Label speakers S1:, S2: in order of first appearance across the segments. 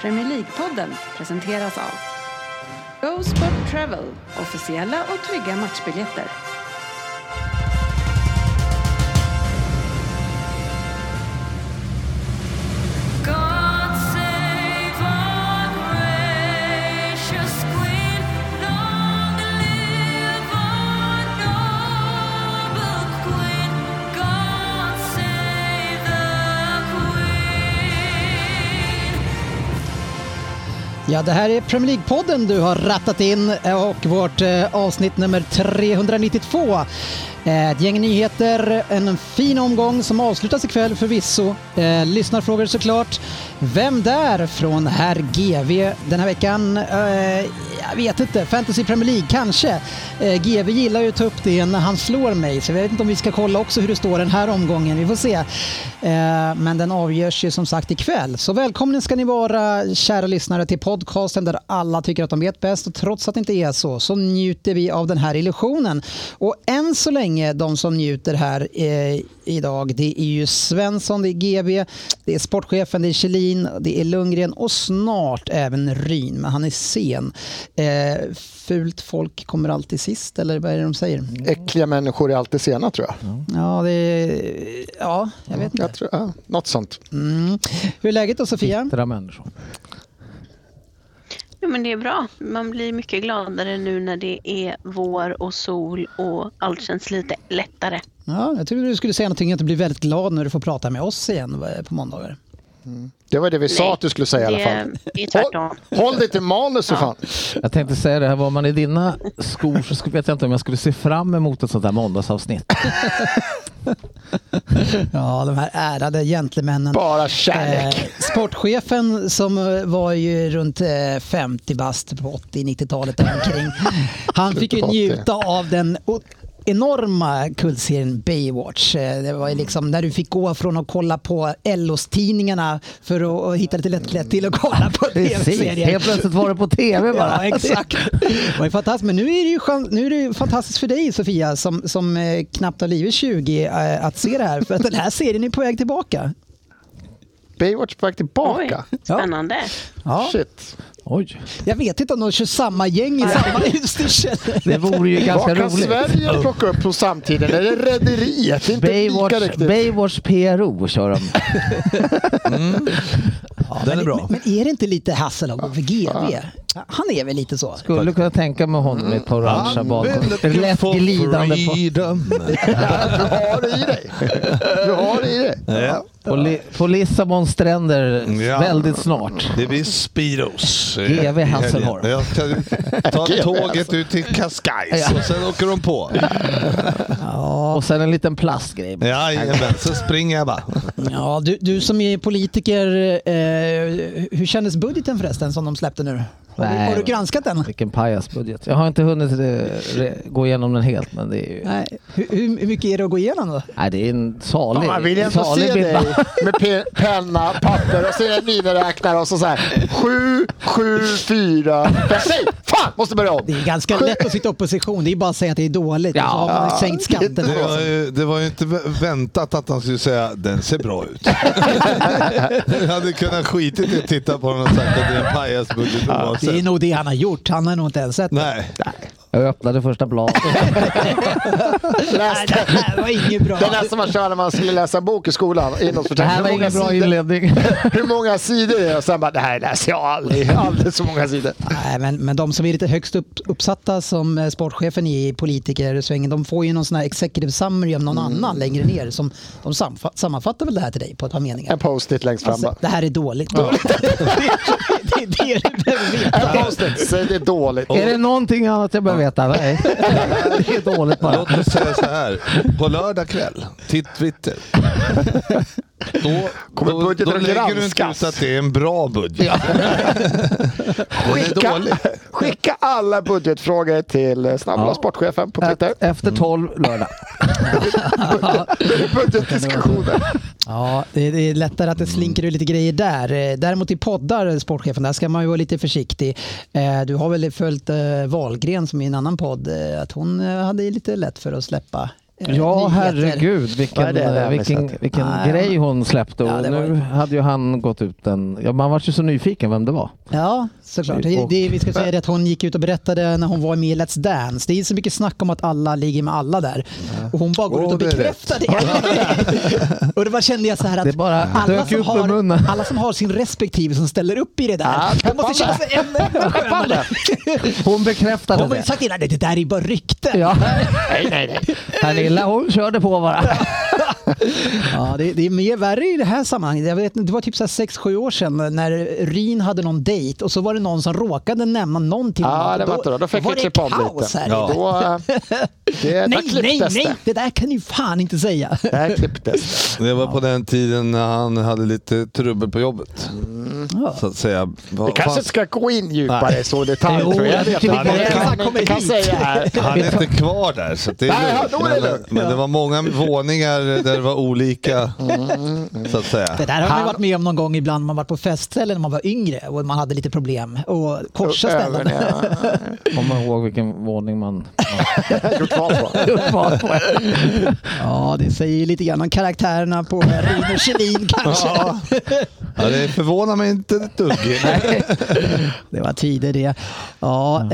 S1: Premier League-podden presenteras av Go Sport Travel, officiella och trygga matchbiljetter.
S2: God save our gracious Queen. Long live our noble Queen. God save the Queen.
S3: Ja, det här är Premier League-podden du har rattat in eh, och vårt eh, avsnitt nummer 392. Eh, Ett gäng nyheter, en fin omgång som avslutas ikväll förvisso. Eh, Lyssnarfrågor såklart. Vem där från herr GV den här veckan? Eh, Jag vet inte, Fantasy Premier League kanske. Eh, GV gillar ju att ta upp det när han slår mig så jag vet inte om vi ska kolla också hur det står den här omgången. Vi får se. Eh, Men den avgörs ju som sagt ikväll. Så välkomna ska ni vara kära lyssnare till podcasten där alla tycker att de vet bäst och trots att det inte är så så njuter vi av den här illusionen. Och än så länge de som njuter här eh, idag det är ju Svensson, det är GB, det är sportchefen, det är Kjellin, det är Lundgren och snart även Ryn, men han är sen. Eh, fult folk kommer alltid sist eller vad är det de säger?
S4: Mm.
S5: Äckliga människor är alltid sena tror jag.
S3: Ja, det är, ja jag vet inte.
S5: jag tror, ja, något sånt.
S3: Mm. Hur är läget då Sofia?
S4: Bittra människor.
S6: Ja, men det är bra. Man blir mycket gladare nu när det är vår och sol och allt känns lite lättare.
S3: Ja, jag trodde du skulle säga någonting att du blir väldigt glad när du får prata med oss igen eh, på måndagar.
S5: Det var det vi sa
S6: Nej,
S5: att du skulle säga i alla fall.
S6: Det är tvärtom.
S5: Håll, håll dig till manus för fan.
S4: Jag tänkte säga det här, var man i dina skor så skulle- vet jag inte om jag skulle se fram emot ett sånt där måndagsavsnitt.
S3: Ja, de här ärade gentlemännen.
S5: Bara kärlek.
S3: Eh, sportchefen som eh, var ju runt eh, 50 bast på 80-90-talet där omkring. Han fick ju
S5: Slutet på 80.
S3: njuta av den o- enorma kultserien Baywatch. Eh, Det var
S4: Mm.
S3: ju liksom när du fick gå från att kolla på LOs-tidningarna för att- att hitta lite lättklätt till att kolla på
S4: Precis,
S3: tv-serien.
S4: helt plötsligt var det på TV
S3: Ja,
S4: bara.
S3: exakt. Det var ju fantastiskt. Men nu är det ju, skön, nu är det ju fantastiskt för dig Sofia som, som eh, knappt har blivit 20 eh, att se det här. För att den här serien är på väg tillbaka.
S5: Baywatch på väg
S6: Oj,
S5: tillbaka.
S6: spännande.
S3: Ja.
S5: Shit.
S4: Oj,
S3: Jag vet inte om de kör samma gäng i samma utstyrsel.
S4: det vore ju ganska
S5: Vad kan
S4: roligt.
S5: Sverige plocka upp på samtiden? Är det Rederiet? Det är inte lika
S4: Baywatch,
S5: riktigt.
S4: Baywatch PRO kör de.
S7: Den är bra.
S3: Men är det inte lite Hasselhag för GV? Han är väl lite så?
S4: Skulle kunna tänka mig honom i ett par orangea badkar. Lätt glidande på,
S7: freedom.
S5: du har det i dig. Du har det i dig.
S7: Ja.
S4: på, li, på Lissabons stränder
S7: Ja.
S4: väldigt snart.
S7: Det blir Speedos. eh,
S4: GV
S7: i helgen.
S4: Hasselholm.
S7: Jag ska ta
S5: GV
S7: tåget ut till Cascais och sen åker de på.
S4: Och sen en liten plastgrej.
S7: Jajamän, så springer jag bara.
S3: Ja, du, du som är politiker, eh, hur kändes budgeten förresten som de släppte nu? Har du,
S4: Nej,
S3: har du
S4: men-
S3: granskat den?
S4: Vilken pajasbudget. Jag har inte hunnit eh, re, gå igenom den helt men det är ju...
S3: Nej. Hur, hur hur mycket är det att gå igenom då?
S4: Nej, det är en
S5: Ja,
S4: salig,
S5: Man vill ju ändå
S4: salig
S5: se
S4: bild.
S5: dig med pe- penna, papper och så är det en miniräknare och så så här. Sju, sju, fyra, fem. Nej, fan! Måste börja om.
S3: Det är ganska lätt att sitta i opposition. Det är bara att säga att det är dåligt.
S4: Ja.
S3: och så har man sänkt skatten.
S7: Det var, ju, det var ju inte vä- väntat att han skulle säga den ser bra ut. Jag hade kunnat skitit i att titta på den och sagt att det är en pajasbudget
S3: Det är
S7: oavsett.
S3: nog det han har gjort. Han har nog inte ens sett det.
S7: Nej,
S4: Jag öppnade första bladet.
S5: Läs
S3: Det här var inget bra.
S5: Det är nästan man kör när man skulle läsa en bok i skolan.
S4: Det
S5: Innehållsförteckning. Hur många
S4: här var ingen bra
S5: sidor-
S4: inledning.
S5: Hur många sidor är det? Och sen bara, det här läser jag aldrig. Alldeles så många sidor.
S3: Nej, men, men de som är lite högst upp, uppsatta som eh, sportchefen i politikersvängen, de får ju någon sån här executive summary av någon annan längre ner. Som, de samfa- sammanfattar väl det här till dig på ett par meningar.
S5: En post-it längst fram bara.
S3: Alltså, det här är dåligt. dåligt. det är det du behöver veta.
S5: En post-it, säg det är dåligt.
S4: är det någonting annat jag behöver veta? Nej. Det är dåligt bara.
S7: låt mig säga så här. På lördag kväll, titt Twitter. Då,
S5: Kommer
S7: då,
S5: budgeten
S7: då
S5: att
S7: lägger du inte
S5: granskas?
S7: ut att det är en bra budget. Den är
S5: Skicka,
S7: dålig.
S5: skicka alla budgetfrågor till eh, snabbla
S4: Ja.
S5: sportchefen på Twitter.
S4: Efter tolv lördag.
S5: Budgetdiskussioner.
S3: Ja, det det är lättare att det slinker ut lite grejer där. Eh, Däremot i poddar, sportchefen, där ska man ju vara lite försiktig. Eh, Du har väl följt eh, Wahlgren som i en annan podd, eh, att hon eh, hade ju lite lätt för att släppa eh,
S4: Mm. Ja,
S3: nyheter.
S4: herregud vilken,
S5: Ja, det är det jag
S4: vilken,
S5: missat.
S4: vilken
S3: Ja,
S4: grej hon släppte.
S3: Ja,
S4: Och
S3: det var
S4: nu
S3: ju-
S4: hade ju han gått ut en... Ja, man var ju så nyfiken vem det var.
S3: Ja, såklart. Det, det, vi ska säga det att hon gick ut och berättade när hon var med i Let's Dance. Det är så mycket snack om att alla ligger med alla där. Och hon bara går
S7: Åh,
S3: ut och
S7: det är
S3: bekräftar det. och då bara kände jag så här att
S4: Det bara
S3: alla,
S4: dök
S3: som
S4: upp ur munnen.
S3: har, alla som har sin respektive som ställer upp i det där,
S5: Ja,
S3: de måste känna sig ännu ännu skönare.
S4: Hon bekräftade
S3: Hon har ju
S4: det.
S3: sagt innan, det där är bara rykten. Ja.
S5: Nej, nej, nej.
S4: Pernilla hon körde på bara.
S3: Ja, det, det är mer värre i det här sammanhanget. Jag vet, inte, det var typ 6-7 år sedan när Rin hade någon dejt och så var det någon som råkade nämna någonting. om
S5: Ja,
S3: honom.
S5: det var inte då. Då fick
S3: var
S5: vi
S3: det
S5: klippa om
S3: kaos
S5: lite.
S3: här.
S7: Ja.
S5: Då, eh, det,
S3: Nej,
S5: där
S3: nej,
S5: klipptes
S3: nej!
S5: det.
S3: Det där kan ni fan inte säga.
S5: Där klipptes
S7: Det var på den tiden när han hade lite trubbel på jobbet. Så att säga.
S5: det. Vi kanske inte ska gå in djupare
S7: Nej.
S5: i så detalj
S3: Jo,
S5: tror jag.
S3: jag
S5: Jag vet
S3: tycker
S5: inte
S7: vi
S5: vad
S7: kan-
S5: jag
S3: kommer
S5: inte kan
S3: hit.
S5: säga här.
S7: Han är inte kvar där. Så att det
S5: Nej,
S7: är lugnt.
S5: då är det
S7: men,
S5: lugnt.
S7: men det var många våningar där det var olika.
S5: Mm.
S7: Så att säga.
S3: Det där har man ju
S5: Han-
S3: varit med om någon gång ibland man varit på festställen när man var yngre och man hade lite problem och korsa ställen.
S5: Överlevnad.
S4: Kommer ihåg vilken våning man
S5: Gjort vad på.
S4: var på.
S3: Ja, det säger ju lite grann om karaktärerna på Rino Kjellin kanske.
S7: Ja, det förvånar mig inte ett dugg.
S3: Det var tider det. Ja,
S5: Mm.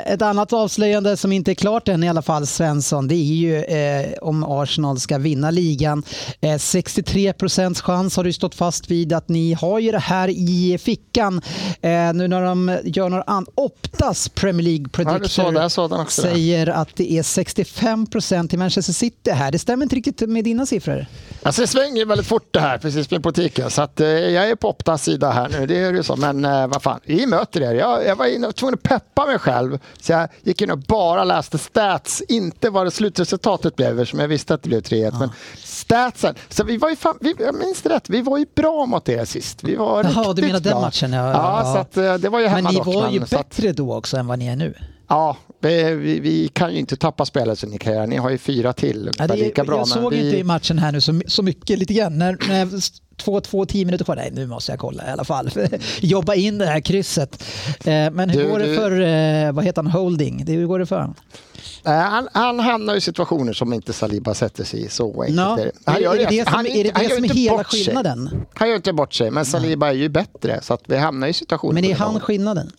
S3: eh, ett annat avslöjande som inte är klart än i alla fall, Svensson, det är ju eh, om Arsenal ska vinna ligan. Eh, 63 procents chans har du stått fast vid att ni har ju det här i fickan. Eh, nu när de gör några an- Optas Premier League
S5: Ja, du såg det.
S3: predictor
S5: Jag såg den också. där.
S3: säger att det är 65 procent till Manchester City här. Det stämmer inte riktigt med dina siffror.
S5: Alltså det svänger väldigt fort det här precis med politiken. Så att, eh, jag är på Optas sida här nu, det är det ju så. Men eh, vad fan, vi möter er. Jag, jag var inne, tvungen att peppa mig själv. Så jag gick in och bara läste stats, inte vad det slutresultatet blev eftersom jag visste att det blev 3-1. Men statsen, så vi var ju fan, vi, jag minns det rätt, vi var ju bra mot er sist. Vi var
S3: Jaha,
S5: riktigt
S3: du menar den
S5: bra.
S3: matchen, ja,
S5: Ja,
S3: ja.
S5: Så att, eh, det var ju
S3: Men
S5: hemma
S3: ni
S5: dock,
S3: var ju
S5: men så att-
S3: bättre då också än vad ni är nu.
S5: Ja, vi, vi, vi kan ju inte tappa spelare som ni kan göra. Ni har ju fyra till,
S3: Ja, det,
S5: ungefär lika bra.
S3: jag såg
S5: vi,
S3: inte i matchen här nu så, så mycket lite grann. När, när två, två, tio minuter kvar. Nej, nu måste jag kolla i alla fall. Jobba in det här krysset. Eh, men hur
S5: Du-
S3: går det
S5: du-
S3: för, eh, vad heter han, Holding? Det, hur går det för honom?
S5: Eh, Han, han hamnar i situationer som inte Saliba sätter sig i. Så enkelt
S3: Ja.
S5: är det.
S3: Är,
S5: Han
S3: det-
S5: gör
S3: är det det som,
S5: han
S3: är, det
S5: inte- han
S3: det
S5: gör
S3: som är
S5: inte
S3: hela
S5: bort sig.
S3: skillnaden?
S5: Han gör inte bort sig, men Saliba är ju bättre. Så att vi hamnar i situationer.
S3: Men är
S5: på det
S3: han
S5: här.
S3: skillnaden?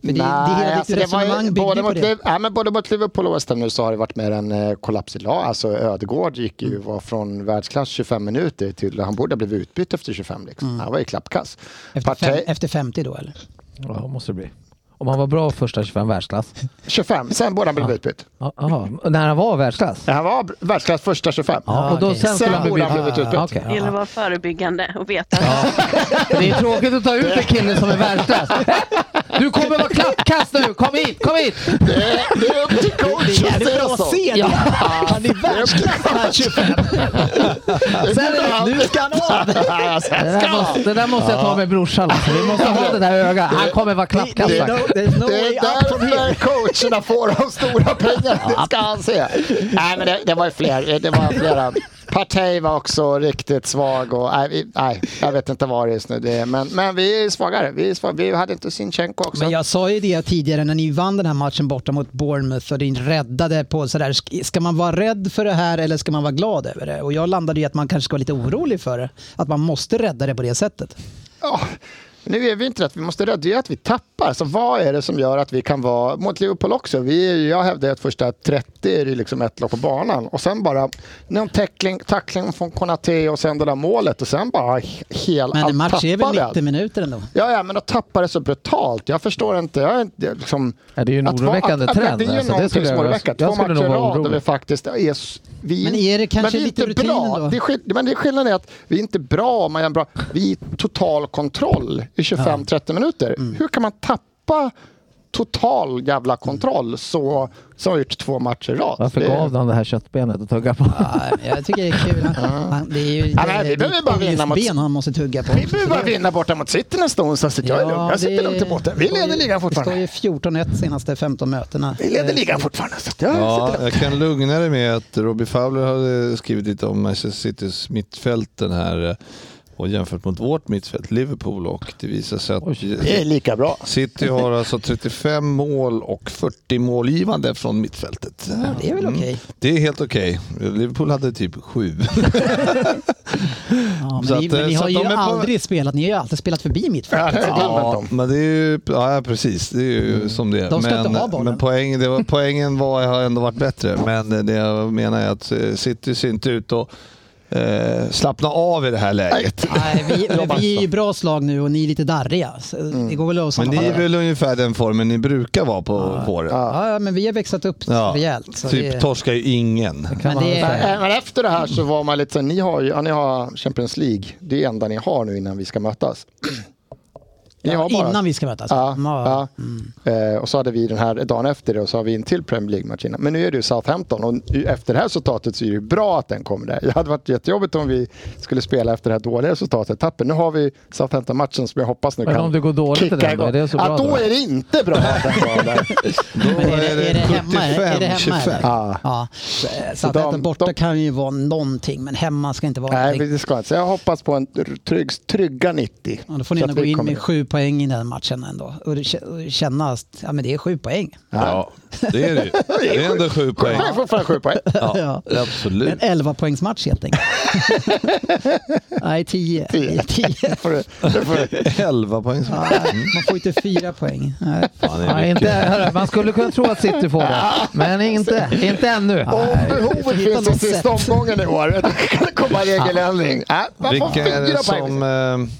S3: Men det,
S5: Nej,
S3: det hela ditt
S5: alltså det var ju-
S3: resonemang bygger
S5: både
S3: ju på
S5: mot
S3: det.
S5: Liv- ja, men både mot Liverpool och West Ham nu så har det varit mer en eh, kollaps idag. Alltså Ödegård gick
S3: Mm.
S5: ju var från världsklass 25 minuter till han borde ha blivit utbytt efter 25. Liksom. Han var ju klappkass.
S3: Mm. Efter, fem,
S5: Partey-
S3: efter 50 då eller?
S4: Ja, måste det bli. Om han var bra första 25 världsklass.
S5: 25, sen borde han blivit utbytt.
S4: Ja, aha. När han var världsklass?
S5: Han var världsklass första 25.
S4: Ja, och då
S3: okej.
S4: sen skulle
S5: Sen
S4: han
S5: borde han
S4: bli...
S5: blivit utbytt.
S4: Ja, okej,
S6: Det gäller
S4: ja.
S6: att vara förebyggande och veta.
S4: Det är tråkigt att ta ut en kille som är världsklass. Du kommer vara klappkast nu! Kom hit, kom hit!
S5: Det är- det är upp till
S3: Det
S5: coach
S3: är
S5: att
S3: jävligt
S5: säga
S3: bra att
S5: så.
S3: se det! Han är världsklass här 25! Sen är det, nu ska han av!
S4: Det där måste, det där måste jag ta med brorsan. Alltså. Vi måste ha det där ögat. Han kommer vara klappkast.
S3: Det- det-
S4: faktiskt.
S3: There's no
S5: Det
S3: way
S5: är
S3: out from here.
S5: därför coacherna får de stora pengarna, det ska han se. Nej, men det, det var ju fler. Det var flera. Partey var också riktigt svag. Och, nej, vi, nej, jag vet inte vad det är just nu. Det är, men, men vi är svagare. Vi, är svag, vi hade inte Sinchenko också.
S3: Men jag sa ju det tidigare när ni vann den här matchen borta mot Bournemouth och ni räddade på sådär. sk- Ska man vara rädd för det här eller ska man vara glad över det? Och jag landade i att man kanske ska vara lite orolig för det. Att man måste rädda det på det sättet.
S5: Ja, nu är vi inte rätt. Vi måste rädda det är att vi tappar. Så vad är det som gör att vi kan vara mot Liverpool också? Vi, är ju- jag hävdar att första 30 är det liksom ett lopp på banan och sen bara någon tackling, tackling från Konate och sen det där målet och sen bara he- hel
S3: Men en match är väl
S5: tappade
S3: 90 minuter ändå?
S5: Ja, ja, men att tappa det så brutalt. Jag förstår inte. Jag är inte liksom,
S4: Ja, det är ju en
S5: att vara-
S4: oroväckande
S5: att- att-
S4: trend,
S5: Det är ju
S4: alltså. Det
S5: någonting
S4: skulle
S5: som
S4: jag-
S5: oroväckar.
S4: jag
S5: Två
S4: skulle
S5: matcher i
S4: nog vara
S5: rad där vi
S4: orolig.
S5: faktiskt är... s- Vi,
S3: Men är det kanske
S5: men vi är
S3: lite
S5: inte
S3: rutinen
S5: bra.
S3: då?
S5: Det är skill- men det är skillnaden är att vi är inte bra om man gör en bra... Vi är total kontroll i 25-30 minuter.
S4: Mm.
S5: Hur kan man tappa total jävla kontroll så som har gjort två matcher i rad?
S4: Varför
S5: Det-
S4: gav han det här köttbenet att tugga på?
S3: Ja, jag tycker det är kul. Han- Han, det är ju
S5: Ja, men vi behöver bara vinna mot-
S3: ben han måste tugga på.
S5: Vi behöver bara vinna borta mot City nästa onsdag, så jag är lugn. Jag sitter
S3: det-
S5: lugnt i båten. Vi
S3: det står
S5: leder
S3: ju-
S5: ligan fortfarande.
S3: Det står ju 14-1 senaste 15 mötena. Eh,
S5: Vi leder ligan fortfarande. Så jag sitter
S7: Ja,
S5: lugnt.
S7: jag kan lugna dig med att Robbie Fowler hade skrivit lite om Manchester Citys mittfält den här eh, Och jämfört mot vårt mittfält, Liverpool, och det visar sig att
S5: Det är lika bra.
S7: City har alltså 35 mål och 40 målgivande från mittfältet. Mm.
S3: det är väl okej.
S7: Det är helt okej. Liverpool hade typ sju.
S3: Ja,
S7: Så
S3: men ni,
S7: att, eh,
S3: men ni
S7: så
S3: har
S7: att
S3: ju
S7: de är på-
S3: aldrig spelat, ni har ju alltid spelat förbi mittfältet.
S7: Ja, men det är ju, ja precis, det är ju som det är.
S3: Mm. De ska
S7: men,
S3: inte ha bollen.
S7: Men poäng, det var, poängen var, har ändå varit bättre. Men det jag menar är att eh, City ser inte ut att eh, slappna av i det här läget.
S3: Nej, vi, men vi är ju bra slag nu och ni är lite darriga. Så
S5: Mm.
S3: Det går väl att
S7: Men ni
S3: sammanfatta
S7: är
S3: det.
S7: väl ungefär den formen ni brukar vara på våren?
S3: Ja, ja, men vi har växlat upp rejält. Så
S7: typ
S3: det,
S7: torskar ju ingen.
S3: men det är,
S5: Även Eh, efter det här så var man lite så här, ni har ju, ja, ni har Champions League, det är det enda ni har nu innan vi ska mötas. Ni har bara-
S3: innan vi ska mötas.
S5: Ja,
S3: Ja.
S5: ja. Eh, och så hade vi den här dagen efter det och så har vi en till Premier League-match innan. Men nu är det ju Southampton och nu- efter det här resultatet så är det ju bra att den kommer där. Det hade varit jättejobbigt om vi skulle spela efter det här dåliga resultatet. Tappen. Nu har vi Southampton-matchen som jag hoppas nu
S4: Men
S5: kan
S4: om det går dåligt i
S5: kicka
S4: den då?
S5: igång.
S4: Är det så bra
S5: ja, då
S4: då?
S5: är det inte bra att den var där.
S7: Då
S3: Men är det, är det hemma? Är det- är det hemma?
S7: 75-25.
S3: eller?
S5: Ja.
S3: Ja. Så att
S5: de-
S3: äta borta
S5: de-
S3: kan ju vara någonting, men hemma ska inte vara
S5: Nej,
S3: någonting.
S5: men det ska jag inte. Så jag hoppas på en trygg, trygga 90.
S3: Ja, då får ni
S5: Så
S3: ändå
S5: att
S3: gå
S5: vi
S3: in
S5: kommer-
S3: med sju poäng i den matchen ändå och det kä- och känna att ja, men det är sju poäng.
S7: Ja, det är det ju. Det är ändå sju poäng.
S5: Jag får fan sju poäng.
S7: Ja, absolut.
S3: En 11 poängsmatch helt enkelt. Nej, 10.
S5: Tio. Det får du- det får du-
S7: 11 poäng.
S3: Man får inte fyra poäng. Nej.
S7: Fan, det är
S4: Ja,
S7: mycket.
S4: inte, hörru, man skulle kunna tro att City får det, men inte, inte ännu.
S5: Om behovet
S3: hitta
S5: finns i
S3: något
S5: sista
S3: sätt.
S5: omgången i år, då kan det komma regeländring. Äh, man får
S7: Vilka
S5: fyra
S7: är, det
S5: poäng.
S7: som, eh,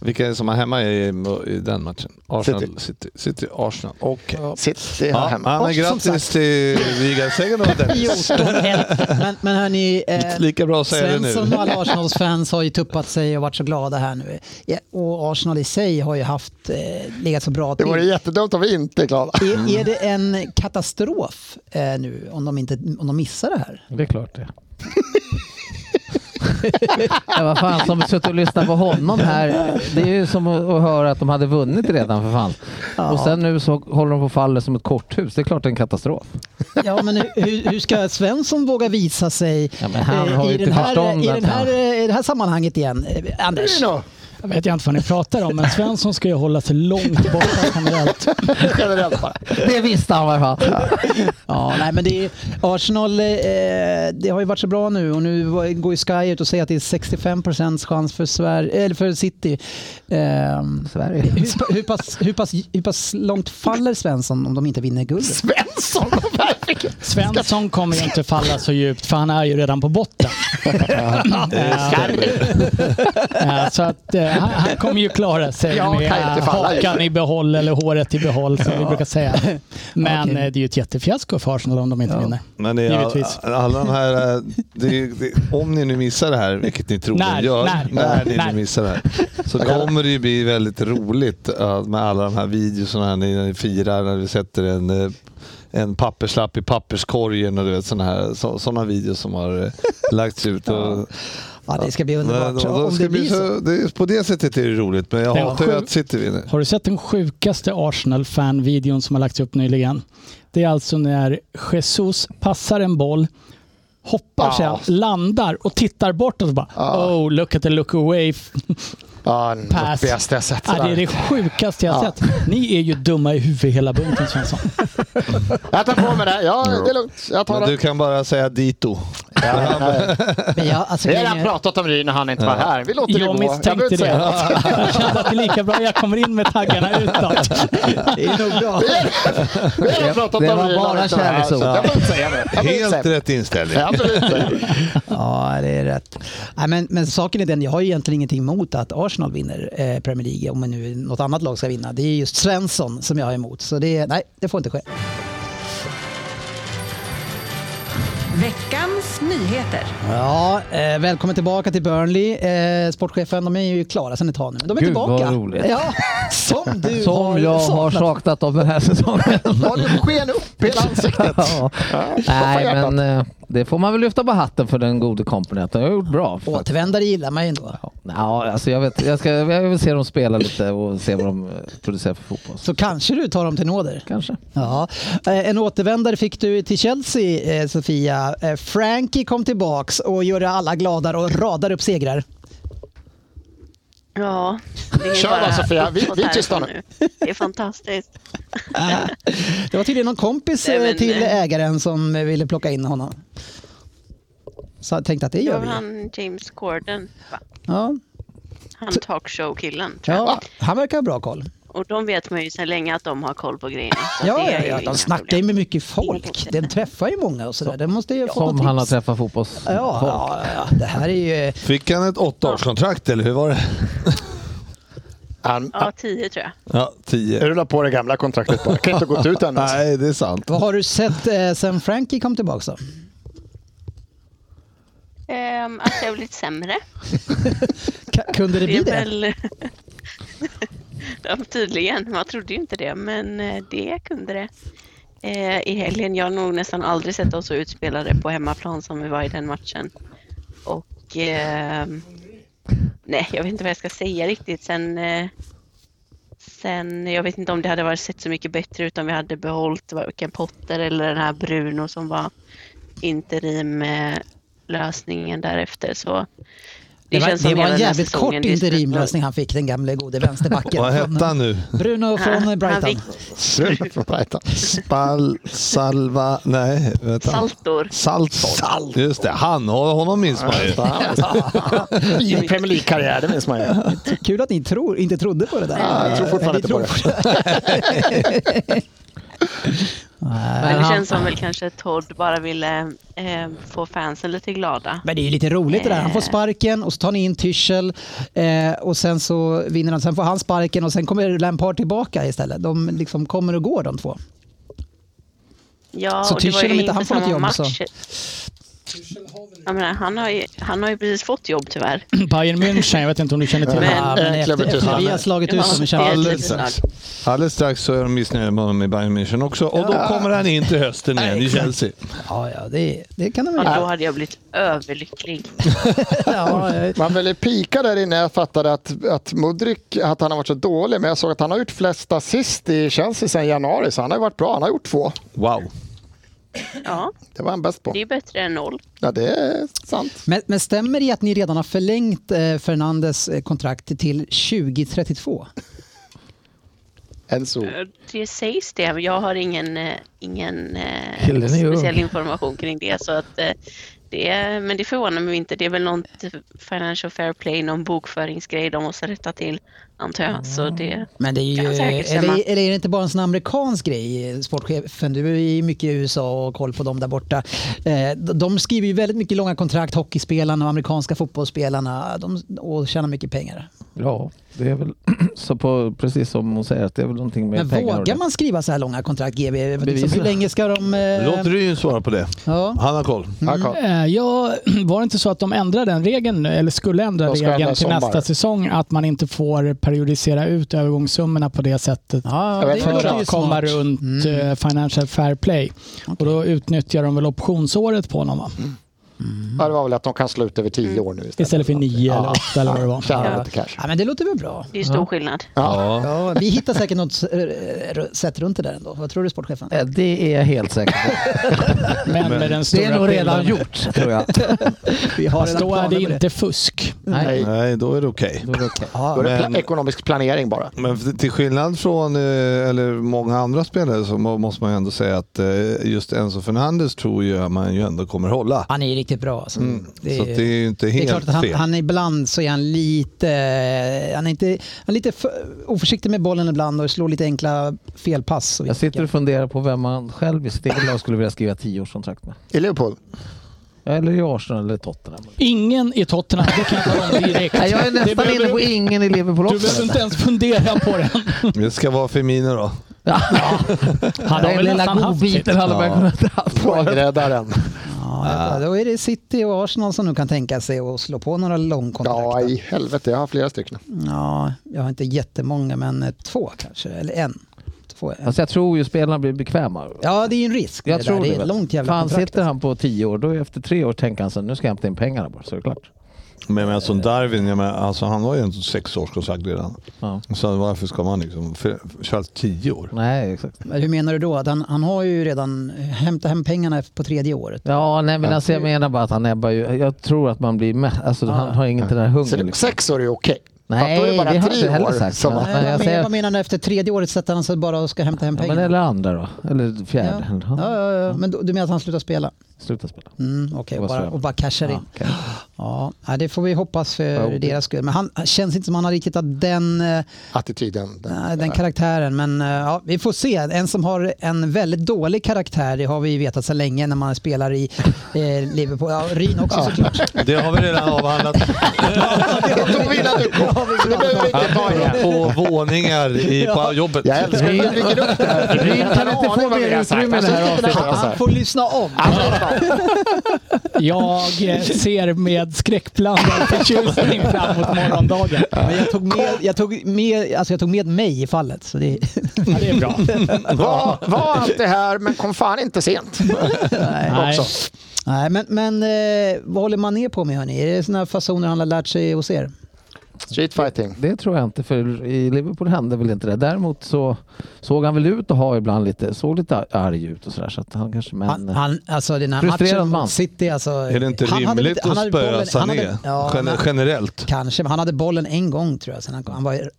S7: vilka är det som har hemma i, i den matchen? Arsenal, City. City, Arsenal. Okej.
S5: Sitt
S7: Ja,
S5: här
S7: ja,
S5: hemma.
S7: men
S3: som
S7: grattis
S3: sagt.
S7: till ligasegern då Dennis.
S3: 14-1. Men, men hörni, eh,
S7: Lika bra att säga det nu.
S3: Svensson och alla Arsenals-fans har ju tuppat sig och varit så glada här nu. Ja, Och Arsenal i sig har ju haft, eh, legat så bra
S5: Det
S3: till.
S5: vore jättedumt om vi inte är glada.
S3: Är, är det en katastrof eh, nu om de, inte, om de missar det här?
S4: Det är klart det. ja, vad fan, som suttit och lyssnat på honom här. Det är ju som att att höra att de hade vunnit redan för fan. Och sen nu så håller de på att falla som ett korthus. Det är klart det är en katastrof.
S3: Ja, men hur, hur ska Svensson våga visa sig
S4: Ja, men han
S3: eh,
S4: har ju
S3: i,
S4: inte
S3: den här,
S4: förstånd
S3: i,
S4: att
S3: den här,
S4: han-
S3: eh, i det här sammanhanget igen? Eh, Anders?
S5: Bruno,
S8: Jag vet jag inte vad ni pratar om, men Svensson ska ju hålla sig långt borta generellt.
S5: generellt bara.
S4: Det visste han i alla fall.
S3: Ja, nej, men det är, Arsenal eh, det har ju varit så bra nu och nu var- går ju Sky ut och säger att det är 65 chans för, Sverige, eller för City. Ehm,
S4: Sverige.
S3: hur, pa- hur, pass, hur, pass, hur pass långt faller Svensson om de inte vinner guldet?
S5: Svensson! verkligen.
S8: Svensson kommer ju inte falla så djupt, för han är ju redan på botten. Eh, så att, eh, han, han kommer ju klara sig
S5: Ja,
S8: med
S5: kan inte falla.
S8: hakan i behåll, eller håret i behåll, som vi brukar säga. Men
S3: Okej.
S8: eh, det är ju ett jättefiasko för Arsenal om de inte vinner.
S7: Men det är all,
S8: Givetvis.
S7: alla de här, eh, det är, det, om ni nu missar det här, vilket ni troligen
S8: När,
S7: gör,
S8: när,
S7: ni
S8: när.
S7: nu missar det här, så kommer det ju bli väldigt roligt eh, med alla de här videorna när ni, när ni firar, när vi sätter en, eh, en papperslapp i papperskorgen och du vet sådana här, så, såna videos som har eh, lagts ut. Och,
S3: Ja, det ska bli
S7: Men
S3: underbart
S7: då- då
S3: om
S7: ska
S3: det
S7: bli
S3: blir så.
S7: så- det är- På det sättet är det roligt, men jag
S8: Den
S7: hatar ju
S8: sju-
S7: att City vinner.
S8: Har du sett den sjukaste Arsenal-fan-videon som har lagts upp nyligen? Det är alltså när Jesus passar en boll, hoppar
S5: Ja.
S8: sen, landar och tittar bortåt och bara “Oh, look at the look away”.
S5: Ja, den
S8: Pass.
S5: deppigaste jag sett.
S8: Ah, det är det
S5: sådär.
S8: sjukaste jag har
S5: Ja.
S8: sett. Ni är ju dumma i huvudet hela bunten Svensson.
S5: Jag tar på mig det. Ja, det är lugnt. Jag tar
S7: Men du
S5: det.
S7: kan bara säga dito.
S5: Ja, nej.
S3: Men jag, alltså,
S5: Vi
S3: grejen
S5: har redan
S3: är-
S5: pratat om det när han inte var här. Vi låter det gå.
S8: Jag misstänkte
S5: behöver
S8: det.
S5: inte säga något.
S8: Jag kände att det är lika bra jag kommer in med taggarna utåt.
S3: det är nog bra.
S5: Vi har redan pratat
S4: det
S5: om
S4: var
S5: det när han
S4: bara
S5: inte var här. så Jag
S4: kärleksord.
S5: behöver inte säga det. Jag behöver inte säga
S7: Helt
S5: det.
S7: rätt inställning.
S5: Jag behöver inte säga det.
S3: Ja, det är rätt. Nej, men, men saken är den, jag har ju egentligen ingenting emot att Arsenal vinner eh, Premier League, om nu något annat lag ska vinna. Det är just Svensson som jag har emot, så det, nej, det får inte ske.
S1: Veckans nyheter.
S3: Ja, eh, välkommen tillbaka till Burnley, eh, sportchefen. De är ju klara sedan ett tag nu, men de är
S4: Gud,
S3: tillbaka.
S4: vad roligt.
S3: Ja, som du har
S4: Som jag har
S3: saknat.
S4: saknat av den här säsongen.
S5: Ja, det sken upp i hela ansiktet.
S4: Ja. Nej,
S5: hjärtat.
S4: men eh, det får man väl lyfta på hatten för den gode kompani att han har gjort bra.
S3: Återvändare gillar man ju ändå.
S4: Ja, alltså jag, vet, jag, ska, jag vill se dem spela lite och se vad de eh, producerar för fotboll.
S3: Så kanske du tar dem till nåder.
S4: Kanske.
S3: Ja. Eh, En återvändare fick du till Chelsea, eh, Sofia. Eh, Frankie kom tillbaks och gjorde alla glada och radar upp segrar.
S6: Ja, det är
S5: Kör
S6: bara
S5: då, Sofia. Vi- vi är
S6: uppåt här
S5: tysta nu.
S6: nu. Det är fantastiskt.
S3: Det var tydligen någon kompis
S6: Nej,
S3: eh,
S6: men-
S3: till ägaren som eh, ville plocka in honom. Så jag tänkte att det
S6: Det
S3: gör
S6: var
S3: vi.
S6: han James Corden, va?
S3: Ja.
S6: han talkshow-killen. tror jag.
S3: Ja, han verkar ha bra koll.
S6: Och de vet man ju sedan länge att de har koll på grejerna. så
S3: Ja,
S6: det är
S3: ja,
S6: ju
S3: ja,
S6: inga
S3: de snackar ju
S6: problem.
S3: med mycket folk. Den träffar ju många och sådär. Den måste ju få
S4: Som
S3: något
S4: han har
S3: tips.
S4: träffat fotbolls...
S3: Ja, ja, ja, det här är ju...
S7: Fick han ett åttaårskontrakt eller hur var det?
S5: Han,
S6: Ja, tio tror jag.
S7: Ja, tio.
S5: Rulla på det gamla kontraktet bara. Kan inte ha gått ut än. Alltså.
S7: Nej, det är sant.
S3: Vad har du sett eh, sen Frankie kom tillbaka då?
S6: Ehm, att jag har blivit sämre.
S3: Ka- Kunde det
S6: Det
S3: bli
S6: är
S3: det?
S6: väl... ja, tydligen. Man trodde ju inte det, men eh, det kunde det. Eh, I helgen, jag har nog nästan aldrig sett oss så utspelade på hemmaplan som vi var i den matchen. Och... ehm, nej, jag vet inte vad jag ska säga riktigt. Sen... Eh, sen jag vet inte om det hade varit sett så mycket bättre ut om vi hade behållit varken Potter eller den här Bruno som var interim eh, lösningen därefter. Så
S3: Det var,
S6: känns som
S3: det var
S6: hela
S3: en
S6: den här
S3: jävligt kort
S6: säsongen, det är slut-
S3: interimlösning han fick, den gamle gode vänsterbacken.
S7: Vad
S3: från-
S7: hette han nu?
S3: Bruno från
S6: Han- han
S3: Brighton.
S6: fick-
S5: Rulla på Brighton.
S7: Spal... Salva... Nej, vänta.
S6: Saltor.
S7: Saltborn. Just det, han, honom minns man ju.
S5: I Premier League-karriär, det minns man ju.
S3: Kul att ni tror, inte trodde på det där.
S5: Ja, jag tror fortfarande
S3: Eller
S5: inte på
S3: tror-
S6: Men
S4: Men
S6: det
S4: han,
S6: känns som väl kanske Todd bara ville eh, få fansen lite glada.
S3: Men det är ju lite roligt det där. Han får
S6: Eh.
S3: sparken och så tar ni in Tyschel eh, och sen så vinner han. Sen får han sparken och sen kommer Lampard tillbaka istället. De liksom kommer och går de två.
S6: Ja,
S3: Så
S6: och det var
S3: Tyschel,
S6: ju
S3: om inte
S6: inför
S3: han får något
S6: samma
S3: jobb, så-
S6: match. Jag menar, han, har ju, han har ju precis fått jobb tyvärr.
S8: Bayern München, jag vet inte om du känner till
S6: Men-
S8: det.
S3: Ja, men eh, efter,
S5: Klubben
S3: efter vi
S5: Tyschel.
S3: har slagit
S6: Ja,
S3: ut dem i Champions
S6: det är
S3: League.
S6: ett
S7: Alldeles
S6: litet
S7: strax.
S6: lag.
S7: Alldeles strax så är de missnöjda med honom i Bayern München också. Och då kommer han in till hösten igen i Chelsea.
S3: Ja, ja, det, det kan de väl
S6: Och då
S3: göra.
S6: hade jag blivit överlycklig.
S3: Ja, ja.
S5: Man ville pika där inne. Jag fattade att, att Mudrik att han har varit så dålig, men jag såg att han har gjort flest assist i Chelsea sedan januari, så han har ju varit bra. Han har gjort två.
S7: Wow.
S6: Ja,
S5: Det var han bäst på.
S6: det är ju bättre än noll.
S5: Ja, det är sant.
S3: Men, men stämmer det att ni redan har förlängt eh, Fernandes eh, kontrakt till 2032?
S5: En så.
S6: Eh, Det sägs det, men jag har ingen, eh, ingen eh,
S4: Killen är ju ung.
S6: speciell information kring det. Så att, eh, det är, men det förvånar mig inte. Det är väl något Financial Fair Play, någon bokföringsgrej de måste rätta till, antar jag. Så det,
S3: Men det är ju,
S6: Kan säkert stämma.
S3: eller, eller är det inte bara en sån amerikansk grej, eh, sportchefen? Du är ju mycket i USA och har koll på dem där borta. Eh, d- De skriver ju väldigt mycket långa kontrakt, hockeyspelarna och amerikanska fotbollsspelarna. De och tjänar mycket pengar.
S4: ja, det är väl så på, precis som hon säger, att det är väl någonting med
S3: Men
S4: pengar. och det.
S3: vågar man skriva så här långa kontrakt, GB? Liksom,
S4: Bevisligen.
S3: hur länge ska de... eh,
S7: Låter du ju svara på det.
S3: Ja.
S7: Han har koll.
S5: Ja, Carl.
S8: Eh, Ja, var det inte så att de ändrade den regeln nu, eller skulle ändra
S5: De ska ändra
S8: regeln till
S5: sommar.
S8: nästa säsong, att man inte får periodisera ut övergångssummorna på det sättet?
S3: Ja,
S5: Jag
S3: det
S5: vet inte.
S8: för
S3: låter ju
S8: att komma
S3: smart. Mm.
S8: runt eh, Financial Fair Play. Och då utnyttjar de väl optionsåret på honom va?
S3: Mm.
S5: Ja, det var väl att de kan slå ut över tio år nu istället.
S8: Istället för nio eller åtta eller vad
S7: Mm.
S8: det var.
S5: Tjäna lite cash.
S3: Ja, men det låter väl bra.
S6: det är ju stor skillnad.
S7: Ja.
S3: Ja, vi hittar säkert något eh, r- sätt runt det där ändå. Vad tror du sportchefen?
S4: Eh, Det är jag helt säker på.
S8: Men med den
S4: Det
S8: stora
S4: är nog redan
S8: skillnaden.
S4: gjort, tror jag.
S3: Vi har
S8: Fast då är det inte fusk.
S4: Nej,
S7: Nej, då är det okej.
S4: då är det okej.
S5: Då är det
S7: Men-
S5: pla- ekonomisk planering bara.
S7: Men för- till skillnad från eh, eller många andra spelare så må- måste man ju ändå säga att eh, just Enzo Fernandes tror jag man ju ändå kommer hålla.
S3: Han är ju riktigt bra. Alltså. Det,
S7: Så att det är ju inte
S3: det är
S7: helt
S3: klart att han,
S7: fel.
S3: han ibland så är han lite, han är inte, han är lite för, oförsiktig med bollen ibland och slår lite enkla felpass.
S4: Jag sitter och funderar på vem man själv i sitt eget lag skulle vilja skriva tioårskontrakt med.
S5: I Liverpool.
S4: Eller i Arsenal eller Tottenham.
S8: Ingen i Tottenham, det kan jag tala om direkt.
S4: Nej, jag är
S8: Det
S4: nästan
S8: behöver-
S4: inne på ingen i Liverpool
S8: Du behöver
S4: också.
S8: inte ens fundera på den.
S7: Det ska vara Femino då.
S8: Han har
S4: Den
S8: väl
S4: lilla
S8: nästan haft sitt.
S4: godbiten hade man kunnat haft.
S5: Poängräddaren.
S3: Ja, då är det City och Arsenal som nu kan tänka sig att slå på några
S5: Ja,
S3: långkontrakt.
S5: i helvete. Jag har flera stycken.
S3: Ja, jag har inte jättemånga, men eh, två kanske, eller en. Två, en.
S4: Alltså jag tror ju spelarna blir bekväma.
S3: Ja, det är ju en risk.
S4: Jag
S3: det
S4: tror
S3: där. det är
S4: väl.
S3: ett långt jävla
S4: Fan,
S3: kontrakt.
S4: sitter han på tio år, då efter tre år tänker han så här, nu ska jag hämta in pengarna bara, så är det klart.
S7: Men jag menar, som Darwin, jag menar, alltså, han har ju en sexårskontrakt redan.
S4: Ja.
S7: Så varför ska man liksom för- köra tio år?
S4: Nej, exakt.
S3: Men Hur menar du då? Att han, han har ju redan eh, hämtat hem pengarna på tredje året.
S4: Ja, nej men alltså jag menar bara att han ebbar ju. Jag tror att man blir med. Alltså han har ingen den här
S5: Så
S4: hungern.
S5: det,
S4: Liksom.
S5: sex år är okej.
S4: Nej,
S5: då är det bara
S4: det har jag
S5: tre
S4: inte heller
S5: år
S4: sagt.
S5: som-
S4: Men jag
S3: men
S4: säger,
S3: Vad menar du efter tredje året sätter han sig bara och ska hämta hem
S4: ja, men
S3: pengar?
S4: eller andra då. Eller
S3: Ja.
S4: fjärde.
S3: Ja, ja, ja. Men då- du menar att han slutar spela?
S4: Sluta spela.
S3: Mm, Okej,
S4: Det
S3: och
S4: var så
S3: bara,
S4: jag-
S3: och bara cashar in.
S4: Ja, okej.
S3: Ja, nej, det får vi hoppas för
S4: Ja,
S3: deras skull. Men han han känns inte som han har riktigt att den, eh,
S5: Attityden. Den,
S3: nej, den karaktären. Men eh, ja, vi får se. En som har en väldigt dålig karaktär, det har vi ju vetat sedan länge när man spelar i eh, Liverpool. Ja, Ryn också såklart.
S9: Det har vi redan avhandlat.
S5: Jag tog vi innan du kom, så det behöver vi inte ta igen.
S9: På våningar i, på jobbet.
S5: Jag älskar att du dricker upp det här.
S4: Ryn kan inte få mer utrymme i
S5: Alltså,
S4: det här avsnittet.
S3: Han får lyssna om.
S8: Jag eh, ser med skräckblandad förtjusning fram emot morgondagen.
S3: Men jag tog med, jag tog med, alltså jag tog med mig i fallet. Så det,
S8: Ja, det är bra.
S5: Var, var allt det här, men kom fan inte sent.
S8: Nej.
S5: Också.
S3: nej, men, men eh, vad håller man ner på med hörni? Är det sådana här fasoner han har lärt sig hos er?
S5: Street fighting.
S4: Det tror jag inte, för i Liverpool hände väl inte det. Däremot så såg han väl ut att ha ibland lite, såg lite arg ut och sådär. Så att han kanske, men...
S3: Han, han, alltså den här
S4: eh, Frustrerad
S3: matchen
S4: man.
S3: mot City, alltså,
S9: Är det inte rimligt att spöa Sané?
S3: ja,
S9: Gen-
S3: han,
S9: Generellt.
S3: kanske, men han hade bollen en gång tror jag. Sen han, kom. han var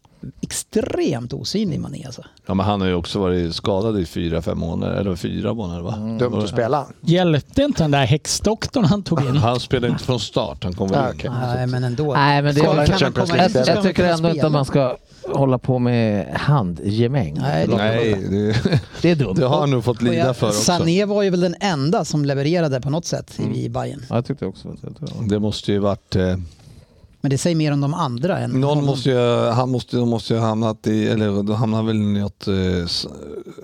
S3: extremt osynlig Mané alltså.
S9: Ja, men han har ju också varit skadad i fyra, fem månader. Eller fyra månader va?
S5: Dumt att spela.
S8: Hjälpte inte den där häxdoktorn han tog in?
S9: Han spelade inte från start. Han kom väl
S5: Ah,
S9: in.
S5: okej.
S3: Nej, men ändå.
S4: Nej, men det
S3: Kan man
S4: jag,
S3: komma in?
S4: jag,
S3: Ska
S4: jag tycker
S3: man
S4: ändå
S3: kunna
S4: inte att
S3: spela?
S4: man ska hålla på med handgemäng.
S3: Nej, det-
S9: Nej, det,
S4: Det är dumt.
S9: det har han nog fått
S3: Och
S9: lida
S3: jag-
S9: för också. Mm.
S3: Sané var ju väl den enda som levererade på något sätt i- i Bayern.
S4: Ja, jag tyckte också att jag tror det.
S9: Det måste ju varit... Eh,
S3: Men det säger mer om de andra än
S9: Någon
S3: honom.
S9: måste ju, han måste, de måste ju ha hamnat i, eller de hamnar väl i något, eh, s-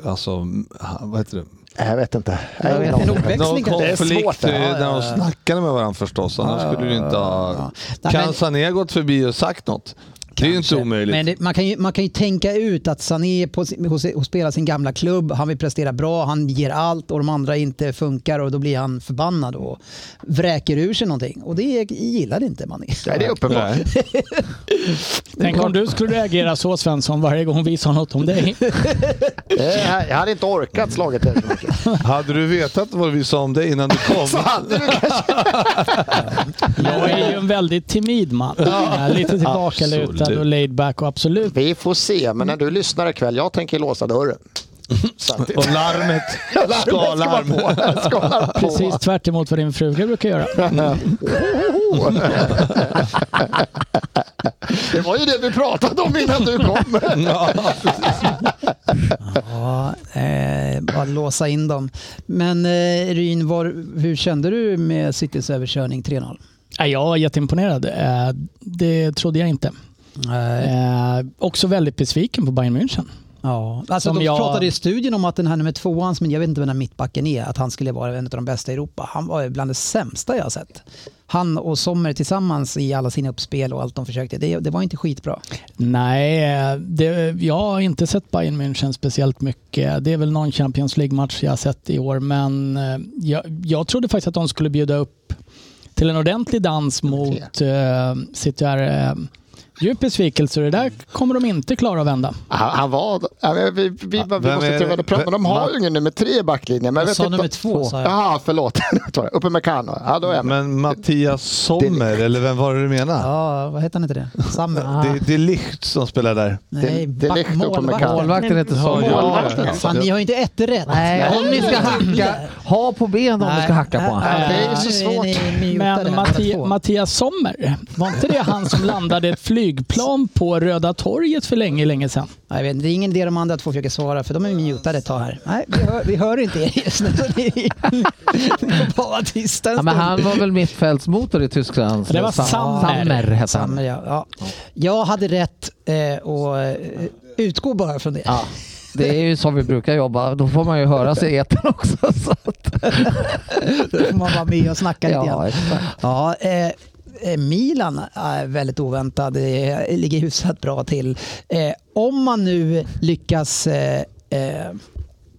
S9: alltså, ha- vad heter det?
S5: Nej, Jag vet inte. Jag har ingen
S3: En
S5: aning.
S3: ordväxling
S9: Någon
S3: kanske?
S5: Det är svårt
S9: konflikt
S5: det
S9: eh,
S5: här.
S9: när de snackade med varandra förstås, annars skulle du inte ha...
S3: Nej, men-
S9: Kan Sané ha gått förbi och sagt något? Det är ju inte
S3: Kanske.
S9: omöjligt.
S3: Men det, man, kan ju, man kan ju tänka ut att Sané på, sin- hos, hos spelar sin gamla klubb, han vill prestera bra, han ger allt och de andra inte funkar och då blir han förbannad och vräker ur sig någonting. Och det gillar inte Mané.
S5: Nej, det är uppenbart.
S9: Nej.
S8: Tänk om du skulle reagera så Svensson varje gång vi sa något om dig.
S5: Det är- Eh, Jag hade inte orkat slaget dig så mycket.
S9: Hade du vetat vad vi sa om dig innan du kom?
S5: Så hade du kanske...
S8: Jag är ju en väldigt timid man. Jag är Lite tillbakalutad
S9: Absolut.
S8: och laid back och absolut.
S5: Vi får se, men när du lyssnar ikväll, jag tänker låsa dörren. Så att det-
S9: Och larmet, ska larm.
S5: på. Skalar på.
S8: Precis tvärt emot vad din fruga brukar göra.
S5: Det var ju det vi pratade om innan du kom.
S3: Ja, eh, bara låsa in dem. Men eh, Ryn, var, hur kände du med Citys överkörning 3-0?
S8: Nej, Äh, Jag var jätteimponerad. Eh, Det trodde jag inte. Eh, Också väldigt besviken på Bayern München.
S3: Ja, alltså
S8: Som
S3: de
S8: jag-
S3: pratade i studion om att den här nummer tvåan, som jag vet inte vem den här mittbacken är, att han skulle vara en av de bästa i Europa. Han var ju bland det sämsta jag har sett. Han och Sommer tillsammans i alla sina uppspel och allt de försökte, det, det var inte skitbra.
S8: Nej, eh, det, jag har inte sett Bayern München speciellt mycket. Det är väl någon Champions League-match jag har sett i år, men eh, jag, jag trodde faktiskt att de skulle bjuda upp till en ordentlig dans mot eh, City. här, Eh, djup besvikelse, det där kommer de inte klara att vända.
S5: Han, han var... ja, men Vi, vi, vi, vi
S9: Vem
S5: måste
S9: är-
S5: inte väl prata, men de har ju ingen nummer tre i backlinjen. Men jag
S3: Jag
S5: vet
S3: sa
S5: inte-
S3: nummer två, sa jag.
S5: Jaha, förlåt. Uppe med Kano. Ja, då är jag med.
S9: Men Mattias Sommer, eller vem var det du menade?
S3: Ja, vad heter han inte det? Sammer?
S9: Det, det är Licht som spelar där.
S3: Nej,
S5: det- det
S3: back-
S5: räckte upp med
S3: målvakten.
S5: Kalle.
S4: Målvakten heter så.
S9: Ja,
S5: Målvakten.
S9: ja.
S3: Fan, ni har ju inte ett rätt.
S4: Nej, om ni ska hacka, ha på benen om ni ska hacka på honom.
S5: Nej, det är ju så
S3: Nu
S5: svårt.
S3: ni mutade
S8: Men
S3: här, båda
S8: Matti,
S3: två.
S8: Mattias Sommer, var inte det han som landade ett flygplan på Röda torget för länge, länge sedan?
S3: Nej, jag vet inte, det är ingen idé de andra två försöker svara för de är mutade ett tag här. Nej, vi hör, vi hör inte er just nu. Ni ni får bara vara tysta en
S4: Ja, men
S3: stund.
S4: han var väl mittfältsmotor i Tyskland.
S8: Det var
S4: Sam-
S8: Sammer.
S4: Sammer hette
S3: Samma,
S4: han.
S3: ja. Ja. Jag hade rätt eh, och eh, utgå bara från det.
S4: Ja, det är ju som vi brukar jobba. Då får man ju höra sig i etern också. Så att,
S3: Då får man vara med och snacka lite
S4: ja,
S3: grann.
S4: exakt.
S3: Ja, eh, eh, Milan är väldigt oväntad, eh, ligger hyfsat bra till. Eh, om man nu lyckas eh, eh,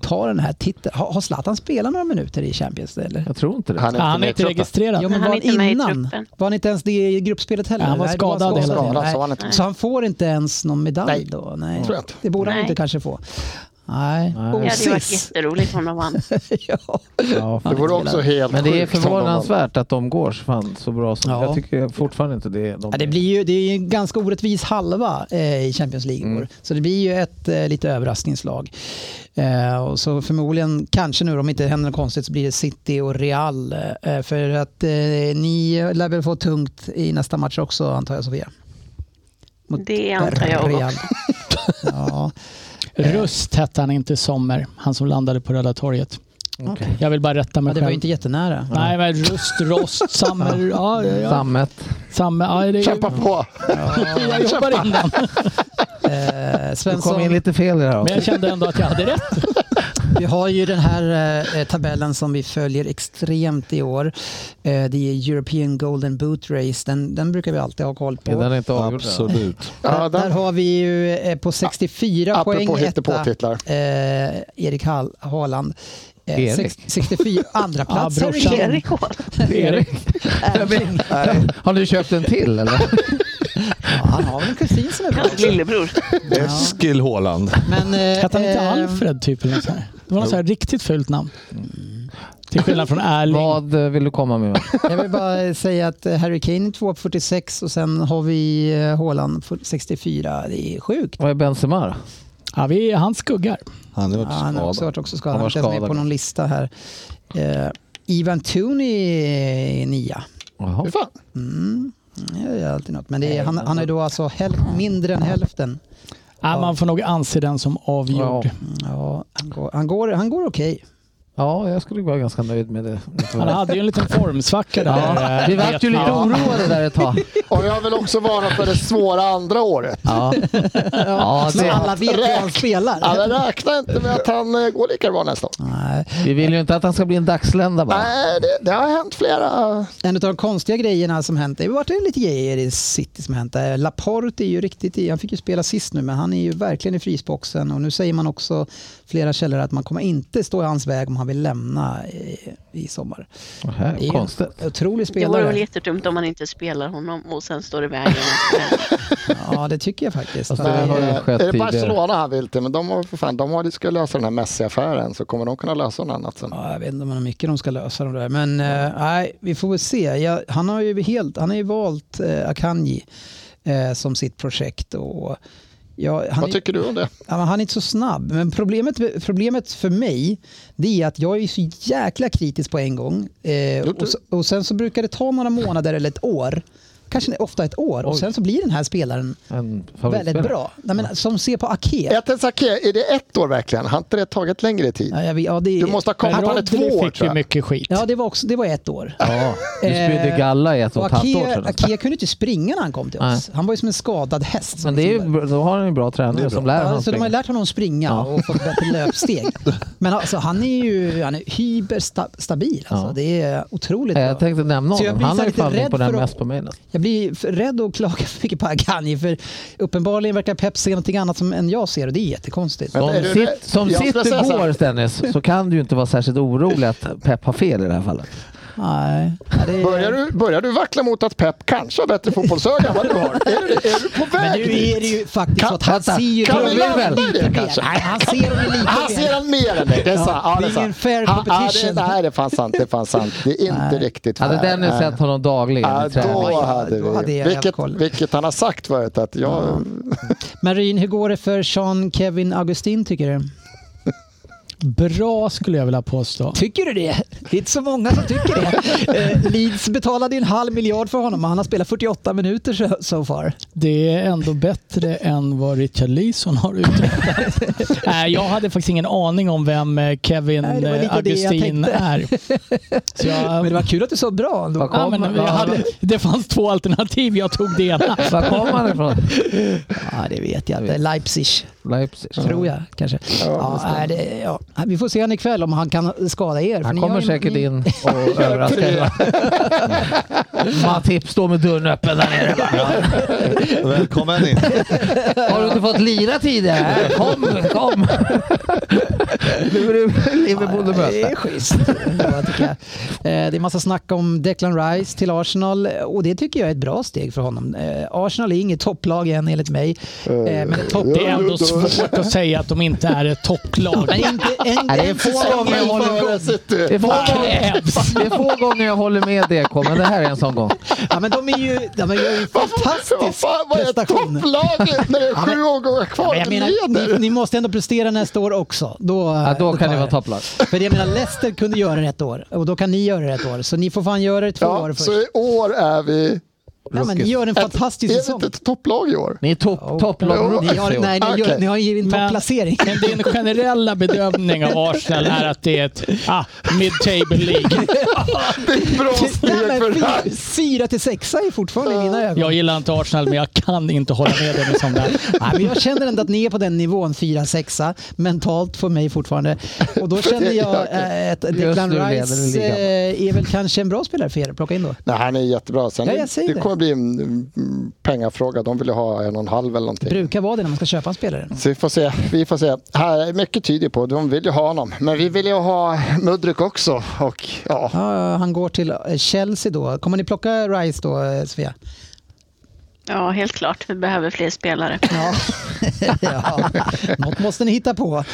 S3: ta den här titeln. Har, har Zlatan spelat några minuter i Champions League? Eller?
S4: Jag tror inte det.
S5: Han
S8: Ja, han är
S5: med i
S8: inte
S5: truppen.
S8: registrerad.
S3: Jo, men
S6: Han
S3: var
S6: är
S3: han
S6: inte med i
S3: innan?
S6: truppen.
S3: Var han inte ens det i gruppspelet heller?
S8: Han var
S3: Nej, det
S8: skadad
S3: så-
S8: hela tiden.
S3: skadad,
S5: Skadad,
S3: Nej.
S5: så var han inte.
S3: Så han får inte ens någon medalj
S5: Nej.
S3: då? Nej.
S5: Tror jag inte.
S3: Det borde han
S6: Nej.
S3: inte kanske få. Nej,
S4: Nej.
S6: Det hade ju varit
S3: osis.
S6: jätteroligt om de vann.
S3: ja.
S4: Ja,
S5: Det vore också helt
S4: Men det är
S5: sjukt om de vann.
S4: förvånansvärt att de går så, fan, så bra. Som,
S3: Ja.
S4: Jag tycker fortfarande inte det. De,
S3: Ja, det, blir ju, det är ju en ganska orättvis halva eh, i Champions League i
S5: Mm.
S3: år. Så det blir ju ett eh, lite överraskningslag. Eh, och så förmodligen, kanske nu om inte det händer något konstigt, så blir det City och Real. Eh, för att eh, ni lär väl få tungt i nästa match också antar jag Sofia?
S6: Det antar jag också.
S3: ja.
S8: Rust hette han inte Sommer, han som landade på Röda torget.
S4: Okej.
S8: Jag vill bara rätta
S3: ja,
S8: mig
S3: det var
S8: själv.
S3: ju inte jättenära.
S8: Nej, men Rust, Rost, Sommer. Ja, ja, ja.
S4: Sammet.
S8: Samma, ja, det är,
S5: Kämpa på!
S8: jag jobbar innan.
S3: Eh,
S4: Du kom
S3: Svensson,
S4: in lite fel i det här
S8: Men jag
S4: avsnittet.
S8: kände ändå att jag hade rätt.
S3: vi har ju den här eh, tabellen som vi följer extremt i år. Eh, det är European Golden Boot Race. Den, den brukar vi alltid ha koll på. Eh,
S4: Den är inte avgjord.
S7: Absolut.
S5: Ja,
S3: där, där
S5: den,
S3: har vi ju eh, på 64 poäng
S5: apropå
S3: etta
S5: hittepåtitlar.
S3: eh, Erik Hall, Haaland. Eh,
S4: Erik.
S3: sex- 64 andra plats.
S8: Ja, brorsan.
S6: Erik Hall.
S8: Erik.
S3: Erling.
S4: Har du köpt en till eller?
S3: Ja, han har väl en kusin som är bra.
S6: Hans lillebror.
S7: Eskil Haaland.
S3: Men, eh,
S8: Hette han inte
S3: eh,
S8: Alfred typ? Eller något så här? Det var något så här riktigt fult namn. Till skillnad från Erling.
S4: Vad eh, vill du komma med?
S3: Jag vill bara säga att eh, Harry Kane är 2,46 och sen har vi eh, Haaland för- 64. Det är sjukt.
S4: Vad är Benzema då?
S8: Ja, vi är hans skuggar.
S7: Han är
S3: Ja, han har också varit också skadad. Han
S4: Han var
S3: är inte ens med
S4: skadad.
S3: på någon lista här. Eh, Ivan Tooney är nia.
S4: Jaha.
S5: Fy fan.
S3: Mm. Det är alltid något. Men det är, han, han är då alltså häl, mindre än hälften. Mm,
S8: Ja, man får nog anse den som avgjord.
S4: Ja.
S3: Ja, han går, han går, han går okej.
S4: Ja, jag skulle vara ganska nöjd med det.
S8: Han hade ju en liten formsvacka där.
S4: Ja,
S8: eh,
S4: vi vart ju lite
S8: Vietnam.
S4: oroade där ett tag.
S5: Och jag vill också varna för det svåra andra året.
S4: Ja, ja
S3: Men
S4: det,
S3: alla vet hur han spelar.
S5: Alla räknar inte med att han eh, går lika bra nästa år.
S3: Nej.
S4: vi vill ju inte att han ska bli en dagslända bara.
S5: Nej, det, det har hänt flera.
S3: En av de konstiga grejerna som hänt, det har varit lite grejer i City som hänt. Eh, Laporte är ju riktigt i, han fick ju spela sist nu men han är ju verkligen i frysboxen och nu säger man också flera källor att man kommer inte stå i hans väg om han vill lämna i, i sommar.
S4: Det här
S3: Det är
S4: är
S3: ju
S4: konstigt.
S3: en Otrolig
S6: Det vore väl
S3: spelare.
S6: jättedumt om man inte spelar honom och sen står i vägen.
S3: Ja det tycker jag faktiskt.
S4: Fast
S3: Han
S4: Alltså, det
S3: är-
S4: har ju
S5: Eh,
S4: skett
S5: är det
S4: tidigare.
S5: Barcelona han vill till? Men de, har, för fan, de har, ska lösa den här Messi-affären så kommer de kunna lösa något annat sen.
S3: Ja, jag vet inte om han har mycket de ska lösa de där. Men eh, nej, vi får väl se. Jag, han har ju helt, han har ju valt eh, Akanji eh, som sitt projekt. Och, ja, han,
S5: Vad
S3: är,
S5: tycker du om det?
S3: ja, men han är inte så snabb. Men problemet, problemet för mig det är att jag är så jäkla kritisk på en gång. Eh,
S5: Gjort
S3: och, så- och sen så brukar det ta några månader eller ett år. Kanske ofta ett år. Och sen så blir den här spelaren
S4: En
S3: väldigt
S4: favoritspelare.
S3: bra. Nej, men, som ser på Ake.
S5: Ett Sake, är det ett år verkligen? Har inte det tagit längre tid?
S3: Ja, jag, vet- ja, det,
S5: Du måste ha kommit
S8: Men
S5: på det
S8: Rodri
S5: två år
S8: fick
S5: tror
S8: ju
S5: jag.
S8: mycket skit.
S3: ja, det var, också, det var ett år.
S4: Ja, du spydde
S3: Eh,
S4: galla i ett och
S3: Och
S4: ett halvt år
S3: Akea,
S4: sedan.
S3: Akea kunde inte springa när han kom till oss. Han var ju som en skadad häst. som liksom
S4: Men det är
S3: vi
S4: ju, då har han ju bra tränare som lär
S3: Ja,
S4: honom
S3: så de har
S4: springa.
S3: ju lärt honom springa och fått bättre löpsteg. Men alltså, han är ju han är hyberstabil. Alltså.
S4: Ja.
S3: Det är otroligt
S4: Eh,
S3: bra.
S4: Jag tänkte nämna
S3: Så jag
S4: honom.
S3: blir
S4: Han
S3: så
S4: har ju
S3: lite
S4: fan
S3: rädd
S4: på den
S3: för att-
S4: mest på mig nästan.
S3: Jag blir för rädd att klaga för mycket på Agani för uppenbarligen verkar Pep se någonting annat som än jag ser och det är jättekonstigt.
S5: Men-
S4: Som,
S5: är du
S4: sitt,
S5: rädd?
S4: som
S5: Jag skulle
S4: sitt
S5: säga så här.
S4: går Dennis så kan du ju inte vara särskilt orolig att Pep har fel i det här fallet.
S3: Nej. Ja, det är...
S5: Börjar du, börjar du vackla mot att Pep kanske har bättre fotbollsöga än vad du har? Är du, är du på
S3: Men
S5: väg
S3: nu är det ju faktiskt
S5: Kan-
S3: så att han
S4: vänta,
S3: ser ju
S5: kan vi
S3: problemen
S5: landa i det
S3: lite mer.
S5: kanske?
S3: Nej, han ser dem ju lite
S5: Han
S3: mer.
S5: ser den mer än dig. Det är sant. Ja,
S3: det är
S5: sant.
S3: ingen fair
S5: Ja, ja,
S3: competition.
S5: det, nej, det är fan sant. Det är fan sant. Det är inte riktigt
S4: Hade Dennis
S5: Nej.
S4: sett honom dagligen
S5: Ja,
S4: i träning.
S5: då
S3: Ja,
S5: hade
S3: då hade
S5: vi.
S3: jag haft
S5: Vilket,
S3: koll.
S5: vilket han har sagt förut att jag...
S3: Men Ryn, hur går det för Sean Kevin Augustin tycker du?
S8: Bra skulle jag vilja påstå.
S3: Tycker du det? Det är inte så många som tycker det. Eh, Leeds betalade ju en halv miljard för honom och han har spelat 48 minuter so, so far.
S8: Det är ändå bättre än vad Richard Leeson har uträttat. Nej, jag hade faktiskt ingen aning om vem eh, Kevin
S3: Nej, det var lite
S8: eh,
S3: det jag
S8: Augustin
S3: tänkte.
S8: är. Så jag,
S3: Men det var kul att du sa bra ändå.
S4: Vad
S8: ja, men jag hade, det fanns två alternativ, jag tog det ena.
S4: Var kom han ifrån?
S3: Ja, det vet jag inte. Leipzig,
S4: Leipzig.
S3: tror jag kanske. Ja, nej, det, ja. Vi får se han ikväll om han kan skada er. för
S4: Han
S3: ni
S4: kommer
S3: har ju-
S4: säkert
S3: ni-
S4: in och överraskar er. Matip står med dörren öppen där nere. bara.
S7: Välkommen in.
S4: Äh, Har du inte fått lira tidigare? Kom, kom. Nu är det Liverpool du
S3: Det är
S4: möter.
S3: schysst. Ja, tycker jag. Eh, Det är massa snack om Declan Rice till Arsenal eh, och det tycker jag är ett bra steg för honom. Eh, Arsenal är inget topplag än enligt mig. Eh, Men ett topp...
S8: Det är ändå svårt att säga att de inte är ett topplag.
S3: Men inte en,
S4: Nej, det är
S3: en
S4: få
S3: säsong
S4: gånger
S3: i
S4: jag håller
S3: gång.
S4: med. Det
S5: City.
S4: är, få gånger, det är få gånger jag håller med DK, men det här är en sån gång.
S3: Ja, men de är ju... De är ju en
S5: Vad
S3: fantastisk
S5: fan, vad är
S3: prestation.
S5: topplaget när det är sju omgångar kvar?
S3: Men jag menar, ni, ni måste ändå prestera nästa år också. Då,
S4: Ja, då kan
S3: tar
S4: det vara
S3: jag
S4: topplag.
S3: För jag menar, Leicester kunde göra det ett år och då kan ni göra det ett år. Så ni får fan göra det två år
S5: Ja,
S3: först.
S5: så i år är vi...
S3: Ja, men ni gör en fantastisk
S5: är
S3: säsong.
S5: vi inte ett topplag i år?
S4: Ni är topp, topplag
S3: Ni har,
S4: rookies i år.
S3: nej, ni, gör,
S5: Okej.
S3: ni har ju en
S8: Men-
S3: topplacering.
S8: Men din generella bedömning av Arsenal är att det är ett ah, mid-table League.
S5: Det är ett bra steg
S3: Nej,
S5: för
S3: men
S5: det här.
S3: fy- Fyra till sexa är fortfarande i mina ögon.
S8: Jag gillar inte Arsenal, men jag kan inte hålla med dig med sånt där.
S3: Nej, men jag känner ändå att ni är på den nivån, fyra sexa mentalt för mig fortfarande. Och då känner jag eh, att Declan
S4: nu leder
S3: Rice
S4: ligan.
S3: eh, är väl kanske en bra spelare för er att plocka in då.
S5: Nej, han är jättebra. Sen
S3: Ja,
S5: det-
S3: jag säger
S5: det
S3: det.
S5: kommer bli en mm, pengafråga. De vill ju ha en och en halv eller någonting.
S3: Brukar vara det när man ska köpa en spelare.
S5: Så vi får se. Vi får se. Här, mycket tyder på de vill ju ha honom. Men vi vill ju ha Mudryk också. Och, ja.
S3: Ja, han går till eh, Chelsea då. Kommer ni plocka Rice då, eh, Sofia?
S6: Ja, helt klart. Vi behöver fler spelare.
S3: Ja. ja. Något måste ni hitta på.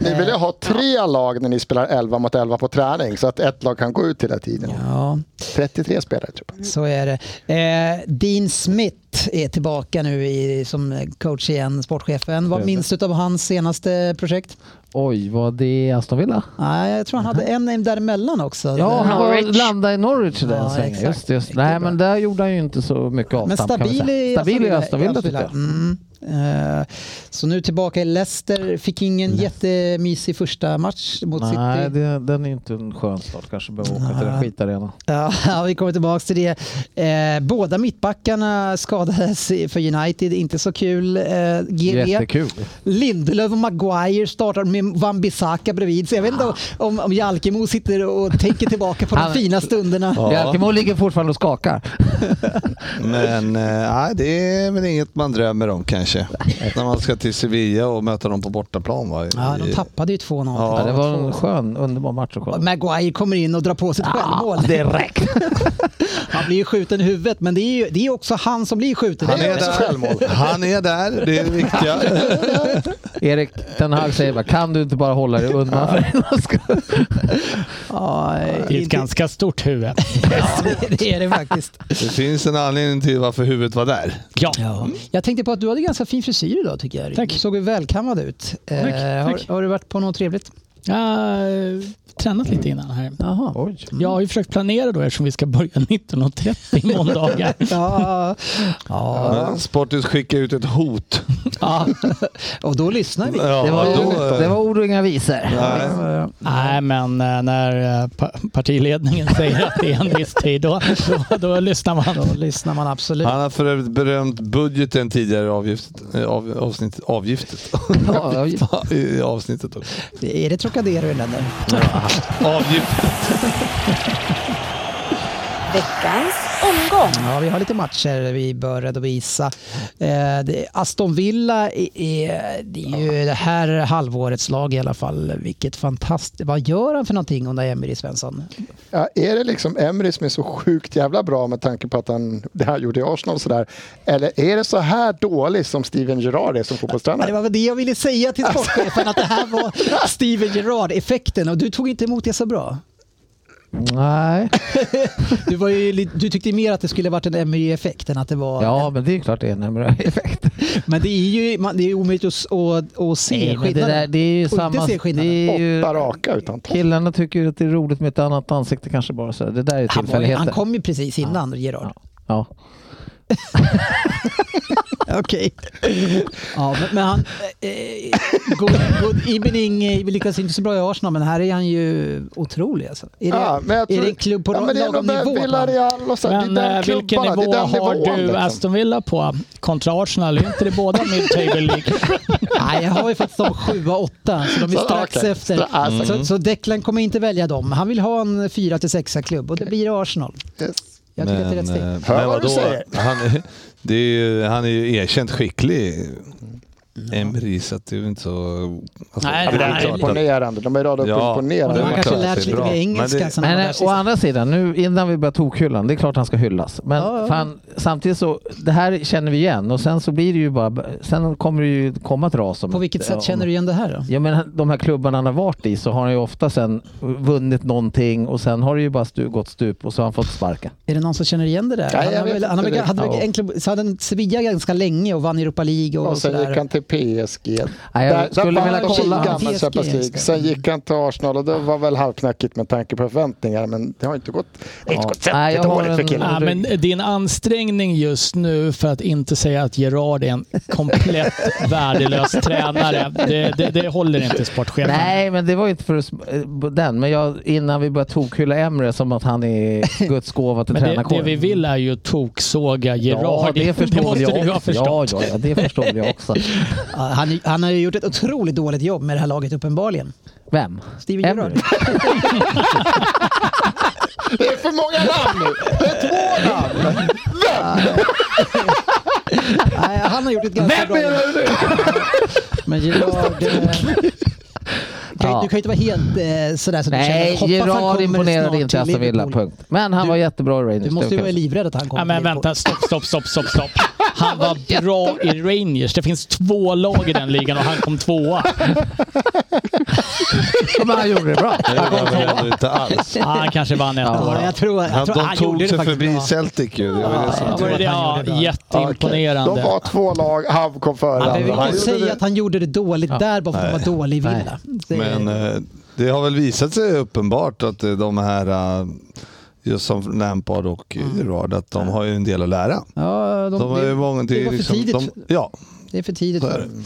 S5: Ni vill ju ha tre lag när ni spelar 11 mot 11 på träning så att ett lag kan gå ut hela tiden.
S3: Ja,
S5: 33 spelare tror jag.
S3: så är det. Eh, Dean Smith är tillbaka nu i, som coach igen, sportchefen. Vad minns du av hans senaste projekt?
S4: Oj, vad det är Aston Villa?
S3: Nej, jag tror han hade en däremellan också.
S4: Mhm. Ja, han var,
S6: Norwich.
S4: landade i Norwich där
S3: Ja,
S4: en sväng.
S3: exakt.
S4: Just, just. Nej, men där gjorde han ju inte så mycket
S3: Men
S4: avstamp. kan vi
S3: stabil
S4: säga.
S3: i alltså,
S4: stabil i Aston Villa tycker jag.
S3: Mm. Eh, Så nu tillbaka i Leicester. Fick ingen jättemysig första match mot
S4: Nej,
S3: City.
S4: det, den är inte en skön start. Kanske behöver åka till den skitarenan.
S3: Ja, vi kommer tillbaka till det. Eh, Båda mittbackarna skadades i- för United. Inte så kul. Eh, GV.
S4: Jättekul.
S3: Lindelöf och Maguire startar med Wan-Bissaka bredvid. Så jag vet inte om, om Jalkemo sitter och tänker tillbaka på de
S4: Ah. Han-
S3: fina stunderna.
S7: Ja.
S4: Jalkemo ligger fortfarande och skakar.
S7: Men eh, nej, det är väl inget man drömmer om kanske. När man ska till Sevilla och möta dem på bortaplan. Va? I-
S3: Ja, de tappade ju 2-0.
S7: Ja,
S4: Ja, det var en skön, underbar match att kolla.
S3: Och Maguire kommer in och drar på sig ett självmål. Direkt. han blir ju skjuten i huvudet, men det är ju det är också han som blir skjuten.
S7: han är där. Han är där, det är det viktiga.
S4: Erik Ten Hag säger bara, kan du inte bara hålla dig undan? för en skull?"
S3: Ja,
S8: Det är ett
S3: inte-
S8: ganska stort huvud.
S3: Ja, det- det är det faktiskt.
S7: Det finns en anledning till varför huvudet var där.
S8: Ja.
S3: Ja. Jag tänkte på att du hade ganska fin frisyr idag tycker jag. Erik.
S8: Tack.
S3: Du såg ju välkammad ut. Eh,
S8: tack.
S3: Har, har du varit på något trevligt?
S8: Jag har tränat lite innan här.
S3: Jaha.
S4: Oj.
S8: Jag har ju försökt planera då eftersom vi ska börja 19.30 måndagar.
S3: Ja. ja.
S7: Men Sportis skickade Eh, ut ett hot.
S3: ja. Och då lyssnar vi.
S7: Ja,
S4: Det var,
S7: då, eh,
S4: det var ord och inga visor. Ja,
S8: Nej, men eh, när eh, pa- partiledningen säger att det är en viss tid, då, då, då lyssnar man.
S3: Då lyssnar man absolut.
S7: Han har för övrigt berömt budgeten tidigare i avgift, eh, av, avsnitt, avgiftet.
S4: ja, ja.
S7: I- I avsnittet också.
S3: Är det Trocadero i den där?
S7: Avgift.
S10: Veckans omgång.
S3: Ja, vi har lite matcher vi bör redovisa. Eh, det, Aston Villa är, är, det är ju det här halvårets lag i alla fall. Vilket fantastiskt... Vad gör han för någonting under Emery Svensson?
S5: Ja, är det liksom Emery som är så sjukt jävla bra med tanke på att han det här gjorde i Arsenal och sådär? Eller är det så här dålig som Steven Gerrard är som
S3: Ja, det
S5: fotbollstränare?
S3: var väl det jag ville säga till
S4: Alltså.
S3: sportchefen, att det här var Steven Gerrard-effekten och du tog inte emot det så bra.
S4: Nej.
S3: Du, var ju, lite- du tyckte mer att det skulle varit en Emery-effekt än att det var...
S4: ja, men det är klart det är en Emery-effekt.
S3: Men det är ju man, det är ju omöjligt att, s- att, att se
S4: Nej, men det,
S3: skillnaden.
S4: där, det är ju
S3: Och inte
S4: samma...
S3: se
S4: Det
S3: skillnaden.
S4: är ju,
S5: Åtta raka utan topp.
S4: killarna tycker ju att det är roligt med ett annat ansikte kanske bara så. här. Det där är
S3: han, var, ju- han
S4: tillfälligheter.
S3: kom ju precis innan Gerrard.
S4: Ja.
S3: Okej. Ja, men, men han... Eh, good, good evening. eh, Vi lyckas inte så bra i Arsenal, men här är han ju otrolig. Alltså. Är, det,
S5: Ja, men jag
S3: är
S5: tror-
S3: det en klubb på
S5: ja, men det är
S3: lagom
S5: nog
S3: nivå? man?
S5: Villarreal och så. här.
S8: Men
S5: det är
S8: eh,
S5: den
S8: vilken
S5: klubbarna,
S8: nivå
S5: det är den
S8: har
S5: nivån,
S8: du Alltså,
S5: liksom.
S8: Aston Villa på kontra Arsenal? Är inte det båda mid-table League?
S3: Nej, jag har ju faktiskt de sjua, åtta, så de är
S5: Så,
S3: strax
S5: okej.
S3: efter.
S5: Stra- alltså.
S3: Så, så Declan kommer inte välja dem. Han vill ha en fyra till sexa klubb och det blir Arsenal.
S5: Yes.
S3: Jag tycker att det är rätt
S7: eh,
S3: steg.
S5: Hör vad du säger.
S7: Han, är- det är ju, han är ju erkänt skicklig Emery, så att det är ju inte så... alltså,
S8: Nej,
S5: Det
S7: är
S5: där är
S7: klart att-
S5: imponerande. De har ju radat upp
S7: Ja.
S5: imponerande.
S7: det
S3: De
S7: är
S3: har kanske
S7: klart att
S3: lärt
S7: det
S3: sig
S7: är
S3: lite
S7: bra.
S3: mer engelska
S7: Men det-
S3: sen de var
S4: Men
S3: där
S4: eh, å
S3: sist.
S4: andra sidan, nu innan vi börjar tokhyllan, det är klart han ska hyllas. Men
S3: Ja, ja.
S4: fan, samtidigt så, det här känner vi igen och sen så blir det ju bara, sen kommer det ju komma ett ras om
S3: På vilket sätt känner du igen det här då?
S4: Ja men de här klubbarna han har varit i så har han ju ofta sen vunnit någonting och sen har det ju bara stu, gått stup och så har han fått sparken.
S3: Är det någon som känner igen det där?
S5: Nej, jag
S3: han har
S5: vet
S3: väl, han har
S5: inte
S3: väl,
S5: det.
S3: hade väl
S4: Ja.
S3: egentligen, så hade han Sevilla ganska länge och vann Europa League och,
S5: Och sen gick
S3: sådär.
S5: han till PSG.
S4: Nej, jag skulle
S5: vann
S4: vilja
S5: de
S4: kolla.
S5: ligan med
S3: PSG,
S5: Champions League.
S3: ska jag
S5: Sen gick han till Arsenal och det var väl halvknackigt med tanke på förväntningar. Men det har inte gått, det har inte
S4: Ja.
S5: gått
S4: Nej, jag
S5: särskilt
S4: har
S5: dåligt för
S4: en-
S5: killen.
S8: Ja, Ah, men din ansträngning just nu för att inte säga att Gerard är en komplett värdelös tränare, det, det, det håller inte sportchefen.
S4: Nej men det var ju inte för att sp- eh, den, men jag, innan vi började tokhylla Emre som att han är Guds gåva till
S8: Men det, det
S4: tränarkåren.
S8: vi vill är ju toksåga Gerard.
S4: Ja, det förstår
S8: måste
S4: jag
S8: du ha
S4: också.
S8: förstått.
S4: Ja, ja, ja, det förstår jag också.
S3: Ja, Han, han har ju gjort ett otroligt dåligt jobb med det här laget uppenbarligen.
S4: Vem?
S3: Steven Gerrard.
S4: Emre.
S5: Det är för många namn nu! Det är två namn!
S3: Nej, han har gjort ett ganska bra jobb. Men Gerard... eh, Kan,
S4: Ja.
S3: Du kan ju inte vara helt eh, sådär så du
S4: Nej,
S3: hoppas han kommer
S4: Gerard imponerade
S3: snart till
S4: inte Aston Villa,
S3: Liverpool.
S4: punkt. Men han
S3: Du-
S4: var jättebra i Rangers.
S3: Du måste
S4: det
S3: ju
S4: kan
S3: vara
S4: jag
S3: livrädd att han kommer
S8: Ja, Ah, men
S3: till Liverpool.
S8: vänta, stopp, stopp, stopp, stopp, stopp. Han var bra i Rangers. Det finns två lag i den ligan och han kom tvåa.
S4: säga. Men han gjorde det bra.
S7: Det var väl ändå inte alls.
S8: Ja, Ah, han kanske vann ett år.
S3: Ja, jag tror, jag
S7: Han,
S3: tror, Ah,
S7: de tog sig förbi
S3: bra.
S7: Celtic ju. Det var det som
S3: Ja,
S8: Ja, det var det,
S3: han
S8: ja,
S3: gjorde det.
S8: jätteimponerande.
S5: De var två lag, han kom före
S3: Han
S5: andra.
S3: behöver
S7: Han
S3: inte
S7: gjorde
S3: säga
S7: det.
S3: att han gjorde det dåligt där bara för att han var dålig i
S4: Nej.
S3: Villa. Det,
S7: Men eh, det har väl visat sig uppenbart att eh, de här, eh, just som Lampard och Gerard, att de har ju en del att lära.
S3: ja, Mm. de,
S7: De har ju
S3: det,
S7: många,
S3: det
S7: det
S3: var
S7: är
S3: för
S7: liksom,
S3: tidigt.
S7: de, ja,
S3: det är för tidigt
S7: så är
S3: för dem.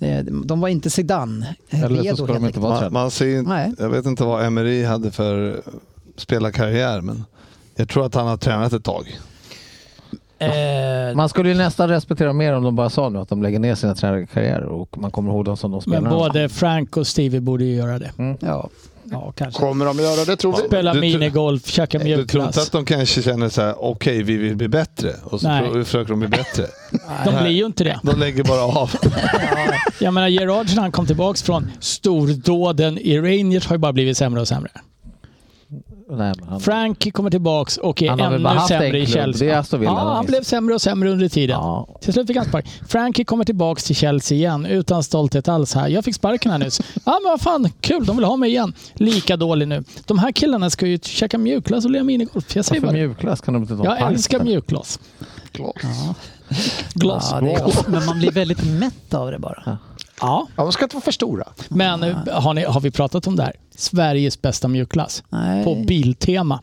S3: Eh, De var inte Zidane. eh,
S4: Eller så
S3: redo,
S4: ska
S3: helt
S4: de inte
S3: enkelt.
S4: vara
S7: man,
S4: tränare.
S7: man ser ju inte-
S3: Nej.
S7: Jag vet inte vad Emery hade för spelarkarriär, men jag tror att han har tränat ett tag.
S8: Eh,
S4: Man skulle ju nästan respektera mer om de bara sa nu att de lägger ner sina tränarkarriärer och man kommer ihåg dem som de
S8: Men
S4: spelarna.
S8: både Frank och Stevie borde ju göra det.
S4: Mm.
S3: Ja.
S8: Ja, kanske.
S5: Kommer de göra det tror vi?
S8: Spela
S7: Du tror-
S8: minigolf, käka
S7: Du tror inte
S8: mjukglass.
S7: att de kanske känner så här, okej vi vill bli bättre, och så
S8: Nej.
S7: pro- försöker de bli bättre.
S8: De blir ju inte det.
S7: De lägger bara av.
S8: Jag menar, Gerard när han kom tillbaka från stordåden i Rangers har ju bara blivit sämre och sämre.
S4: Nej, men han,
S8: Frank kommer tillbaka och är
S4: Han har väl bara
S8: ännu
S4: haft en
S8: sämre i
S4: klubb. Det är
S8: Chelsea.
S4: Aston Villa.
S8: Ja, han blev sämre och sämre under tiden.
S4: Ja.
S8: Till slut fick han spark. Frankie kommer tillbaka till Chelsea igen utan stolthet alls. här. Jag fick sparken här nyss. Ja, men vad fan, kul. De vill ha mig igen. Lika dålig nu. De här killarna ska ju käka mjukglass och lira minigolf. Jag säger
S4: Varför
S8: bara det.
S4: mjukglass kan de inte ta en
S8: Jag
S4: pint
S8: älskar
S4: för?
S8: mjukglass. Glass.
S3: Ja, det är gott. Men man blir väldigt mätt av det bara.
S8: Ja,
S5: Ja, de ska inte vara för stora.
S8: men eh, har, ni, har vi pratat om det här? Sveriges bästa mjukglass.
S3: Nej.
S8: På Biltema.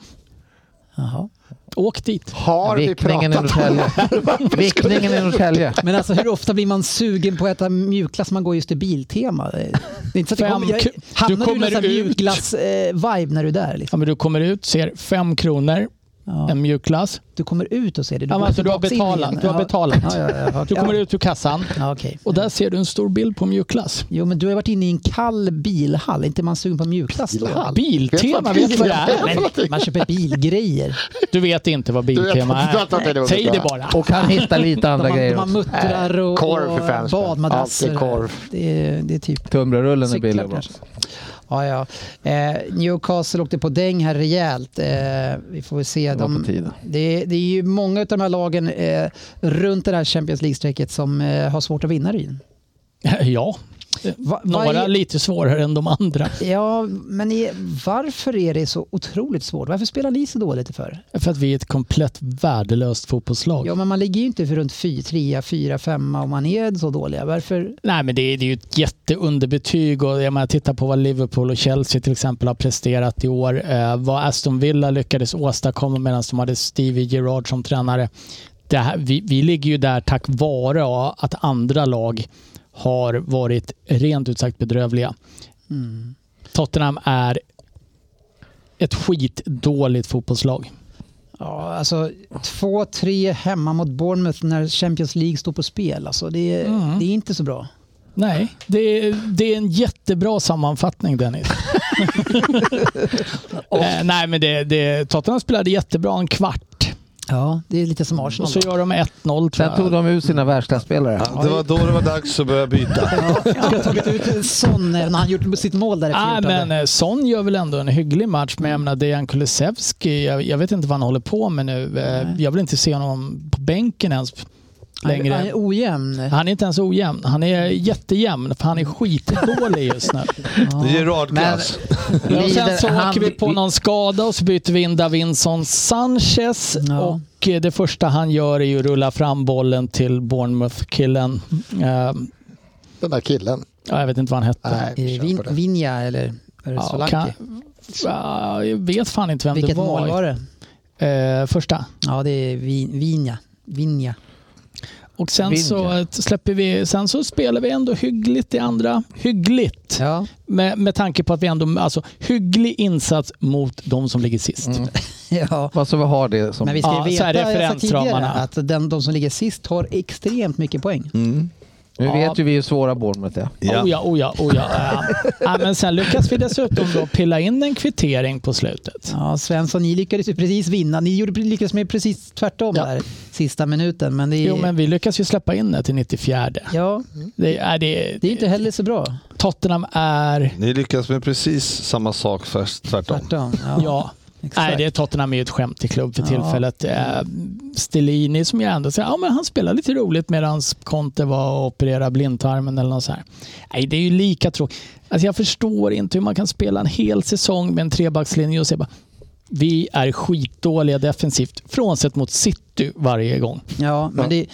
S3: Jaha.
S8: Åk dit.
S5: Har vi
S4: Vickningen i
S5: pratat
S4: Norrtälje. Vickningen i Norrtälje.
S3: Men alltså hur ofta blir man sugen på att äta mjukglass man går just till Biltema? Det är inte så att det
S8: Fem
S3: kommer, jag,
S8: ku-
S3: hamnar
S8: du
S3: du i någon
S8: kommer
S3: sån här
S8: ut.
S3: mjukglass-vibe när du är där?
S8: Ja,
S3: Liksom?
S8: men du kommer ut, ser fem kronor,
S3: Ja.
S8: en mjukglass.
S3: Du kommer ut och ser det.
S8: Mm. Ja, men
S3: går
S8: alltså, du har
S3: tillbaks in
S8: betalat.
S3: igen.
S8: Du har
S3: Ja.
S8: betalat.
S3: Ja, ja, ja, ja.
S8: Du kommer ut ur kassan
S3: Ja, okej.
S8: och där ser du en stor bild på mjukglass.
S3: Jo, men du har varit inne i en kall bilhall. Är inte man sugen på mjukglass då?
S5: Bilhall?
S8: Biltema, vet du vad det är?
S3: Men man köper bilgrejer.
S8: Du vet inte vad Biltema
S5: Du vet inte
S8: är.
S5: det.
S8: Säg det bara.
S4: Och han hittar lite andra
S3: De har,
S4: grejer
S3: de har
S4: också.
S3: muttrar och,
S5: Korv för fem
S3: och
S5: spänn.
S3: badmadrasser.
S5: Alltid korv.
S3: Det, är- det är typ
S4: Tunnbrödsrullen är
S3: Cyklar
S4: billig. bra.
S3: kanske. Ja, ja. Eh, Newcastle åkte på däng här rejält. Eh, vi får väl se.
S4: var
S3: De,
S4: på tiden.
S3: det, det är ju många av de här lagen eh, runt det här Champions League-strecket som eh, har svårt att vinna Ryn.
S8: Ja,
S3: Va, vad
S8: några
S3: är-
S8: lite svårare än de andra.
S3: Ja, men är, varför är det så otroligt svårt? Varför spelar ni så dåligt för?
S8: För att vi är ett komplett värdelöst fotbollslag.
S3: Ja, men man ligger ju inte för runt fy, trea, fyra, femma om man är så dåliga. Varför?
S8: Nej, men det är, det är ju ett jätteunderbetyg. Och jag menar, titta på vad Liverpool och Chelsea till exempel har presterat i år. Eh, vad Aston Villa lyckades åstadkomma medan de hade Stevie Gerrard som tränare. Det här, vi, vi ligger ju där tack vare att andra lag har varit rent ut sagt bedrövliga. Tottenham är ett skitdåligt fotbollslag.
S3: Ja, alltså 2-3 hemma mot Bournemouth när Champions League står på spel. Alltså, det, är-
S8: Mm.
S3: det är inte så bra.
S8: Nej, det är, det är en jättebra sammanfattning Dennis. Eh, nej, men det, det, Tottenham spelade jättebra en kvart.
S3: Ja, det är lite som
S8: Och
S3: Arsenal.
S8: så gör de 1-0 tror
S4: Sen
S8: jag.
S4: tog de ut sina världsklasspelare.
S7: Det var då det var dags att börja byta.
S3: Ja, jag skulle ha tagit ut Son eh, när han gjort sitt mål där efter
S8: Ah,
S3: gjort det.
S8: men eh, Son gör väl ändå en hygglig match, men jag menar Dejan Kulusevski, jag, jag vet inte vad han håller på med nu. Eh, Jag vill inte se honom på bänken ens längre.
S3: Han är ojämn.
S8: Han är inte ens ojämn. Han är jättejämn, för han är skitdålig just nu.
S7: Det är Gerard-klass.
S8: Och sen så
S4: Lider- han-
S8: åker vi på någon skada och så byter vi in Davinson Sanchez.
S3: Ja.
S8: Och eh, det första han gör är ju att rulla fram bollen till Bournemouth-killen. Eh,
S5: Den där killen.
S8: ja, jag vet inte vad han hette.
S5: Nej,
S3: Är det
S5: kör
S3: Vin-
S5: på det.
S3: Vinja eller är det
S8: Ja,
S3: Solanke?
S8: kan- Ja, jag vet fan inte vem
S3: Vilket
S8: det var.
S3: mål var det?
S8: Eh, första.
S3: Ja, det är Vin- Vinja. Vinja.
S8: Och sen så,
S4: Vinja.
S8: släpper vi, sen så spelar vi ändå hyggligt i andra. Hyggligt.
S3: Ja.
S8: Med, med tanke på att vi ändå... Alltså, hygglig insats mot de som ligger sist.
S3: Mm. ja.
S4: Vad så vi har det som...
S3: Men vi ska
S8: Ja,
S3: ju
S8: så här
S3: veta, jag sa tidigare,
S8: referensramarna.
S3: att den, de som ligger sist har extremt mycket poäng.
S5: Mm.
S4: Nu
S8: Ja.
S4: vet ju vi hur svåra Bournemouth är.
S8: Oh ja, oh ja, oh ja. ja. ja, men sen lyckas vi dessutom då pilla in en kvittering på slutet.
S3: Ja, Svensson, ni lyckades ju precis vinna. Ni gjorde pre- lyckades med precis tvärtom
S8: Ja.
S3: där sista minuten. Men det är,
S8: Jo, men vi lyckas ju släppa in det till 94.
S3: ja,
S8: Det är, det,
S3: det är inte heller så bra.
S8: Tottenham är...
S9: Ni lyckas med precis samma sak fast tvärtom.
S3: Tvärtom.
S8: Ja.
S3: exakt.
S8: Nej, det är Tottenham är ju ett skämt till klubb för tillfället. Eh, Stellini som jag ändå säger, ja men han spelar lite roligt medan Conte var och opererade blindtarmen eller något så här. Nej, det är ju lika tråkigt. Alltså jag förstår inte hur man kan spela en hel säsong med en trebackslinje och säga bara vi är skitdåliga defensivt, frånsett mot City varje gång.
S3: Ja, men det,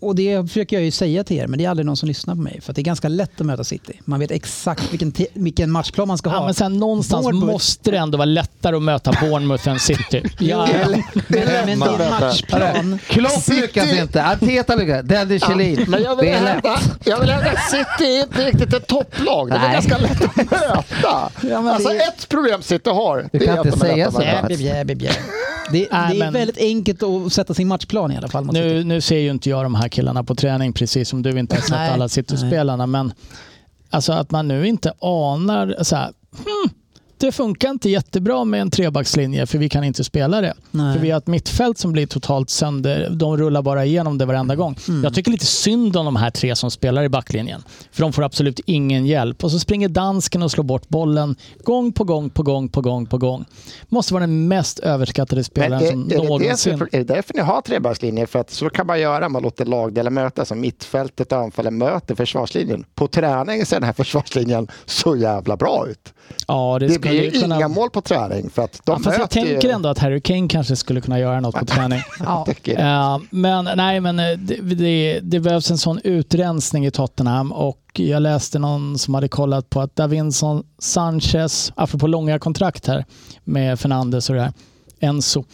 S3: och det försöker jag ju säga till er, men det är aldrig någon som lyssnar på mig. För att det är ganska lätt att möta City. Man vet exakt vilken, te- vilken matchplan man ska
S8: Ja,
S3: ha.
S8: men sen någonstans
S3: Bournemouth-
S8: måste det ändå vara lättare att möta Bournemouth än City. Ja,
S5: Det är lätt- det är
S3: men,
S5: lätt
S3: men
S5: man
S3: din
S5: vet det.
S3: matchplan...
S4: Klopp
S5: City-
S4: lyckas inte, Arteta lyckas, Daddy Kjellin.
S5: Men jag vill,
S4: det är lätt.
S5: hävda, jag vill hävda att City är inte riktigt ett topplag. Det är
S4: Nej.
S5: ganska lätt att möta. alltså
S3: det-
S5: ett problem City har.
S4: Du
S5: det
S4: kan
S5: är att
S4: inte
S5: de är lätta
S4: säga
S5: att
S4: så.
S5: möta.
S3: Jäbi, jäbi, jäbi. Det,
S8: Nej,
S3: det är
S8: men-
S3: väldigt enkelt att sätta sin matchplan i alla fall. mot City.
S8: nu, nu ser ju inte jag de här killarna på träning precis som du inte har sett
S3: Nej,
S8: alla City-spelarna. Men alltså att man nu inte anar så här, hmm, det funkar inte jättebra med en trebackslinje för vi kan inte spela det.
S3: Nej.
S8: För vi har ett mittfält som blir totalt sönder. De rullar bara igenom det varenda gång.
S3: Mm.
S8: Jag tycker lite synd om de här tre som spelar i backlinjen. För de får absolut ingen hjälp. Och så springer dansken och slår bort bollen gång på gång på gång på gång på gång. Måste vara den mest överskattade
S5: Men är,
S8: spelaren som
S5: är, det det
S8: någonsin.
S5: som, är det därför ni har trebackslinjer? För att så kan man göra, man låter lagdelar mötas. Som mittfältet och anfallen möter försvarslinjen. På träning ser den här försvarslinjen så jävla bra ut.
S8: Ja, det,
S5: Det,
S8: skulle
S5: blir
S8: ju
S5: ju
S8: kunna...
S5: inga mål på träning. För att de
S8: Ja, fast jag
S5: möter ju-
S8: tänker ändå att Harry Kane kanske skulle kunna göra något på träning.
S5: Jag tycker det.
S8: Eh, men nej, men eh, det, det, det behövs en sån utrensning i Tottenham och jag läste någon som hade kollat på att Davinson Sanchez, apropå långa kontrakt här med Fernandes och det här, Enzo.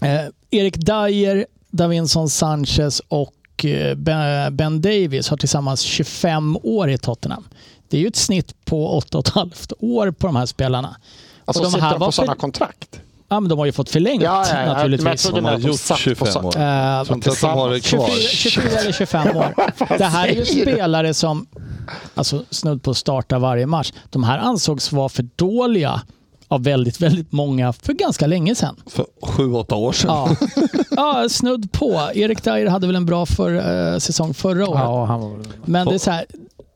S8: Eh, Erik Dyer, Davinson Sanchez och eh, Ben- Ben Davis har tillsammans 25 år i Tottenham. Det är ju ett snitt på 8,5 år på de här spelarna.
S5: Alltså,
S8: och de
S5: sitter
S8: här
S5: de på
S8: var för-
S5: sådana kontrakt?
S8: Ja, men de har ju fått förlängt
S5: men jag
S8: naturligtvis.
S5: trodde
S9: De
S5: mer
S9: har
S5: att de
S9: gjort
S5: satt på
S9: 25
S5: så-
S9: år.
S8: Eh,
S9: Jag tror inte att de har det kvar.
S8: 24, 24 eller 25 år. Det här är ju
S5: säger du?
S8: spelare som alltså, snudd på att starta varje match. De här ansågs vara för dåliga av väldigt, väldigt många för ganska länge sedan.
S9: För sju, åtta år sedan.
S8: Ja, ja snudd på. Erik Dyer hade väl en bra för, eh, säsong förra året.
S4: Ja, han var väl...
S8: Men det är så här,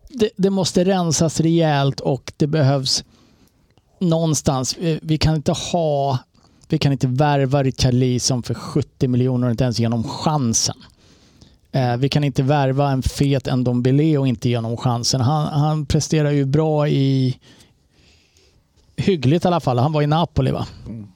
S8: det, det måste rensas rejält och det behövs någonstans. Eh, Vi kan inte ha, vi kan inte värva Richarlison som för 70 miljoner och inte ens genom chansen. Eh, Vi kan inte värva en fet Ndombele och inte genom chansen. Han, han presterar ju bra i, hyggligt i alla fall. Han var i Napoli va?
S3: Mm.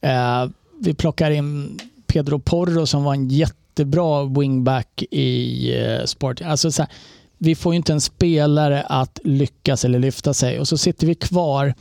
S8: Eh, vi plockar in Pedro Porro som var en jättebra wingback i eh, Sporting. Alltså, så här, vi får ju inte en spelare att lyckas eller lyfta sig och så sitter vi kvar.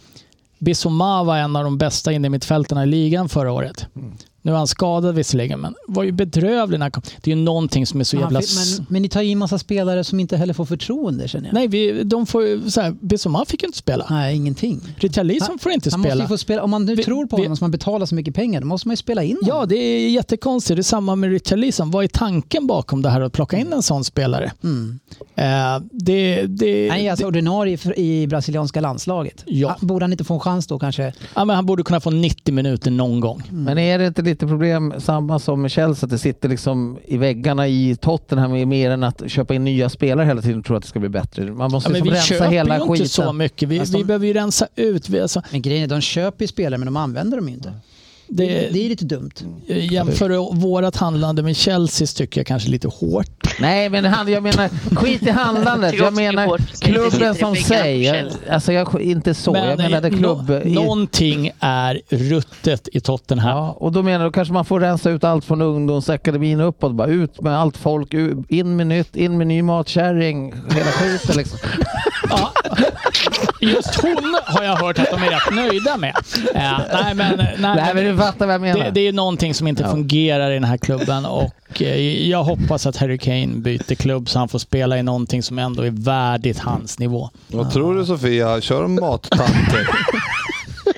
S8: Bissoma var en av de bästa inne i mittfältarna i ligan förra året.
S3: Mm.
S8: Nu är han skadad visserligen, men var ju bedrövlig när han kom. Det är ju någonting som är så
S3: Ja,
S8: jävla... s-
S3: men, men ni tar in massa spelare som inte heller får förtroende känner jag.
S8: Nej, vi, de får ju... så här, Bissoma fick ju inte spela.
S3: Nej, ingenting.
S8: Richarlison
S3: Han-
S8: får inte
S3: Han
S8: spela.
S3: måste ju få spela. Om man nu
S8: Vi-
S3: tror på
S8: vi-
S3: honom som man betalar så mycket pengar, då måste man ju spela in
S8: Ja,
S3: honom.
S8: det är jättekonstigt. Det är samma med Richarlison. Vad är tanken bakom det här att plocka in en sån spelare?
S3: Mm.
S8: Eh, det, det,
S3: Han är alltså
S8: det,
S3: ordinarie för, i brasilianska landslaget.
S8: Ja.
S3: Ah, Borde han inte få en chans då kanske?
S8: ja, men han borde kunna få 90 minuter någon gång.
S4: Mm. Men är det inte lite problem, samma som med Chelsea, att det sitter liksom i väggarna i Tottenham mer än att köpa in nya spelare hela tiden och tro att det ska bli bättre. Man måste
S8: Ja, men
S4: liksom
S8: vi
S4: rensa
S8: köper
S4: hela
S8: ju
S4: skiten.
S8: inte så mycket. Vi,
S3: Alltså,
S8: vi
S3: de-
S8: behöver ju rensa ut. Vi, alltså,
S3: Men grejen är, de köper ju spelare men de använder dem ju inte.
S8: det, eh,
S3: Det är lite dumt.
S8: jämför vårt handlande med Chelseas tycker jag kanske är lite hårt.
S4: Nej, men han, jag menar skit i handlandet.
S6: Tycker
S4: Jag
S6: också det är
S4: menar
S6: hårt. Inte sitter
S4: klubben
S6: i
S4: som
S6: väggarna
S4: sig.
S6: på
S4: Jag,
S6: Chelsea.
S4: alltså jag, inte så. jag menade
S8: nå-
S4: klubb... i-
S8: någonting är ruttet i Tottenham.
S4: Ja, och då menar du kanske man får rensa ut allt från ungdomsakademin uppåt. Bara ut med allt folk, u- in med nytt, in med ny matkärring, hela skiten liksom.
S8: Ja. Just hon har jag hört att de är rätt nöjda med. Ja, nej, men, nej,
S4: Nej men
S8: men-
S4: du fattar vad jag menar.
S8: Det, det är någonting som inte fungerar i den här klubben och eh, jag hoppas att Harry Kane byter klubb så han får spela i någonting som ändå är värdigt hans nivå.
S7: Vad tror du Sofia? Kör de mattanter?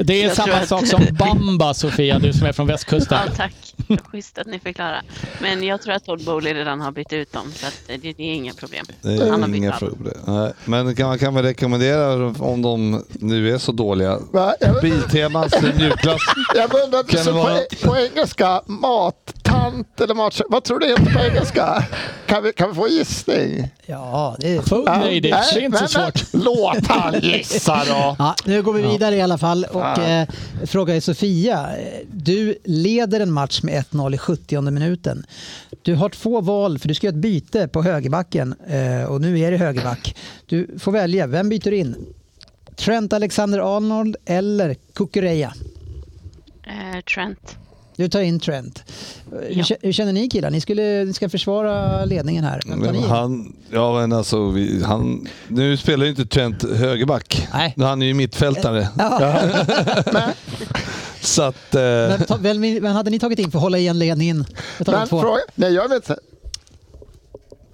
S8: Det är
S6: Jag tror
S8: samma
S6: att-
S8: sak som Bamba, Sofia, du som är från västkusten.
S6: Ja, tack. Schysst att ni förklarar. Men jag tror att Todd Bowley redan har bytt ut dem, så att det, det är inga problem.
S7: Det är
S6: Han har
S7: ju
S6: bytt
S7: inga
S6: allt.
S7: problem. Nej. Men kan, man kan väl rekommendera, om de nu är så dåliga,
S5: Va? Jag-
S7: Biltemans mjukglass.
S5: Jag undrar,
S7: Kan det
S5: så
S7: vara-
S5: på, på engelska, mattant eller mat... Vad tror du det heter på engelska? Kan vi, kan vi få en gissning?
S3: Ja, det är...
S8: Food ladies, det är inte så
S5: men-
S8: svårt.
S5: men, Låt han gissa då.
S3: Ja, nu går vi vidare i alla fall och eh, frågar ju Sofia. eh, Du leder en match med 1-0 i 70 minuten. Du har två val för du ska göra ett byte på högerbacken eh, och nu är det högerback. Du får välja, vem byter du in? Trent Alexander-Arnold eller Kukureya?
S6: Eh, Trent.
S3: Du tar in Trent. Eh, Hur,
S6: Ja.
S3: kä- hur känner ni killar? Ni, skulle, ni ska försvara ledningen här. Vem tar ni
S7: Men
S3: in?
S7: han, ja men alltså, vi, han, nu spelar ju inte Trent högerback.
S3: Nej.
S7: Han är ju mittfältare.
S5: Eh,
S3: Ja,
S7: Så att, eh,
S3: vem, ta- vem, vem hade ni tagit in för att hålla igen ledningen? Jag tar de
S5: Men
S3: två.
S5: fråga, nej, jag vet inte.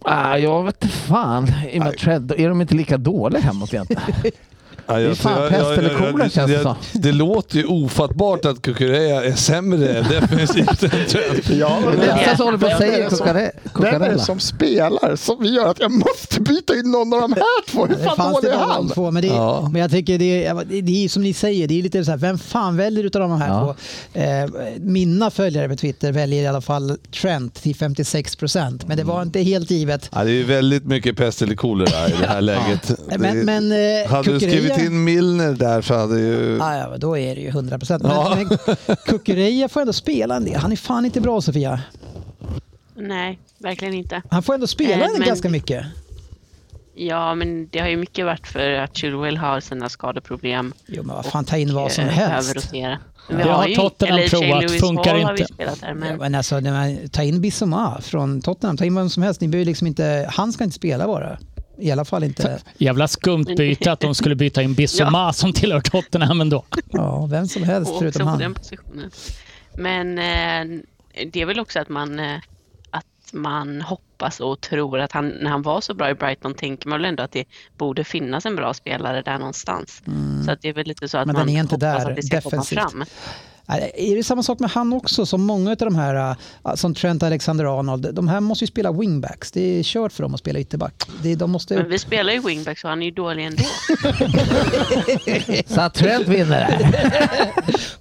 S4: Ah, jag vet inte fan. I och med Tread, är de inte lika dåliga hemåt egentligen?
S7: ja, jag-
S4: är fan
S7: jag-
S4: pest
S7: jag-
S4: eller
S7: jag- jag-
S4: kolera, känns det som.
S7: Det låter ju ofattbart att Kukureya är sämre defensivt än Trent.
S5: Jag
S4: Det
S5: undrar.
S4: är så håller på att
S5: Vem är
S4: säga
S5: det som- Vem är det
S4: Cucurella.
S5: som spelar som gör att jag måste byta in någon av de här två? Hur
S3: Det
S5: fan
S3: fanns
S5: dålig
S3: det
S5: är
S3: bara
S5: han?
S3: de två, men, det,
S7: Ja.
S3: men jag tycker det är, det är ju som ni säger, det är lite så här, vem fan väljer utav de här
S4: Ja.
S3: två? Eh, mina följare på Twitter väljer i alla fall Trent till 56 procent, men det
S7: Mm.
S3: var inte helt givet.
S7: Ja, det är ju väldigt mycket pest eller kolera i det här läget.
S3: Men,
S7: Det-
S3: men eh,
S7: hade du
S3: Kukureya-
S7: skrivit in Milner där så hade ju...
S3: Ah, ja, men då är det ju 100 procent.
S7: Ja.
S3: Men, men Kukureya får ändå spela en del. Han är fan inte bra Sofia.
S6: Nej, verkligen inte.
S3: Han får ändå spela
S6: Eh, men-
S3: ganska mycket.
S6: Ja, men det har ju mycket varit för att Chilwell har sina skadeproblem.
S3: Jo, men vad fan, ta in vad som
S6: eh,
S3: helst.
S6: överrotera.
S8: Det
S6: Vi
S8: har
S6: ju-
S8: Tottenham
S6: eller
S8: provat,
S6: Shane Lewis
S8: funkar
S6: Hall Har vi
S8: inte.
S6: spelat där,
S3: Ja,
S6: men
S3: Men alltså, när man- ta in Bissoma från Tottenham, ta in vem som helst. Ni behöver liksom inte, han ska inte spela bara. I alla fall inte...
S8: Jävla skumt byte att de skulle byta in Bissoma som tillhör Tottenham ändå.
S3: Ja, vem som helst
S6: Och också
S3: förutom
S6: på
S3: han.
S6: den positionen. Men eh, det är väl också att man, eh, att man hoppas och tror att han, när han var så bra i Brighton tänker man väl ändå att det borde finnas en bra spelare där någonstans. Så att det är väl lite så att
S3: Mm. Men den
S6: man
S3: är inte
S6: hoppas
S3: där,
S6: att det ska
S3: defensivt.
S6: komma fram.
S3: Nej, Är det samma sak med han också som många av de här, äh, som Trent Alexander-Arnold, de här måste ju spela wingbacks. Det är kört för dem att spela ytterback. Det- De måste
S6: Men
S3: upp.
S6: vi spelar ju wingback så han är ju dålig ändå.
S4: Så att Trent vinner det här.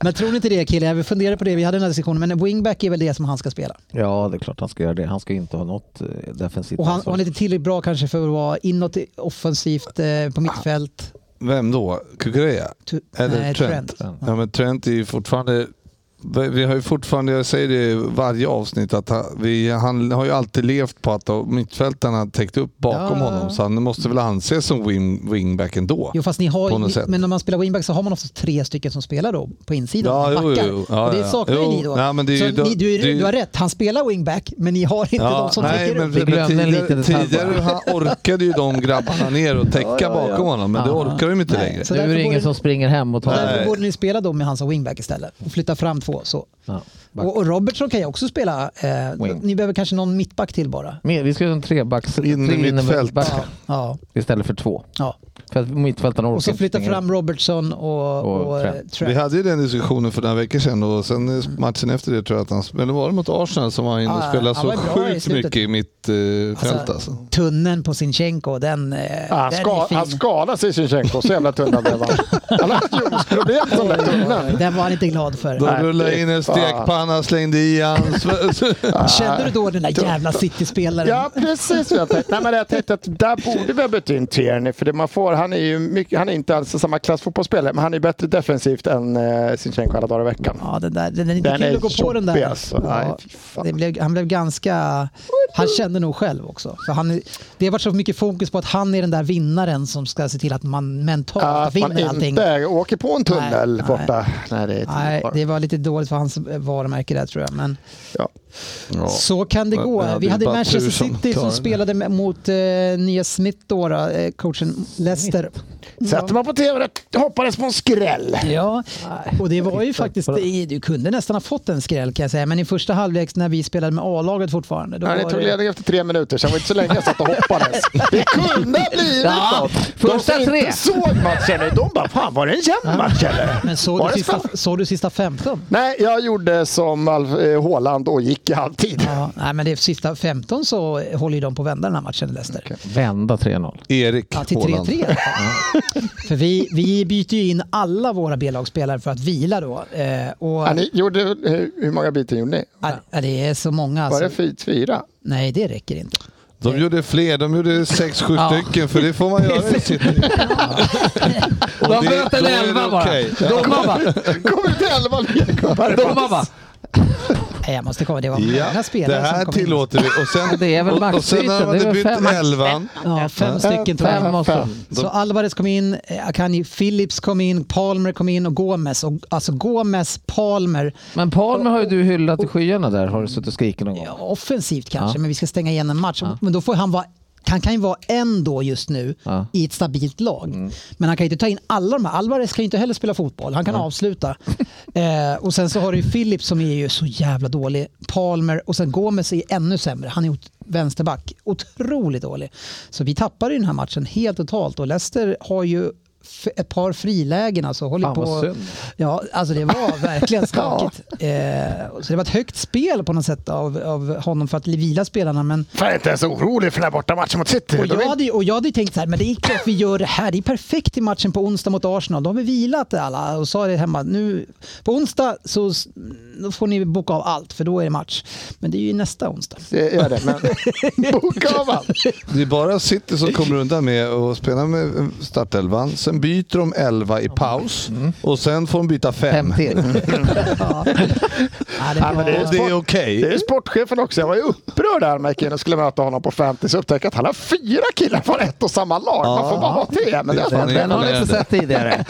S3: Men tror ni inte det killar? Vi funderar på det, vi hade den här diskussionen, men wingback är väl det som han ska spela.
S4: Ja, det är klart han ska göra det. Han ska ju inte ha något eh, defensivt
S3: Och han, och
S4: ansvar.
S3: han är inte tillräckligt bra kanske för att vara inåt i- offensivt eh, på mittfält.
S7: Vem då? Kukureya?
S3: Tu-
S7: Eller
S3: nej,
S7: Trent.
S4: Trent.
S7: Ja, men Trent är ju fortfarande... Vi har ju fortfarande, jag säger det i varje avsnitt, att han- vi, han har ju alltid levt på att de- mittfältarna har täckt upp bakom
S3: Ja.
S7: honom. Så han måste väl anses som wing, wingback ändå.
S3: Jo, fast ni
S7: På
S3: har,
S7: något
S3: ni,
S7: sätt.
S3: men när man spelar wingback så har man ofta tre stycken som spelar då på insidan.
S7: Ja,
S3: backar.
S7: jo, jo. Ja,
S3: och det
S7: ja.
S3: saknar ju
S7: Jo,
S3: ni då.
S7: nej, men det är
S3: så
S7: ju- då-
S3: ni, du, är-
S7: det är ju-
S3: du har rätt, han spelar wingback men ni har inte de som
S7: nej,
S3: täcker
S7: men,
S3: upp.
S4: Vi
S7: men
S4: glömde en
S7: tidigare,
S4: liten detalj
S7: tidigare han orkade ju de grabbarna ner och täcka bakom honom, men det orkar de inte längre.
S3: Så
S4: Nu är
S3: därför borde-
S4: det ingen som springer hem och tar
S7: Nej.
S3: Därför borde ni spela då med han som wingback istället och flytta fram två. Så.
S4: Ja, back.
S3: Och, och Robertson kan ju också spela. Eh,
S4: Wing.
S3: ni behöver kanske någon mittback till bara.
S4: Men Vi ska göra en trebacks...
S7: In i
S4: tre
S7: mittfält.
S4: backar
S3: Ja,
S4: Istället för två.
S3: ja.
S4: För att mittfältarna orkar
S3: Och så
S4: inte
S3: flytta
S4: springa
S3: fram Robertson och,
S4: Och
S3: och, eh,
S4: Trent.
S7: Vi
S3: Trent.
S7: hade ju den diskussionen för några veckor sedan och sen eh, matchen efter det tror jag att han, eller var det mot Arsenal som var inne och
S3: Ja,
S7: spelade
S3: Ah, han
S7: så
S3: var bra i
S7: sjukt
S3: slutet.
S7: mycket i mitt eh, fält alltså.
S3: Tunneln på Sinchenko, den, eh,
S5: Han,
S3: den
S5: Ah, ska,
S3: är
S5: han
S3: fin.
S5: skadade sig Sinchenko, så jävla tunna blev han. Han har haft ljumskproblem den där tunneln.
S3: Den var han inte glad för.
S7: De rullar in en
S5: fy fan.
S7: stekpanna Onana slängde i han.
S3: Kände du då den där jävla City-spelaren?
S5: Ah, Ja, precis vad jag tänkte. Nej, men jag tänkte att där borde vi ha bytt in Tierney, för det man får, han är ju mycket, han är inte alls samma klass fotbollsspelare, men han är bättre defensivt än eh, Sinchenko alla dagar i veckan.
S3: Ja, den, där, den är inte
S5: Den
S3: kul
S5: är
S3: att gå på den där.
S5: jobbig, alltså. Nej,
S3: Ja,
S5: fy fan.
S3: det blev, han blev ganska... Han kände nog själv också. För han, är- det har varit så mycket fokus på att han är den där vinnaren som ska se till att man mentalt
S5: Ah, Att man
S3: vinner allting.
S5: inte åker på en tunnel
S3: Nej,
S5: borta. Nej, det är
S3: Nej,
S5: inte
S3: det var lite dåligt för hans varumärke där tror jag. Men
S5: ja.
S3: så kan det
S7: Men det
S3: gå.
S7: hade
S3: Vi
S7: ju
S3: hade
S7: bara
S3: Manchester
S7: tur som
S3: City
S7: tar
S3: som
S7: den.
S3: spelade med- mot eh, nya Smith då, då eh, coachen Leicester.
S5: Sätter man på tv det hoppades på en skräll.
S3: Ja, och det var ju faktiskt, det- du kunde nästan ha fått en skräll kan jag säga, men i första halvlek när vi spelade med A-laget fortfarande. Då
S5: Nej, ni
S3: var
S5: tog
S3: det-
S5: ledning efter tre minuter, sen var det inte så länge jag satt och hoppades. Det kunde ha blivit
S4: Ja,
S5: något. De
S4: första
S5: som
S4: tre.
S5: inte såg matchen, nu, de bara, fan var det en jämn match eller?
S3: Men såg
S5: Var
S3: du,
S5: det
S3: sista,
S5: straff?
S3: såg du sista 15?
S5: Nej, jag gjorde som Alf- eh, Haaland och gick i halvtid.
S3: Ja, nej, men det sista 15 så håller ju de på att vända den här matchen, Leicester.
S4: Vända 3-0.
S7: Erik
S3: Ja, till
S7: Haaland.
S3: 3-3. för vi, vi byter ju in alla våra B-lagsspelare för att vila då. Eh, och,
S5: Ja, ni gjorde, eh, hur, hur många byten gjorde ni?
S3: Ja, det är så många.
S5: Var
S3: Alltså.
S5: det fy- fyra?
S3: Nej, det räcker inte.
S7: De gjorde fler, de gjorde sex, sju stycken för det får man göra i City. Och
S4: De
S7: det-
S4: bröt
S7: då
S4: en
S7: är det
S4: elva bara.
S7: okej.
S4: Domaren bara.
S5: Kom ut elva lirgubbar.
S4: Domaren bara.
S3: Nej, jag måste komma. Det var många
S7: Ja,
S3: spelare
S7: det här
S3: som kom in.
S7: tillåter vi. Och sen,
S4: Det är väl
S7: och, och sen när
S4: maxbyten, det
S7: de
S4: är
S7: hade
S4: väl
S7: bytt
S4: fem-
S7: elvan.
S3: Ja, fem stycken tror jag.
S4: Fem och så.
S3: Så Alvarez kom in, eh, Akanji Phillips kom in, Palmer kom in och Gomes. Och, alltså Gomes, Palmer.
S4: Men Palmer har ju du hyllat i skyarna där. Har du suttit och skrikit någon gång?
S3: Ja, offensivt kanske, men vi ska stänga igen en match. Men då får han vara han kan ju vara en då just nu
S4: Ja.
S3: i ett stabilt lag. Men han kan ju inte ta in alla de här. Alvarez kan ju inte heller spela fotboll. Han kan avsluta. eh, och sen så har du ju Philip som är ju så jävla dålig. Palmer och sen Gomes är ännu sämre. Han är ot- vänsterback. Otroligt dålig. Så vi tappar ju den här matchen helt totalt och Leicester har ju f- ett par frilägen alltså. Håller
S4: Fan,
S3: på...
S4: Ah, vad synd.
S3: Ja, alltså det var verkligen skakigt. eh, så det var ett högt spel på något sätt av, av honom för att vila spelarna. Men,
S5: Fan, jag är inte ens orolig för den här bortamatchen mot City.
S3: och,
S5: De
S3: jag
S5: är-
S3: hade, ju- och jag hade ju tänkt så här, men det är klart vi gör det här. Det är perfekt i matchen på onsdag mot Arsenal. Då har vi vilat alla och sa det hemma. Nu, på onsdag så s- då får ni boka av allt för då är det match. Men det är ju nästa onsdag.
S5: Det är det, men boka av allt.
S7: Det är bara City som kommer undan med att spela med eh, startelvan. Sen byter de elva i paus och sen får de byta fem.
S4: Fem till.
S3: Ja, det
S5: Ja, men det är
S7: Och det är okej.
S5: Det är sportchefen också. Jag var ju upprörd där med killen och skulle möta honom på fantasy och upptäckte att han har fyra killar från ett och samma lag. Man får bara ha tre. Men det
S7: Det är
S5: är
S7: fan
S4: Den har ni inte sett tidigare.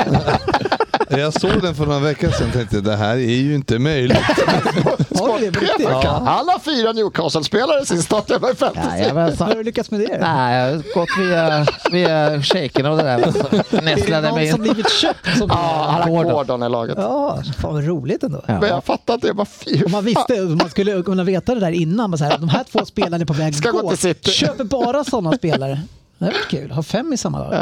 S7: Jag såg den för några veckor sedan och tänkte det här är ju inte möjligt.
S3: Har du det på riktigt?
S5: Sportchefen kan. Han har fyra Newcastle-spelare i sin startelva i fantasy.
S4: Jajamensan.
S3: Har du lyckats med det?
S4: Nej, jag har gått via, via shakerna och det där.
S3: Är det
S4: Nästlade
S3: någon
S4: mig
S3: som
S4: in.
S3: blivit köpt? Som...
S5: Ja, han har
S4: Gordon.
S5: Gordon i laget.
S3: Ja, fan vad roligt ändå.
S5: Men
S4: Ja.
S5: jag fattar inte. Jag bara, fy, hur
S3: Om man visste, om man skulle kunna veta det där innan. bara Så här, de här två spelarna är på väg
S5: Ska
S3: att gå.
S5: gå till City.
S3: Köper bara sådana spelare. Det är kul. Ha fem i samma lag.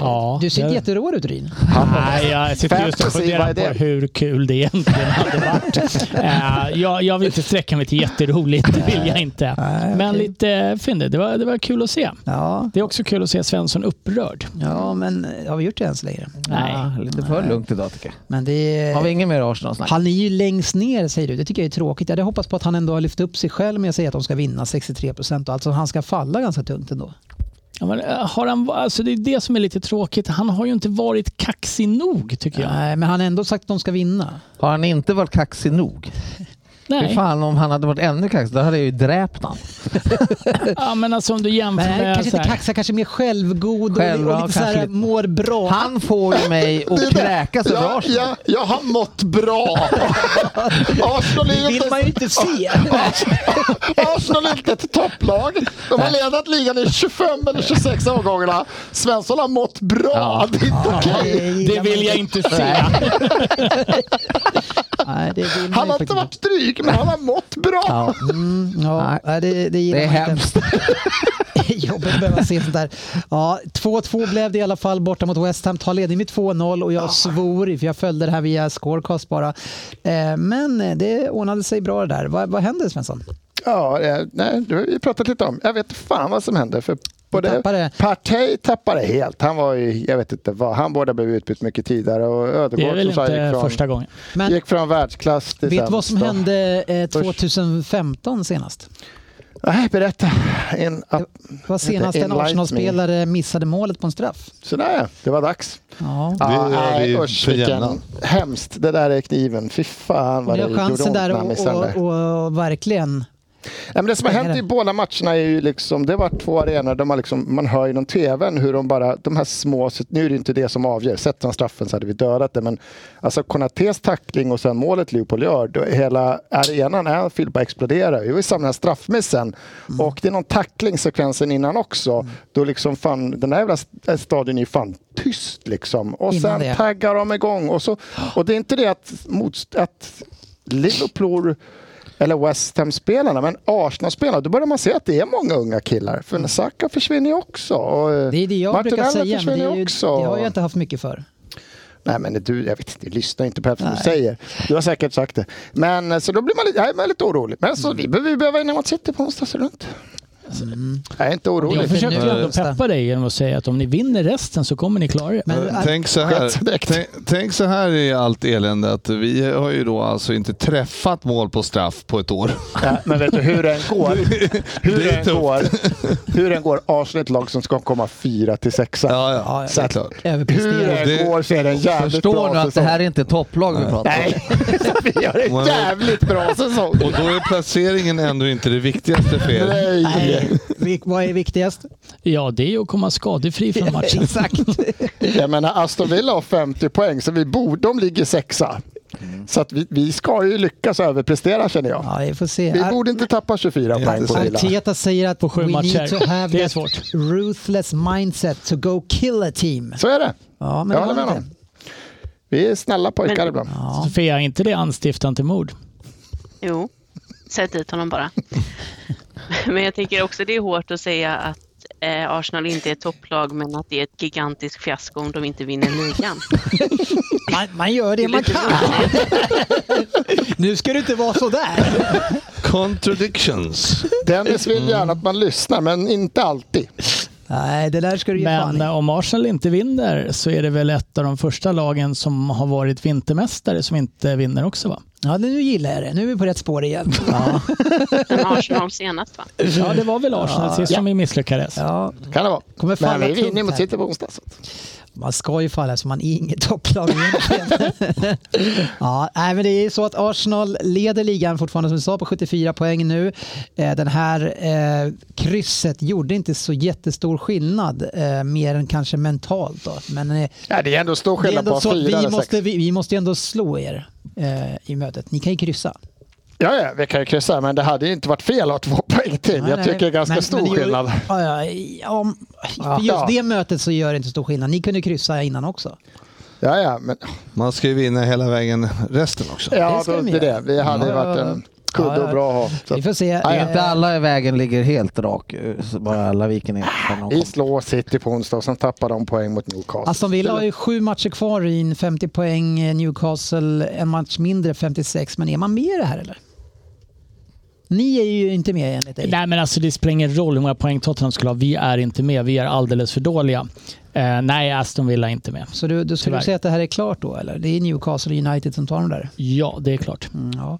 S8: Ja,
S3: Du ser
S8: det-
S3: jätteroad ut Ryn.
S8: Nej, jag sitter just och
S5: Fantasy, vad
S8: funderar
S5: är det?
S8: på hur kul det egentligen hade varit. Eh, jag, jag vill inte sträcka mig till jätteroligt, det vill jag inte. Men
S3: okej.
S8: lite fyndigt. Det var, det var kul att se.
S3: Ja,
S8: Det är också kul att se Svensson upprörd.
S3: ja, men har vi gjort det ens längre?
S8: Nej.
S4: Ja, lite för lugnt idag tycker jag.
S3: Men det
S4: Har vi
S3: är...
S4: ingen mer Arsenal-snack?
S3: Han är ju längst ner säger du. Det tycker jag är tråkigt. Jag hade hoppats på att han ändå har lyft upp sig själv med att säga att de ska vinna 63 procent. Alltså han ska falla ganska tungt ändå.
S8: Ja, men, eh, har han, alltså, det är det som är lite tråkigt. Han har ju inte varit kaxig nog, tycker jag.
S3: Nej, men han har ändå sagt att de ska vinna.
S4: Har han inte varit kaxig nog? Fy
S8: Nej.
S4: fan om han hade varit ännu kaxig, då hade jag ju dräpt han.
S8: Ja, men alltså, om du jämför
S3: Men
S8: med...
S3: kanske
S8: så
S3: inte
S8: här-
S3: kaxig, kanske mer självgod och,
S4: Själv-
S3: och
S4: ja,
S3: lite så här
S4: kanske lite-
S3: mår bra.
S4: Han får ju mig att kräkas över
S5: jag,
S4: Arsenal.
S5: jag, jag har mått bra. Arsenal är
S3: vill
S5: inte
S3: man ju inte se.
S5: Arsenal är inte ett topplag. De har ledat ligan i 25 eller 26 omgångarna. Svensson har mått bra. Det är inte okej.
S8: Det vill jag inte se.
S3: Nej, det vill man
S5: Han
S3: ju
S5: har inte
S3: faktiskt
S5: varit dryg, men han har mått bra.
S4: Ja,
S3: inte. Ja, nej, det, det, gillar
S4: det är
S3: man inte.
S4: hemskt.
S3: Jobbigt att behöva se sånt där. Ja, 2-2 blev det i alla fall borta mot West Ham. Tar ledning med 2-0 och jag
S5: Ah.
S3: svor, för jag följde det här via scorecast bara. Eh, Men det ordnade sig bra det där. Vad, vad händer Svensson?
S5: Ja, eh, nej, det har vi pratat lite om. Jag vet fan vad som hände. För och det,
S3: Tappade.
S5: Partey tappade helt. Han var ju, jag vet inte vad, han borde blivit utbytt mycket tidigare och
S8: Det är
S5: Ödegård
S8: väl
S5: som sagt
S8: inte
S5: gick från,
S8: första gången.
S3: Men
S5: gick från världsklass till
S3: vet du vad
S5: sämst
S3: som
S5: då.
S3: hände eh,
S5: Först.
S3: 2015 senast?
S5: Nej, berätta. ah, En, att,
S3: Det var senast en
S5: Enlighten me.
S3: Arsenal-spelare missade målet på en straff.
S5: sådär, det var dags.
S3: Ja.
S5: Ja,
S9: Det- ja, det är
S5: nej,
S9: ju
S5: usch
S9: för
S5: vilken
S9: jämnan.
S5: hemskt. Det där är kniven. Fy fan vad
S3: Ni
S5: det
S3: har
S5: gjorde ont
S3: chansen där
S5: när han
S3: och,
S5: missade den där.
S3: och, och verkligen...
S5: Ja, men det som har hänt
S3: Pengar.
S5: i båda matcherna är ju liksom, det var två arenor där man, liksom, man hör genom tvn hur de bara, de här små, så nu är det inte det som avgör, sätter han straffen så hade vi dödat det, men alltså Konatés tackling och sen målet Leopold gör, då hela arenan, Anfield bara exploderar. Vi var ju samma här straffmissen
S3: Mm.
S5: och det är någon tacklingssekvensen innan också, då liksom fan, den här jävla st- eh, stadion är ju fan tyst liksom. Och
S3: Innan
S5: sen
S3: det.
S5: taggar de igång och så, och det är inte det att, motst- att Liverpool eller West Ham-spelarna, men Arsenal-spelarna, då börjar man se att det är många unga killar. För Saka försvinner ju också. Och eh,
S3: Det är det jag brukar
S5: Martinelli
S3: säga, men det,
S5: försvinner
S3: är
S5: ju
S3: ju, det
S5: också.
S3: har jag inte haft mycket för.
S5: Nej, men du, jag vet inte, du lyssnar inte på vad du säger. Du har säkert sagt det. Men eh, så då blir man, lite- jag är lite orolig. Men så vi behöver ju behöva vinna mot City på onsdag, så det är lugnt. Alltså, Jag är inte
S8: Jag
S5: orolig.
S8: försökte ju ändå
S3: Onsdag.
S8: peppa dig genom att säga att om ni vinner resten så kommer ni klara det.
S3: Men,
S7: Eh, Tänk så, här,
S5: sköts direkt.
S7: tänk, tänk så här i allt elände att vi har ju då alltså inte träffat mål på straff på ett år.
S5: Ja, men vet du hur den går? Hur
S7: Det är
S5: den
S7: tufft.
S5: går, hur den går Arsenal är ett lag som ska komma fyra till sexa.
S7: Ja, ja.
S3: ja,
S7: det är klart.
S5: Hur
S3: överpresterar.
S7: Det-
S5: den går så är det en jävligt bra
S4: Förstår du att det
S5: säsong.
S4: här är inte topplag vi pratar om?
S5: Nej, vi gör en jävligt bra säsong.
S7: Och då är placeringen ändå inte det viktigaste för er.
S5: Nej.
S3: Vi- Vad är viktigast?
S8: Ja, det är ju att komma skadefri från matchen.
S3: Exakt.
S5: Jag menar, Aston Villa har 50 poäng, så vi borde, de ligger sexa. Så att vi, vi ska ju lyckas överprestera känner jag.
S3: Mm. Ja, vi får se.
S5: Vi
S3: Ar-
S5: borde inte tappa 24 poäng på Villa.
S3: Arteta säger att
S8: På sju
S3: we
S8: matcher.
S3: need to have
S8: Det är
S3: that
S8: svårt.
S3: ruthless mindset to go kill a team.
S5: Så är det.
S3: Ja, men det
S5: Jag håller
S3: var
S5: med
S3: inte.
S5: honom. Vi är snälla pojkar
S6: Men-
S5: ibland.
S8: Sofia, är inte det anstiftan till mord?
S6: Jo, sätt dit honom bara. Men jag tänker också det är hårt att säga att eh, Arsenal inte är ett topplag men att det är ett gigantiskt fiasko om de inte vinner ligan.
S3: Man, man gör det man kan. nu ska du inte vara så där.
S7: Contradictions.
S5: Dennis
S3: Mm.
S5: vill gärna att man lyssnar, men inte alltid.
S3: Nej, det där ska du ge fan
S8: Men
S3: i.
S8: eh, om Arsenal inte vinner så är det väl ett av de första lagen som har varit vintermästare som inte vinner också va?
S3: Ja, nu gillar jag det. Nu är vi på rätt spår igen. Ja,
S6: Men Arsenal senast va?
S8: Ja, det var väl Arsenal sist som vi misslyckades.
S3: ja.
S5: Kan det vara.
S3: Kommer falla
S5: Men vi vinner
S3: tungt
S5: mot
S3: här.
S5: City på onsdag. så att-
S3: Man ska ju falla så man är inget topplag egentligen. ja, nej, men det är ju så att Arsenal leder ligan fortfarande som vi sa på 74 poäng nu. Eh, Den här eh, krysset gjorde inte så jättestor skillnad eh, mer än kanske mentalt. Då. Men eh,
S5: Ja, det är ändå stor
S3: det är
S5: skillnad på
S3: ändå så att
S5: fyra
S3: vi
S5: eller
S3: måste,
S5: sex.
S3: vi, vi måste ju ändå slå er eh, i mötet. Ni kan ju kryssa.
S5: Ja, ja, vi kan ju kryssa, men det hade ju inte varit fel att ha två poäng till.
S3: Nej,
S5: Jag
S3: nej,
S5: tycker det är ganska
S3: men-
S5: stor
S3: men det gör-
S5: skillnad.
S3: Ja, ja, ja, om, för just
S5: Ja.
S3: det mötet så gör det inte så stor skillnad. Ni kunde kryssa innan också.
S5: Ja, ja, men
S7: Man ska ju vinna hela vägen resten också.
S5: Ja,
S3: ska
S5: det,
S3: de
S5: det, är
S3: göra.
S5: det. Vi hade ju
S3: Ja,
S5: varit
S3: ja,
S5: en
S3: ja.
S5: kudde
S3: Ja,
S5: och
S3: ja.
S5: bra att ha. Så
S3: Vi får se.
S4: Det
S5: Nej,
S4: är
S3: Eh,
S4: Inte alla i vägen ligger helt rak, eh, så bara alla viker ner. Sen de
S5: Vi
S4: kommer.
S5: slår City på onsdag och sen tappar de poäng mot Newcastle.
S3: Aston Villa har ju sju matcher kvar i en 50 poäng. eh, Newcastle en match mindre, 56. Men är man med i det här eller? Ni är ju inte med enligt dig.
S8: Nej men alltså det spelar ingen roll hur många poäng Tottenham skulle ha. Vi är inte med. Vi är alldeles för dåliga. Eh, nej, Aston Villa är inte med.
S3: Så du, du skulle
S8: Tyvärr.
S3: säga att det här är klart då eller? Det är Newcastle och United som tar dem där?
S8: Ja, det är klart.
S3: Mm, ja.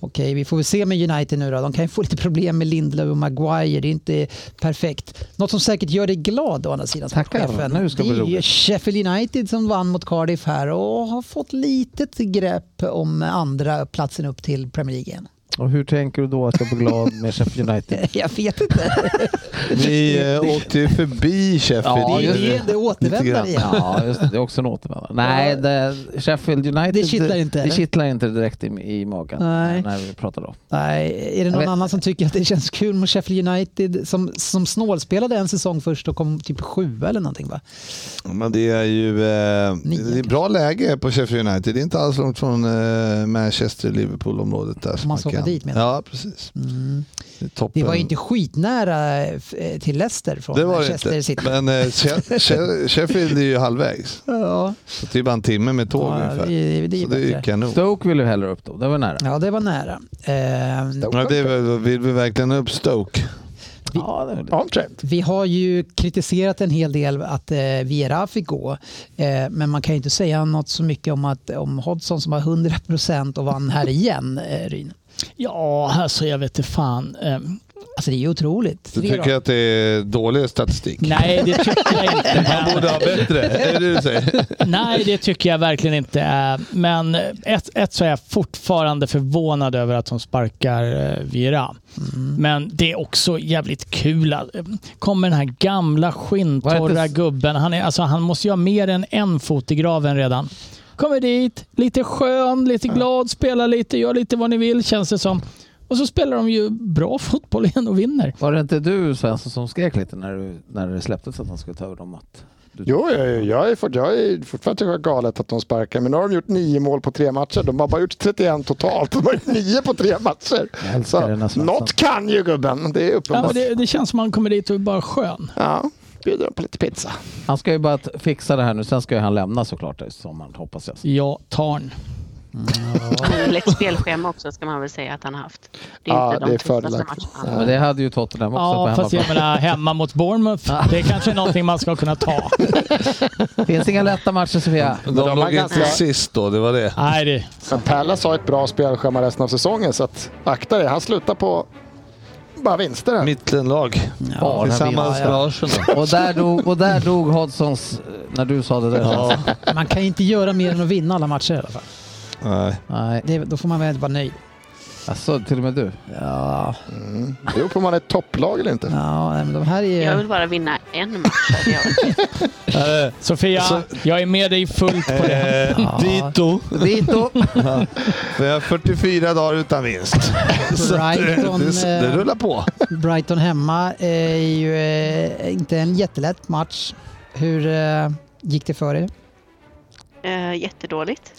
S3: Okej, vi får väl se med United nu då. De kan ju få lite problem med Lindelöf och Maguire. Det är inte perfekt. Något som säkert gör dig glad å andra sidan
S4: Tackar.
S3: sportchefen.
S4: Nu ska det
S3: det
S4: bli
S3: är ju
S4: roligt.
S3: Sheffield United som vann mot Cardiff här och har fått litet grepp om andra platsen upp till Premier League igen.
S4: Och hur tänker du då att jag blir glad med Sheffield United?
S3: Jag vet inte.
S7: Ni eh, åkte ju förbi Sheffield.
S4: Ja,
S3: Det är
S4: just
S3: ju ändå återvändare igen.
S4: Ja, just det. Det är också en återvändare. Nej, det, Sheffield United
S3: Det kittlar inte,
S4: det
S3: eller?
S4: kittlar inte direkt i, i magen
S3: Nej.
S4: när vi pratar då.
S3: Nej, är det
S4: Jag
S3: någon
S4: vet-
S3: annan som tycker att det känns kul med Sheffield United som, som snålspelade en säsong först och kom typ sjua eller någonting va?
S7: Men det är ju eh,
S3: Nio,
S7: det är bra läge på Sheffield United. Det är inte alls långt från eh, Manchester-Liverpool-området. där. som
S3: man ska åka
S7: kan-
S3: dit, menar Mm.
S7: Ja, precis. Det, är toppen.
S3: Det var ju inte skitnära eh, till Leicester från
S7: Mm. det var det
S3: Manchester
S7: inte.
S3: City.
S7: Men eh, She- She- Sheffield är ju halvvägs.
S3: Ja,
S7: Så det är bara en timme med tåg
S3: Ja,
S7: ungefär.
S3: det- det- det är
S7: så det är ju
S3: bättre.
S7: kanon.
S4: Stoke vill du hellre upp då. Det var nära.
S3: ja, det var nära. Eh,
S7: Ja, det är, väl- vill vi verkligen upp Stoke?
S4: Ja, det är det.
S5: Omtrent.
S3: Vi har ju kritiserat en hel del att eh, Viera fick gå, eh, men man kan ju inte säga något så mycket om, att, om Hodgson som har 100 procent och vann här igen, eh, Ryn.
S8: Ja, alltså jag vet inte fan. Ehm,
S3: Alltså det är ju otroligt.
S7: Du tycker att det är dålig statistik?
S8: Nej, det tycker jag inte.
S7: Han borde ha bättre, är det det du säger?
S8: Nej, det tycker jag verkligen inte. är. Men ett, ett så är jag fortfarande förvånad över att de sparkar eh, Viera. Men det är också jävligt kul. att- eh, Kommer den här gamla
S4: Vad
S8: skinntorra
S4: heter-
S8: gubben. Han, är, alltså, han måste ju ha mer än en fot i graven redan. Kommer dit, lite skön, lite glad, spelar lite, gör lite vad ni vill känns det som. Och så spelar de ju bra fotboll igen och vinner.
S4: Var det inte du Svensson som skrek lite när, du, när det släpptes att han skulle ta över dem? Att du,
S5: Jo, jag, är- jag, är, fort- jag är fortfarande tycker det är galet att de sparkar, men nu har de gjort nio mål på tre matcher. De har bara gjort 31 totalt. De har gjort nio på tre matcher.
S4: Jag älskar
S5: Så,
S4: den här Svensson.
S5: något kan ju gubben, det är
S8: Ja, men
S5: uppenbart.
S8: det, det känns som att man kommer dit och är bara skön.
S5: Ja, bjuder dem på lite pizza.
S4: Han ska ju bara t- fixa det här nu, sen ska ju han lämna såklart i sommar hoppas jag.
S8: Ja, Tarn.
S6: Dåligt spelschema också ska man väl säga att han har haft. Det är
S5: Ja,
S6: inte
S5: det
S6: de
S5: är
S6: tuffaste
S5: fördelaktigt.
S6: matcherna.
S4: Men det hade ju Tottenham också på
S8: Ja, fast
S4: hemmaplan.
S8: jag menar hemma mot Bournemouth. Det är kanske någonting man ska kunna ta.
S4: finns inga lätta matcher Sofia.
S7: De,
S5: de har
S7: låg
S5: ganska-
S7: inte sist då, det var det.
S8: Nej, det,
S5: Men Pallas har ett bra spelschema resten av säsongen, så att, akta dig. Han slutar på bara vinster. här.
S7: Mittenlag.
S4: Bara
S7: Tillsammans
S4: vinster.
S7: med Arsenal.
S4: Och där dog, och där dog Hodgsons, när du sa det där.
S7: Ja.
S3: Man kan ju inte göra mer än att vinna alla matcher i alla fall.
S7: Nej.
S4: Nej,
S3: Det, då får man väl vara nöjd.
S4: alltså till och med du.
S3: Ja,
S5: Det beror på om man är ett topplag eller inte.
S3: ja nej, men de här
S6: Jag
S3: är
S6: vill
S3: ju...
S6: bara vinna en match. hade jag varit.
S8: Eh, Sofia, jag är med dig fullt på det.
S7: Eh, dito.
S4: Dito!
S7: Vi har 44 dagar utan vinst. Så att, eh,
S3: Brighton,
S7: det, det
S3: eh,
S7: rullar på.
S3: Brighton hemma eh, är ju eh, inte en jättelätt match. Hur eh, gick det för er?
S6: Eh, jättedåligt.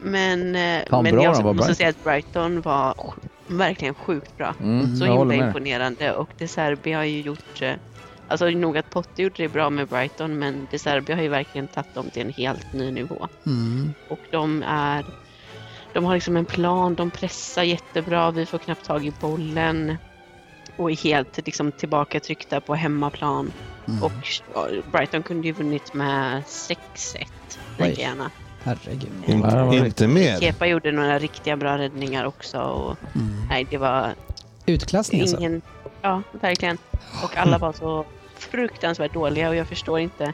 S6: Men, eh,
S4: Fan,
S6: men
S4: bra
S6: jag
S4: de var,
S6: måste
S4: Brighton.
S6: säga att Brighton var verkligen sjukt bra.
S4: Mm,
S6: Så
S4: jag
S6: himla
S4: håller med.
S6: imponerande och De Serbi har ju gjort... eh, Alltså nog att Potter gjorde det bra med Brighton men De Serbi har ju verkligen tagit dem till en helt ny nivå.
S4: Mm.
S6: Och de är... De har liksom en plan, de pressar jättebra, vi får knappt tag i bollen och är helt liksom, tillbaka tryckta på hemmaplan.
S4: Mm.
S6: Och ja, Brighton kunde ju vunnit med 6-1,
S3: Oj.
S6: lika gärna.
S3: Herregud.
S7: Inte, inte mer.
S6: Kepa gjorde några riktiga bra räddningar också. Och,
S4: Mm.
S6: Nej, det var
S3: Utklassning alltså?
S6: ingen... Ja, verkligen. Och alla var så fruktansvärt dåliga och jag förstår inte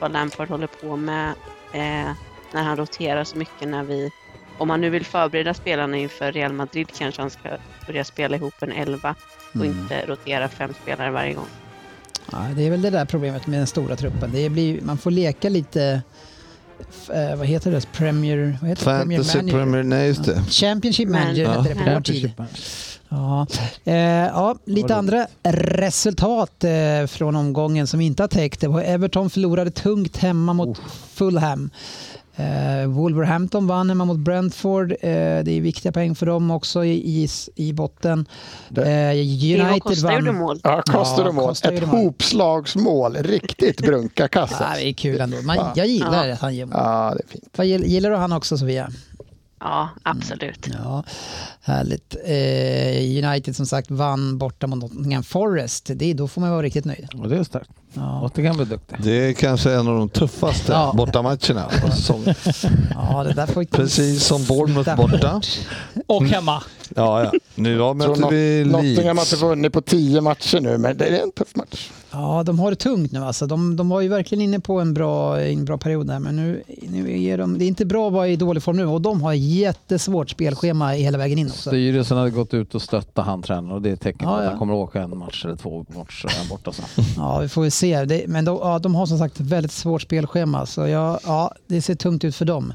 S6: vad Lampard håller på med eh, när han roterar så mycket när vi... Om han nu vill förbereda spelarna inför Real Madrid kanske han ska börja spela ihop en elva och
S3: Mm.
S6: inte rotera fem spelare varje gång.
S3: Ja, det är väl det där problemet med den stora truppen. Det blir, man får leka lite, f- eh, vad heter det, Premier, vad heter det?
S7: Fantasy
S3: Manager?
S7: Premier... Nej, just det.
S3: Championship
S6: Men-
S3: Manager hette det på vår tid. Ja. Eh, ja, lite andra resultat eh, från omgången som vi inte har täckt. Det var Everton förlorade tungt hemma mot Fulham. Eh, Wolverhampton vann hemma mot Brentford. Eh, det är viktiga poäng för dem också i, i, i botten. Eh,
S6: Diego
S3: United
S6: Costa gjorde
S3: vann.
S6: mål.
S5: Ja, Costa
S3: Ja,
S5: ja, mål.
S3: Costa
S5: Ett
S3: gjorde mål.
S5: hopslagsmål. Riktigt brunka
S3: Ja,
S5: kassa.
S3: Ah, det är kul ändå. Man, jag gillar att han ger mål.
S5: Ja, det är fint.
S3: Vad gill- Gillar du han också Sofia?
S6: Ja, absolut.
S3: Ja, härligt. Eh, United som sagt vann borta mot Nottingham Forest. Det, då får man vara riktigt nöjd.
S4: Och det är starkt. Nottingham är duktig.
S7: Det är kanske en av de tuffaste
S3: Ja.
S7: bortamatcherna. på säsongen.
S3: Ja, det där får inte
S7: Precis som Bournemouth
S3: Sluta.
S7: borta.
S8: Och hemma.
S7: Ja, ja. Nu ja,
S5: Tror
S7: möter vi
S5: Not- Nottingham har inte
S7: Leeds.
S5: vunnit på tio matcher nu, men det är en tuff match.
S3: Ja, de har det tungt nu. Alltså, de, de var ju verkligen inne på en bra, en bra period där, men nu, nu är de, det är inte bra att vara i dålig form nu och de har jättesvårt spelschema hela vägen in också.
S4: Styrelsen hade gått ut och stöttat han tränaren och det är ett tecken på
S3: Ja,
S4: att
S3: ja.
S4: han kommer att åka en match eller två matcher och en borta sen.
S3: Ja, vi får väl se. Det, men de, ja, de har som sagt ett väldigt svårt spelschema, så ja, ja, det ser tungt ut för dem.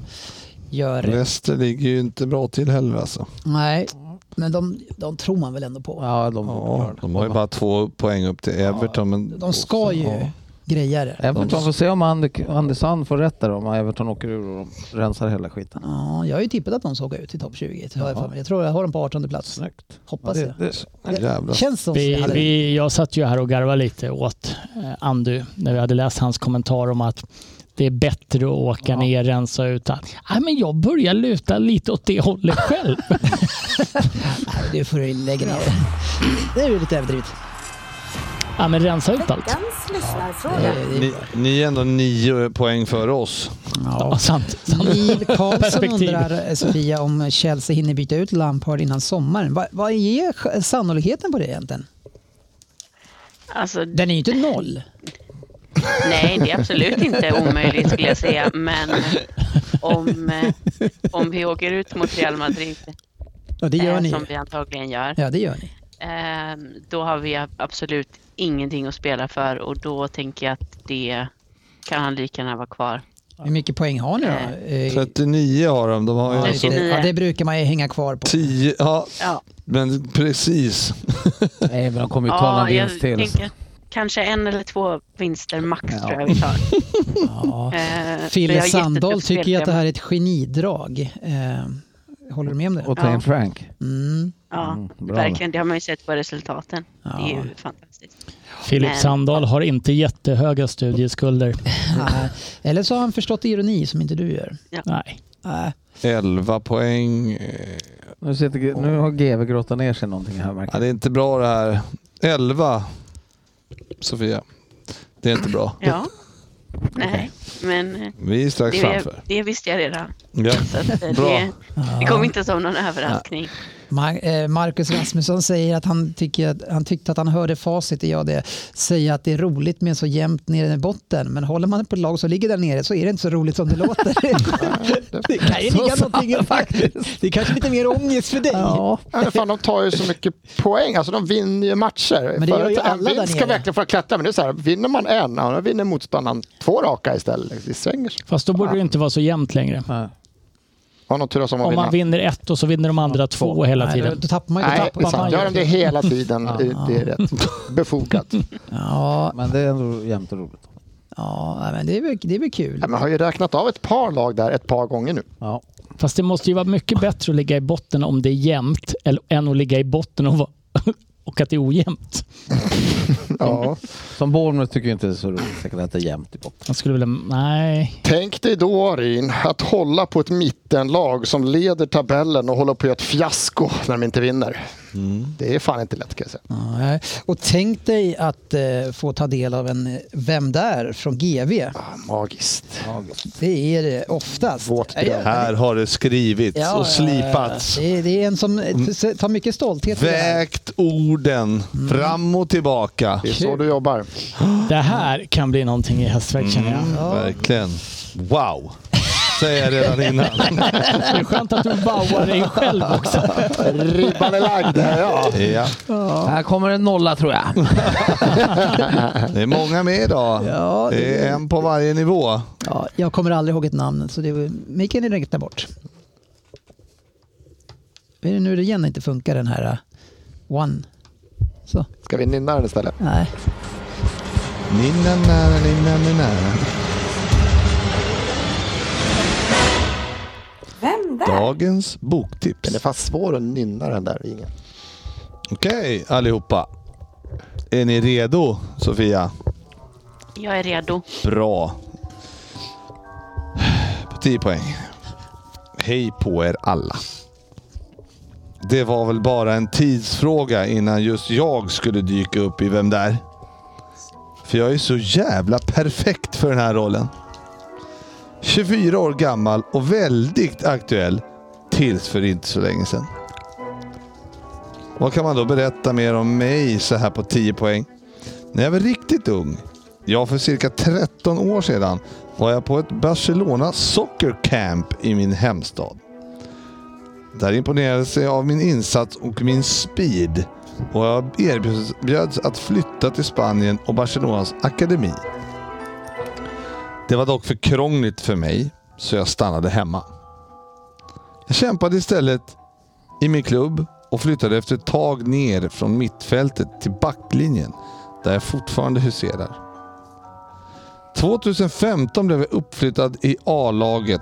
S3: Gör det.
S7: Leicester ligger ju inte bra till heller alltså.
S3: Nej, men de, de tror man väl ändå på.
S4: Ja, de
S7: Ja, de har ju bara två poäng upp till Everton. Men
S3: De ska ju
S7: Ja.
S3: greja det.
S4: Everton får se om Ander- Andersson får rätt där om Everton åker ur och de rensar hela skiten.
S3: Ja, jag har ju tippat att de ska åka ut i topp 20. Har jag, för mig. jag tror jag har dem på 18 plats.
S4: Snyggt.
S3: Hoppas jag.
S4: det,
S7: Jävlar.
S3: Känns
S4: Mm.
S3: som
S8: Vi,
S3: hade-
S8: vi, jag satt ju här och garvade lite åt eh, Andy när vi hade läst hans kommentar om att det är bättre att åka ner, rensa ut. allt. Nej, men jag börjar luta lite åt det hållet själv.
S3: Du får lägga ner. Det är ju lite överdrivet.
S8: Ja, men rensa ut allt.
S10: Veckans lyssnarfråga.
S7: Ni, ni är ändå nio poäng före oss.
S8: Ja, sant. sant.
S3: Neil Karlsson
S8: Perspektiv.
S3: undrar eh, Sofia om Chelsea hinner byta ut Lampard innan sommaren. Va, vad är ch- sannolikheten på det egentligen?
S6: Alltså,
S3: Den är ju inte noll.
S6: nej, det är absolut inte omöjligt skulle jag säga. Men om, eh, om vi åker ut mot Real Madrid,
S3: Ja, det gör
S6: eh,
S3: ni.
S6: som vi antagligen gör,
S3: Ja, det gör ni.
S6: Ehm, då har vi ab- absolut ingenting att spela för och då tänker jag att det kan han lika gärna vara kvar.
S3: Hur mycket poäng har ni då? Eh,
S7: 39 har de. De har ju alltså
S6: 39.
S3: ja, det brukar man ju hänga kvar på.
S7: 10. Ja,
S6: Ja,
S7: men precis.
S4: Nej, men de kommer ju ta någon vinst till.
S6: tänker kanske en eller två vinster max tror jag vi tar. Ehm, vi
S3: Fille
S6: har
S3: Sandahl
S6: jättetufft
S3: tycker ju att det
S6: spelschema.
S3: här är ett genidrag. Eh, håller du med om det?
S4: Och Tane
S6: Ja.
S4: Frank.
S3: Mm.
S6: Ja,
S4: bra.
S6: verkligen. Det har man ju sett på resultaten. Det är ju fantastiskt.
S8: Filip
S6: Men-
S8: Sandahl har inte jättehöga studieskulder.
S3: Nej. Eller så har han förstått ironi som inte du gör.
S8: Nej.
S3: Nej.
S7: 11 poäng. Eh,
S4: Nu, sitter, G- nu har GV grottat ner sig någonting här märker
S7: Ja,
S4: jag.
S7: det är inte bra det här. 11. Sofia. Det är inte bra.
S6: Ja. Nej, men eh,
S7: Vi är strax
S6: det,
S7: framför.
S6: det visste jag redan.
S7: Ja.
S6: Så att eh,
S7: Bra.
S6: det, det kom inte som någon överraskning.
S3: Mar- eh, Marcus Rasmusson säger att han, tycker att han tyckte att han hörde facit i ja, det säga att det är roligt med så jämnt nere i botten. Men håller man på ett lag som ligger där nere så är det inte så roligt som det låter. det kan ju ligga någonting i faktiskt. Det är kanske lite mer ångest för dig.
S4: Ja.
S5: Ja, men fan, de tar ju så mycket poäng, alltså de vinner ju matcher.
S3: Men det gör
S5: Förut,
S3: ju
S5: en
S3: alla
S5: vinst
S3: där
S5: ska
S3: nere.
S5: verkligen få klättra, men det är så här, vinner man en, ja, då vinner motståndaren två raka istället. Det svänger sig.
S8: Fast då borde det inte vara så jämnt längre.
S4: Nej.
S5: Har någon tur som man
S8: Om
S5: vinner.
S8: man vinner ett och så vinner de andra två hela
S3: Nej, då,
S8: tiden.
S3: då tappar man ju.
S5: Nej,
S3: Nej.
S5: det är sant. Gör de det hela tiden, det är rätt befogat.
S3: Ja,
S4: Men det är ändå jämnt och roligt.
S3: ja, nej, men det är väl, det är väl kul.
S5: Ja, Man har ju räknat av ett par lag där ett par gånger nu.
S4: Ja.
S8: Fast det måste ju vara mycket bättre att ligga i botten om det är jämnt eller- än att ligga i botten och, vara- och att det är ojämnt.
S5: Ja.
S4: Som Bournemouth tycker ju inte det är så roligt säkert att det är jämnt i botten.
S8: Jag skulle vilja... Nej.
S5: Tänk dig då, Arin, att hålla på ett mittenlag som leder tabellen och håller på att göra ett fiasko när de inte vinner. Det är fan inte lätt kan jag säga.
S3: Nej. Och tänk dig att eh, få ta del av en eh, Vem där? från GV.
S5: Ah, magiskt.
S3: Det är det oftast.
S5: Vårt
S3: Är det-
S7: Här har det skrivits
S3: Ja,
S7: och slipats. Mm.
S3: Det är, det är en som eh, tar mycket stolthet i det här.
S7: Vägt orden fram och tillbaka.
S3: Mm.
S5: Det är så du jobbar.
S8: Det här kan bli någonting i hästväg känner jag.
S3: Mm.
S7: Verkligen. Wow. Säger jag redan innan.
S8: Det är skönt att du wowar dig själv också.
S5: Ribban är lagd. Ja.
S7: Ja.
S4: Här kommer en nolla tror jag.
S7: Det är många med idag.
S3: Ja, det-
S7: Det är en på varje nivå.
S3: Ja, jag kommer aldrig ihåg ett namn, så det var, mig kan ni räkna bort. Är det nu det igen inte funkar den här uh, One? Så,
S5: Ska vi nynna den istället?
S3: nej.
S7: Ninna, nära, ninna, nära.
S10: Vem där?
S7: Dagens boktips.
S5: Den är fan svår att nynna den där ringen.
S7: Okej allihopa. Är ni redo Sofia?
S6: Jag är redo.
S7: Bra. På 10 poäng. Hej på er alla. Det var väl bara en tidsfråga innan just jag skulle dyka upp i Vem där? För jag är så jävla perfekt för den här rollen. 24 år gammal och väldigt aktuell tills för inte så länge sedan. Vad kan man då berätta mer om mig så här på 10 poäng? När jag var riktigt ung, ja för cirka 13 år sedan, var jag på ett Barcelona Soccer Camp i min hemstad. Där imponerades jag av min insats och min speed och jag erbjöds att flytta till Spanien och Barcelonas akademi. Det var dock för krångligt för mig, så jag stannade hemma. Jag kämpade istället i min klubb och flyttade efter ett tag ner från mittfältet till backlinjen där jag fortfarande huserar. 2015 blev jag uppflyttad i A-laget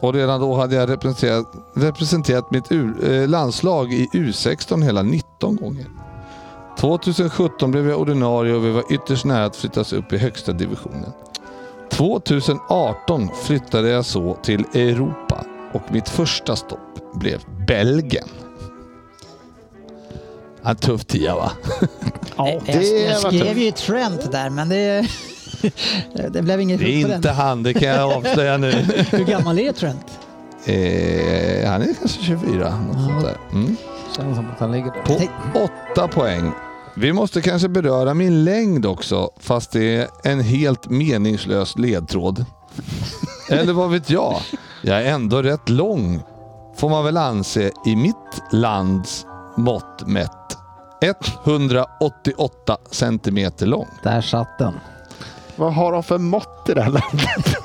S7: och redan då hade jag representerat, representerat mitt U, eh, landslag i U16 hela 19 gånger. 2017 blev jag ordinarie och vi var ytterst nära att flyttas upp i högsta divisionen. 2018 flyttade jag så till Europa och mitt första stopp blev Belgien. Ja, En tuff tia va?
S8: Ja.
S3: Jag, jag
S5: var
S3: skrev
S5: tufft.
S3: ju Trent där, men det, det blev inget
S7: Det
S3: hugg på
S7: är inte
S3: den.
S7: han, det kan jag avslöja nu.
S3: Hur gammal är Trent?
S7: Eh, han är kanske 24. något sånt där. Mm.
S4: Känns som att han ligger där.
S7: På åtta poäng. Vi måste kanske beröra min längd också, fast det är en helt meningslös ledtråd. Eller vad vet jag? Jag är ändå rätt lång, får man väl anse, i mitt lands mått mätt. 188 centimeter lång.
S4: Där satt den.
S5: Vad har de för mått i det här landet?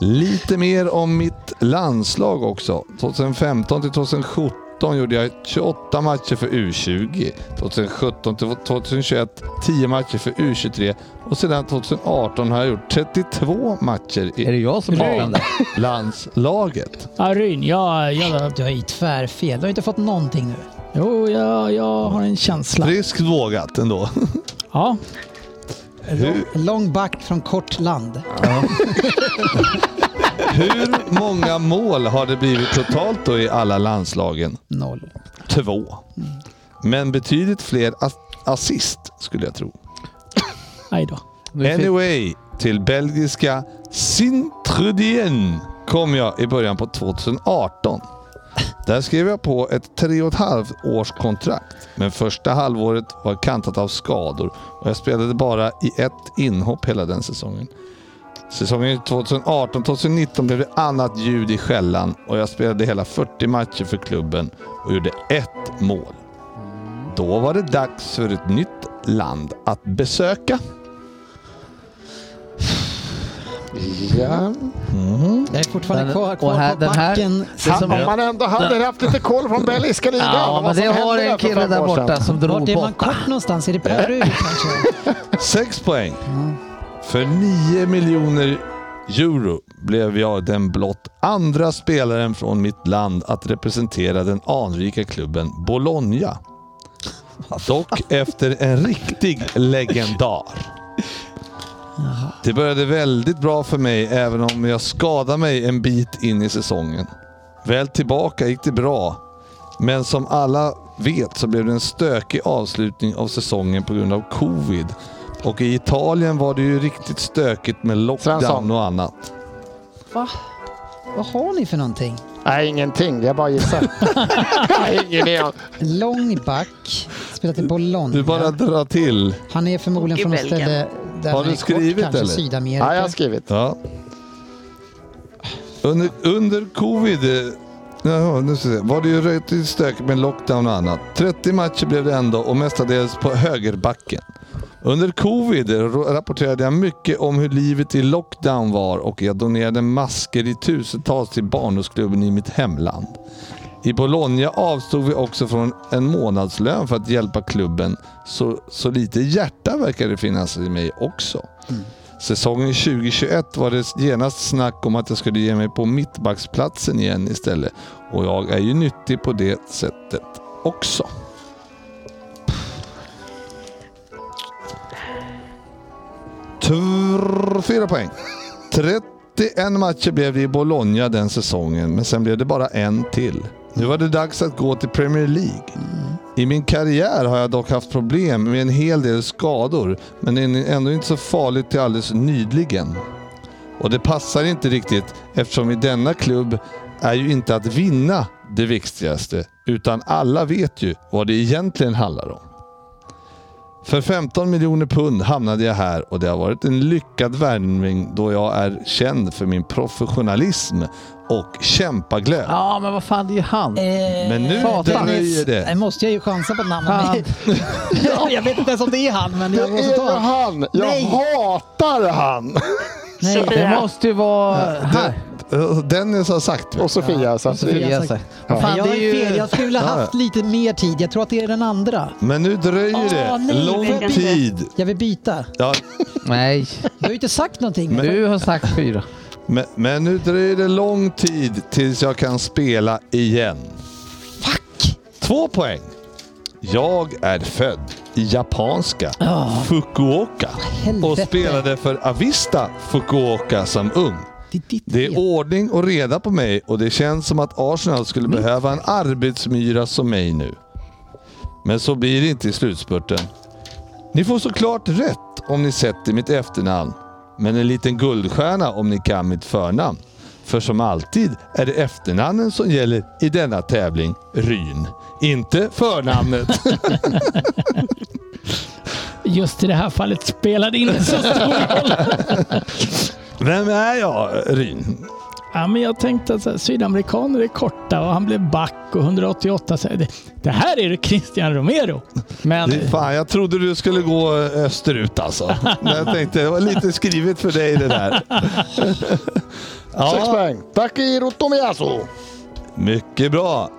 S7: Lite mer om mitt landslag också. 2015 till 2017 gjorde jag 28 matcher för U20. 2017 till 2021 10 matcher för U23. Och sedan 2018 har jag gjort 32 matcher
S4: Är det
S7: i
S4: jag som
S8: Nej.
S4: har den där?
S7: landslaget.
S8: Ja, Ryn, jag, jag,
S3: Du har ju tvärfel. Du har inte fått någonting nu.
S8: jo, jag, jag har en känsla.
S7: Friskt vågat ändå.
S8: Ja,
S7: Hur,
S3: Lång back från kort land.
S7: hur många mål har det blivit totalt då i alla landslagen?
S3: Noll.
S7: Två. Men betydligt fler a- assist skulle jag tro.
S8: nej då.
S4: Nu fick-
S7: Anyway, till belgiska Sint-Trudien kom jag i början på 2018. Där skrev jag på ett tre och ett halvt års kontrakt, men första halvåret var kantat av skador och jag spelade bara i ett inhopp hela den säsongen. Säsongen 2018-2019 blev det annat ljud i skällan och jag spelade hela 40 matcher för klubben och gjorde ett mål. Då var det dags för ett nytt land att besöka.
S5: Ja.
S3: Jag är fortfarande
S4: Den-
S3: kvar,
S4: och
S3: kvar
S4: här-
S3: på
S4: den här-
S3: backen.
S4: Det som-
S5: Om man ändå hade haft lite koll från belgiska ligan.
S4: Ja,
S5: vad
S4: men
S5: som
S4: det
S5: hände
S4: har
S5: där för
S4: en kille
S5: fem
S4: där
S5: år
S4: borta
S5: sedan.
S4: som drog
S3: Vart är man
S4: på.
S3: kort någonstans? Är det Peru kanske?
S7: Sex poäng. För 9 miljoner euro blev jag den blott andra spelaren från mitt land att representera den anrika klubben Bologna. Dock efter en riktig legendar. Det började väldigt bra för mig även om jag skadade mig en bit in i säsongen. Väl tillbaka gick det bra, men som alla vet så blev det en stökig avslutning av säsongen på grund av covid. Och i Italien var det ju riktigt stökigt med
S5: Svensson.
S7: lockdown och annat.
S3: Va? Vad har ni för någonting?
S5: Nej, ingenting. Jag bara gissar. Jag har ingen aning.
S3: Lång back, spelat i Bologna.
S7: Du bara drar till.
S3: Han är förmodligen
S6: Och i
S3: från något
S6: Belgien.
S3: ställe där
S7: Har
S3: han
S7: du
S3: är
S7: skrivit,
S3: kort,
S7: eller? Ah,
S3: Kanske Sydamerika.
S5: Ja, jag har skrivit.
S7: Ja. Under, under covid eh, jaha, nu ska jag se, var det ju riktigt stökigt med lockdown och annat. 30 matcher blev det ändå och mestadels på högerbacken. Under covid ro- rapporterade jag mycket om hur livet i lockdown var och jag donerade masker i tusentals till barnhusklubben i mitt hemland. I Bologna avstod vi också från en månadslön för att hjälpa klubben, så, så lite hjärta verkar det finnas i mig också. Säsongen 2021 var det genast snack om att jag skulle ge mig på mittbacksplatsen igen istället. Och jag är ju nyttig på det sättet också. Tr- fyra poäng. 31 matcher blev det i Bologna den säsongen, men sen blev det bara en till. Nu var det dags att gå till Premier League. I min karriär har jag dock haft problem med en hel del skador, men det är ändå inte så farligt till alldeles nyligen. Och det passar inte riktigt eftersom i denna klubb är ju inte att vinna det viktigaste, utan alla vet ju vad det egentligen handlar om. För 15 miljoner pund hamnade jag här och det har varit en lyckad värvning då jag är känd för min professionalism och kämpaglöd.
S4: Ja, men vad fan, det är ju han.
S7: Men nu
S4: Satan.
S7: dröjer det.
S3: Nej, måste jag ju chansa på namnet. jag vet inte ens om det är han, men
S5: Det
S3: jag måste
S5: är ju
S3: ta.
S5: han! Jag
S3: Nej.
S5: hatar han!
S3: Nej,
S4: Det måste ju vara... Här.
S7: Den- Eh, Dennis har sagt det.
S5: Och Sofia. Så att
S3: Sofia.
S5: vi,
S4: Sofia sagt. Vad fan,
S3: jag
S4: det är
S3: är fel.
S4: ju...
S3: Jag skulle vilja haft lite mer tid. Jag tror att det är den andra.
S7: Men nu dröjer det.
S3: Åh, nej,
S7: Lång
S6: verkligen.
S7: tid.
S3: Jag vill byta.
S7: Ja,
S4: Nej,
S3: Du har ju inte sagt någonting.
S4: du har sagt fyra.
S7: men, men nu dröjer det lång tid tills jag kan spela igen.
S3: Fuck!
S7: Två poäng. Jag är född i japanska Fukuoka och
S3: helvete.
S7: spelade för Avista Fukuoka som ung.
S3: Det är ditt
S7: Det
S3: fel.
S7: är ordning och reda på mig och det känns som att Arsenal skulle behöva en arbetsmyra som mig nu. Men så blir det inte i slutspurten. Ni får såklart rätt om ni sätter mitt efternamn. Men en liten guldstjärna om ni kan mitt förnamn. För som alltid är det efternamnen som gäller i denna tävling, Ryn. Inte förnamnet.
S8: Just i det här fallet spelade det inte så stor roll.
S7: Vem är jag, Ryn?
S8: Ja, men jag tänkte att så här, sydamerikaner är korta och han blev back och 188. Så här, det, det här är ju Christian Romero. Men
S7: Det- Fan, jag trodde du skulle gå österut alltså. Men jag tänkte, det var lite skrivet för dig det där.
S5: Sex
S7: Ja,
S5: poäng. Taki Rotomiasu.
S7: mycket bra.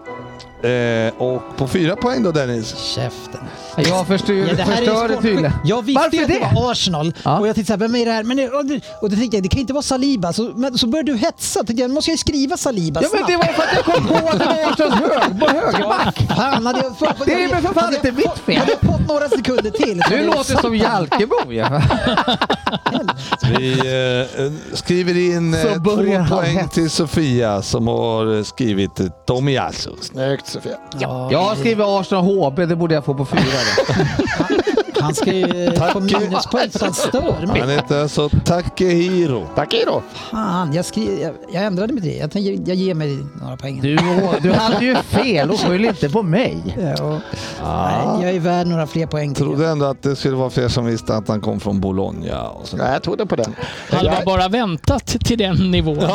S7: Eh, och på fyra poäng då Dennis.
S3: Käften.
S4: Jag förstör,
S3: Ja, det här är ju
S4: förstör det
S3: svårt.
S4: tydligen.
S3: Jag visste
S4: Varför
S3: ju att det,
S4: det?
S3: var Arsenal
S4: Ja.
S3: och jag tänkte så här, vem är det här? Men, det- och, det- och då tänkte jag, det kan ju inte vara Saliba. Så, men, så började du hetsa. Tänkte jag, nu måste jag ju skriva Saliba
S4: Ja, men det var för att jag kom på att det var Arsenals hög, på högerback.
S3: Fan, hade jag, för,
S4: Det är väl för fan
S3: hade jag
S4: inte mitt
S3: fått-
S4: fel.
S3: Hade jag fått några sekunder till.
S4: Du låter som Jalkebo. Ja.
S7: Vi eh, skriver in
S4: Så
S7: eh, två
S4: börjar han
S7: poäng
S4: hets.
S7: till Sofia som har eh, skrivit eh, Tomiyasu.
S5: Snyggt Sofia.
S4: Jag har skrivit Arsenal HB, det borde jag få på fyra. Då.
S3: Han ska ju eh, få minuspoäng för att han stör mig.
S7: Han heter alltså Takehiro.
S5: Takiro.
S3: Fan, jag, skri, jag, jag ändrade mig till det. Jag, tänker, jag ger mig några poäng.
S4: Du, du hade ju fel och skyll inte på mig.
S3: Ja, och, nej, jag är värd några fler poäng. till.
S7: Trodde ändå att det skulle vara fler som visste att han kom från Bologna. Och sånt.
S5: Nej, jag trodde på den.
S8: hade jag
S5: Jag,
S8: bara väntat till den nivån.
S5: det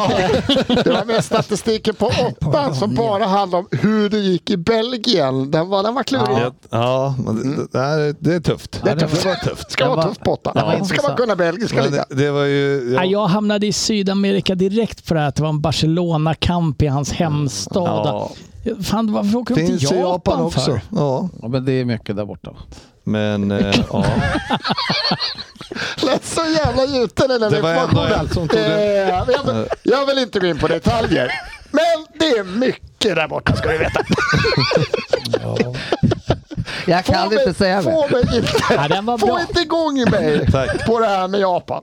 S5: var med statistiken på åttan som bara handlade om hur det gick i Belgien. Den var, den var klurig.
S7: Ja, ja men det, det, här, är- det är tufft.
S5: Det, är tufft. det var tufft. Ska
S4: Den
S5: vara
S4: var-
S5: tufft på
S4: den
S5: åttan.
S4: var
S5: Ska man
S4: intressant.
S5: kunna belgiska
S7: Men det,
S5: lite.
S7: det var ju...
S8: Ja, jag hamnade i Sydamerika direkt för det här, att det var en Barcelona-kamp i hans hemstad.
S7: Ja.
S8: Fan, varför åker de till
S7: Finns i
S8: Japan,
S7: Japan
S8: för?
S7: också. Ja,
S4: Ja, men det är mycket där borta.
S7: men eh, ja.
S5: lät så jävla gjuten den där
S7: Det var ändå
S5: informationen.
S7: en som tog den.
S5: Eh, jag, jag vill inte gå in på detaljer. Men det är mycket där borta ska du veta.
S4: Jag
S5: Få
S4: kan inte
S5: mig-
S4: säga mer.
S5: Få, mig inte,
S8: Ja, den var
S5: få
S8: bra.
S5: inte igång mig
S7: Tack.
S5: på det här med Japan.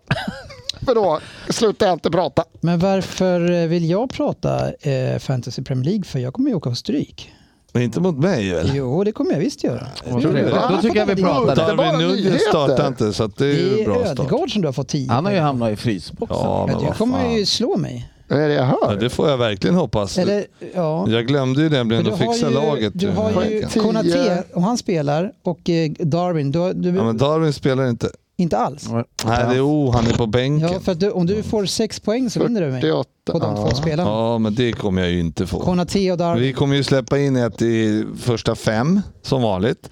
S5: För då slutar jag inte prata.
S3: Men varför eh, vill jag prata eh, Fantasy Premier League? För jag kommer ju åka på stryk.
S7: Men inte mot mig väl?
S3: Jo, det kommer jag visst göra.
S4: Vad trevligt. Då tycker jag vi pratar där.
S5: bara
S7: Darwin Nunez
S5: nyheter.
S7: startar inte så att det är
S3: Det
S7: ju
S3: är
S7: bra start.
S3: Ödegaard som du har fått 10
S4: Han har ju hamnat i frysboxen.
S7: Ja, men
S3: Du
S7: vad
S3: kommer ju
S7: fan.
S3: slå mig.
S5: Vad är det jag
S7: Ja,
S5: hör?
S7: det får jag verkligen hoppas.
S3: Eller, ja.
S7: Jag glömde ju nämligen
S3: Men
S7: att fixa
S3: ju,
S7: laget. eh,
S3: Du
S7: den
S3: har
S7: här
S3: ju
S7: veckan.
S5: Tio.
S3: Konaté, om han spelar, och eh, Darwin. Du, har- du,
S7: Ja, men Darwin spelar inte.
S3: Inte alls.
S7: Nej, det är O. Han är på
S3: Ja,
S7: bänken.
S3: för att du, om du får sex poäng så vinner du mig
S5: 48.
S3: på de två spelarna.
S7: Ja, men det kommer jag ju inte få.
S3: Konaté och Darwin.
S7: Vi kommer ju släppa in ett i första fem, som vanligt.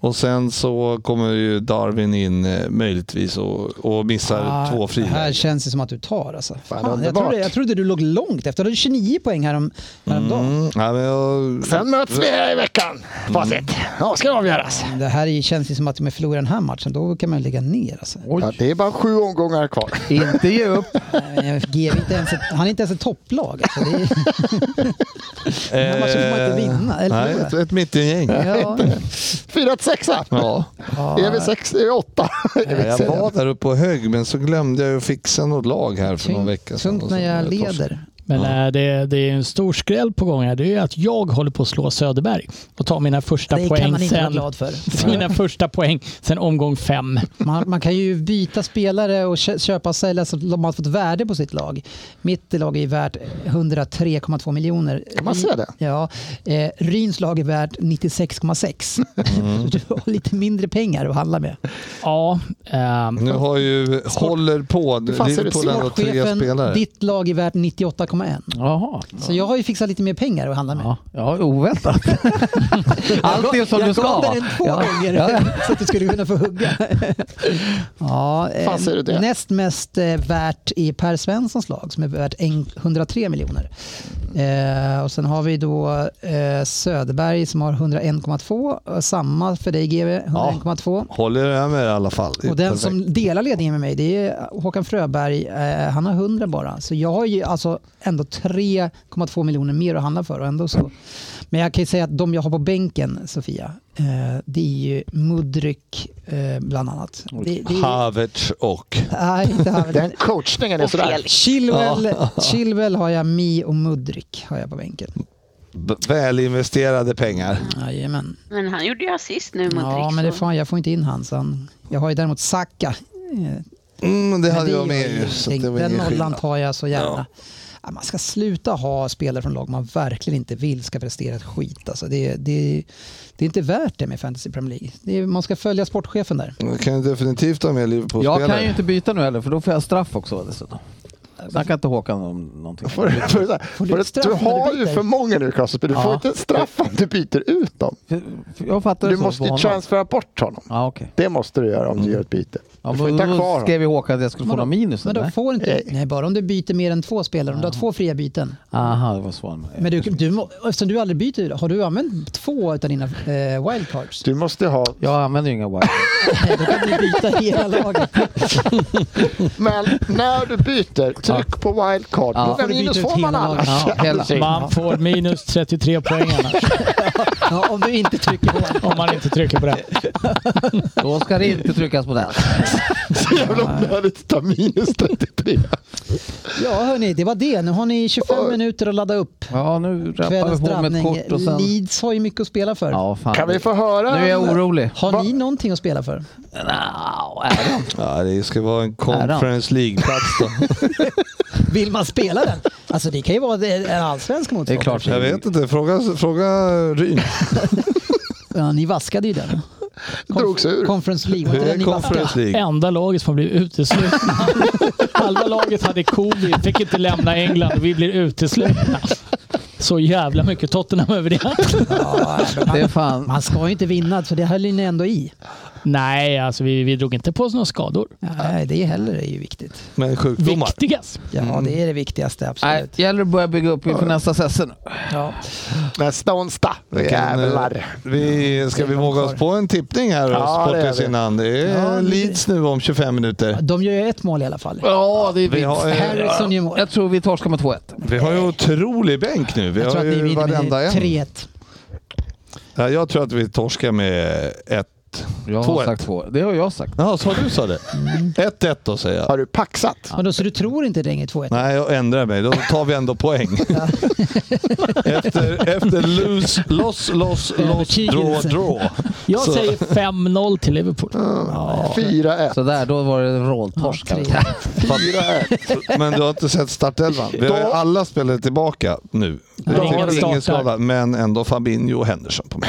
S7: Och sen så kommer ju Darwin in eh, möjligtvis och, och missar
S3: Ah,
S7: två
S3: det här
S7: frilägen.
S3: känns det som att du tar alltså. Fan, jag,
S5: underbart.
S3: trodde, jag trodde du låg långt efter. Du hade 29 poäng härom, häromdagen.
S7: Mm, ja, men jag...
S5: Sen möts vi här i veckan.
S7: Mm.
S5: Facit. Ja, ska avgöras.
S3: Det här är ju- känns ju som att om jag förlorar den här matchen, då kan man ju lägga ner alltså.
S5: Ja, det är bara sju omgånga kvar.
S4: Inte ge upp.
S3: Nej, men FG är inte ens ett, han är inte ens ett topplag. Alltså. Det är, den här matchen får man inte vinna. Eller
S7: eh, Nej, ett,
S3: förlora.
S7: ett mittengäng.
S3: Ja.
S5: Fyra till sexa.
S7: Ja.
S5: Är vi sex? Är vi åtta? Är vi
S7: Jag
S5: sex?
S7: var där uppe på hög, men så glömde jag ju fixa något lag här för någon vecka sedan.
S3: Tungt
S7: Och så-
S3: när jag
S7: ett år sedan.
S3: leder.
S8: Men eh, det, det är en stor skräll på gång här. Det är ju att jag håller på att slå Söderberg och ta mina första
S3: Det kan
S8: poäng
S3: man inte vara
S8: sen,
S3: glad för.
S8: mina första poäng sen omgång fem.
S3: Man, man kan ju byta spelare och kö- köpa och sälja så att de har fått värde på sitt lag. Mitt lag är ju värt 103,2 miljoner.
S5: Kan man säga det?
S3: Ja. Eh, Ryns lag är värt 96,6.
S7: Mm.
S3: du har lite mindre pengar att handla med.
S8: Ja, ehm,
S7: Nu har ju, håller på,
S5: fan ser det
S7: Liverpool ändå tre
S3: Sportchefen,
S7: spelare.
S3: ditt lag är värt 98,1.
S4: Jaha.
S3: Så jag har ju fixat lite mer pengar att handla med.
S4: Ja, ja oväntat. Allt är som
S3: jag
S4: du ska.
S3: gav dig den två
S4: ja.
S3: gånger så att du skulle kunna få hugga. ja, eh,
S5: Fan, ser du det?
S3: Näst mest eh, värt är Per Svenssons lag som är värt en- 103 miljoner. Eh, och sen har vi då eh, Söderberg som har 101,2. Eh, Samma för dig GB, 101,2.
S7: Håller jag med i alla fall. Det är
S3: Och den
S7: Typ perfekt.
S3: som delar ledningen med mig det är Håkan Fröberg. Eh, han har 100 bara. Så jag har ju alltså ändå 3,2 miljoner mer att handla för. Och ändå så. Men jag kan ju säga att de jag har på bänken, Sofia, eh, det är ju Mudryk eh, bland annat. Det, det är,
S7: Havertz och...
S3: nej, inte han.
S5: Den coachningen är sådär.
S3: Chilwell, Chilwell har jag, Mi och Mudryk har jag på bänken.
S7: B- välinvesterade pengar.
S3: Jajamän.
S6: Men han gjorde ju assist nu mot
S3: Ja,
S6: Riksson.
S3: men det är fan, jag får inte in hans. Han, jag har ju däremot Saka. Eh,
S7: Mm, det
S3: Men
S7: hade
S3: det
S7: jag
S3: gör
S7: med
S3: ju
S7: ju. Så att
S3: ingenting.
S7: det var
S3: Den
S7: ingen
S3: nollan
S7: skillnad.
S3: tar jag så gärna. Ja, Man ska sluta ha spelare från lag man verkligen inte vill ska prestera ett skit. Alltså det, det, det är inte värt det med Fantasy Premier League. Det är, man ska följa sportchefen där.
S7: Jag kan ju definitivt ha med
S4: Jag
S7: Liverpool-spelare.
S4: kan ju inte byta nu heller för då får jag straff också dessutom. Snacka inte Håkan om någonting.
S5: Får du, får du,
S3: Får
S5: får
S3: du
S5: du,
S3: ett straff när
S5: du
S3: du
S5: har ju
S3: byter?
S5: för många nu Crosby. Du får inte ett straff om du byter ut dem.
S4: För- för Jag fattar det
S5: Du
S4: så
S5: måste
S4: på
S5: ju
S4: honom.
S5: transfera bort honom.
S4: Ja, okej.
S5: Det måste du göra om
S7: Mm.
S5: du gör ett byte.
S4: Ja,
S5: Du får
S4: men
S5: inte ha
S4: då
S5: kvar honom.
S4: skrev ju Håkan att jag skulle få några minus.
S3: Men då
S4: eller?
S3: får inte,
S5: Nej.
S3: nej, bara om du byter mer än två spelare. Om du har två fria byten.
S4: Aha, det var så.
S3: Men du, du, må- eftersom du aldrig byter, har du använt två av dina eh, wildcards?
S5: Du måste ha...
S4: Jag använder ju inga wire.
S3: Nej, Då kan du byta hela laget.
S5: Men när du byter, tryck på wildcard.
S4: Ja.
S5: Ja.
S4: Får
S5: Men
S3: du byta
S5: minus
S3: ut
S5: får man
S3: hela laget?
S5: annars.
S4: Ja, hela.
S5: Aldrig.
S8: Man får minus 33 poäng annars,
S3: Ja, om du inte trycker på den.
S8: om man inte trycker på det.
S4: Då ska det inte tryckas på den.
S5: Så jävla onödigt att ta minus 33.
S3: Ja, hörni, det var det. Nu har ni 25
S5: Oj.
S3: minuter att ladda upp.
S4: Ja, nu rappar
S3: Kvällens
S4: vi på med ett
S3: drabbning.
S4: kort och sen...
S3: Leeds har ju mycket att spela för.
S4: Ja, fan.
S5: Kan vi få höra?
S4: Nu är jag
S5: en-
S4: orolig.
S3: Har ni någonting att spela för?
S4: Nja, är det?
S7: Ja, det ska vara en Conference League-plats då.
S3: Vill man spela den? Alltså det kan ju vara en allsvensk
S4: Det är
S3: motståndare.
S4: klart.
S7: Jag vet inte, fråga, fråga Ryn.
S3: Ja, ni vaskade ju den.
S5: Drogs ur.
S3: Conference League. Var
S7: Hur
S3: inte den ni
S7: är
S3: vaskade?
S7: Conference League?
S8: Enda laget som har blivit uteslutna. Halva laget hade covid, fick inte lämna England och vi blir uteslutna. Så jävla mycket Tottenham över det.
S3: Ja,
S4: Det
S3: man,
S4: är fan...
S3: man ska ju inte vinna, så det höll ni ändå i.
S8: Nej, alltså vi, vi drog inte på oss några skador.
S3: Nej, det heller är ju viktigt.
S7: Men sjukdomar.
S8: Viktigast.
S4: Mm.
S3: Ja, det är det viktigaste,
S4: Nej,
S3: absolut.
S4: gäller det att börja bygga upp inför nästa säsong.
S3: Ja.
S5: Nästa onsdag.
S7: eh,
S5: Jävlar.
S7: Vi, ska vi våga oss på en tippning
S5: Ja,
S7: här ja,
S5: det gör
S7: Sportis
S5: vi.
S7: innan? Det är
S3: Ja,
S7: Leeds nu om 25 minuter.
S3: De gör ju ett mål i alla fall.
S4: Ja, det är
S7: Vi har, eh,
S3: Harrison gör mål.
S4: Jag tror vi torskar med 2-1.
S7: vi har ju otrolig bänk nu.
S3: Eh.
S7: Vi
S3: Jag tror
S7: har
S3: att ni
S7: ju
S3: vinner
S7: varenda
S3: med
S7: en.
S3: 3-1.
S7: Ja, jag tror att vi torskar med ett.
S4: Jag har
S7: 2-1.
S4: sagt 2 Det har jag sagt.
S7: Jaha, så du sa det?
S3: Mm.
S7: 1-1 då säger jag.
S5: Har du paxat?
S3: Men då, så du tror inte det är 2-1?
S7: Nej, jag ändrar mig. Då tar vi ändå poäng. efter efter lose, loss, loss, loss, draw,
S3: Övertygelse.
S7: draw.
S8: Jag
S7: Så-
S8: säger 5-0 till Liverpool.
S5: 4-1.
S4: Så där, då var det rolltorsk.
S3: Ja, tre.
S7: Men du har inte sett startelvan? Vi har ju
S5: Då-
S7: alla spelare tillbaka nu. Det
S8: har ingen
S7: är ingen
S8: startar.
S7: skada, men ändå Fabinho och Henderson på mig.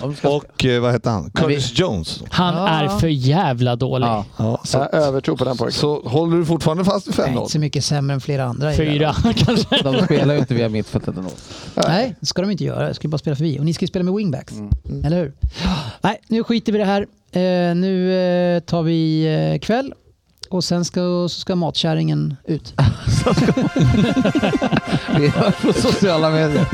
S4: Om ska-
S7: Och eh, vad heter han?
S4: Men vi-
S7: Curtis Jones.
S8: Han är för jävla dålig.
S4: Ja.
S7: Ja, så,
S5: Jag övertro på den pojken.
S7: så håller du fortfarande fast vid
S3: Nej, inte
S7: 5-0?
S3: så mycket sämre än flera andra. i det här
S8: Fyra kanske.
S4: De spelar ju inte via mittfältet ändå.
S3: Nej, det ska de inte göra. De ska ju bara spela förbi. Och ni ska ju spela med wingbacks. Eller hur? Nej, nu skiter vi i det här. Eh, nu eh, tar vi eh, kväll och sen ska, så ska matkärringen ut.
S4: Vi hörs på sociala medier.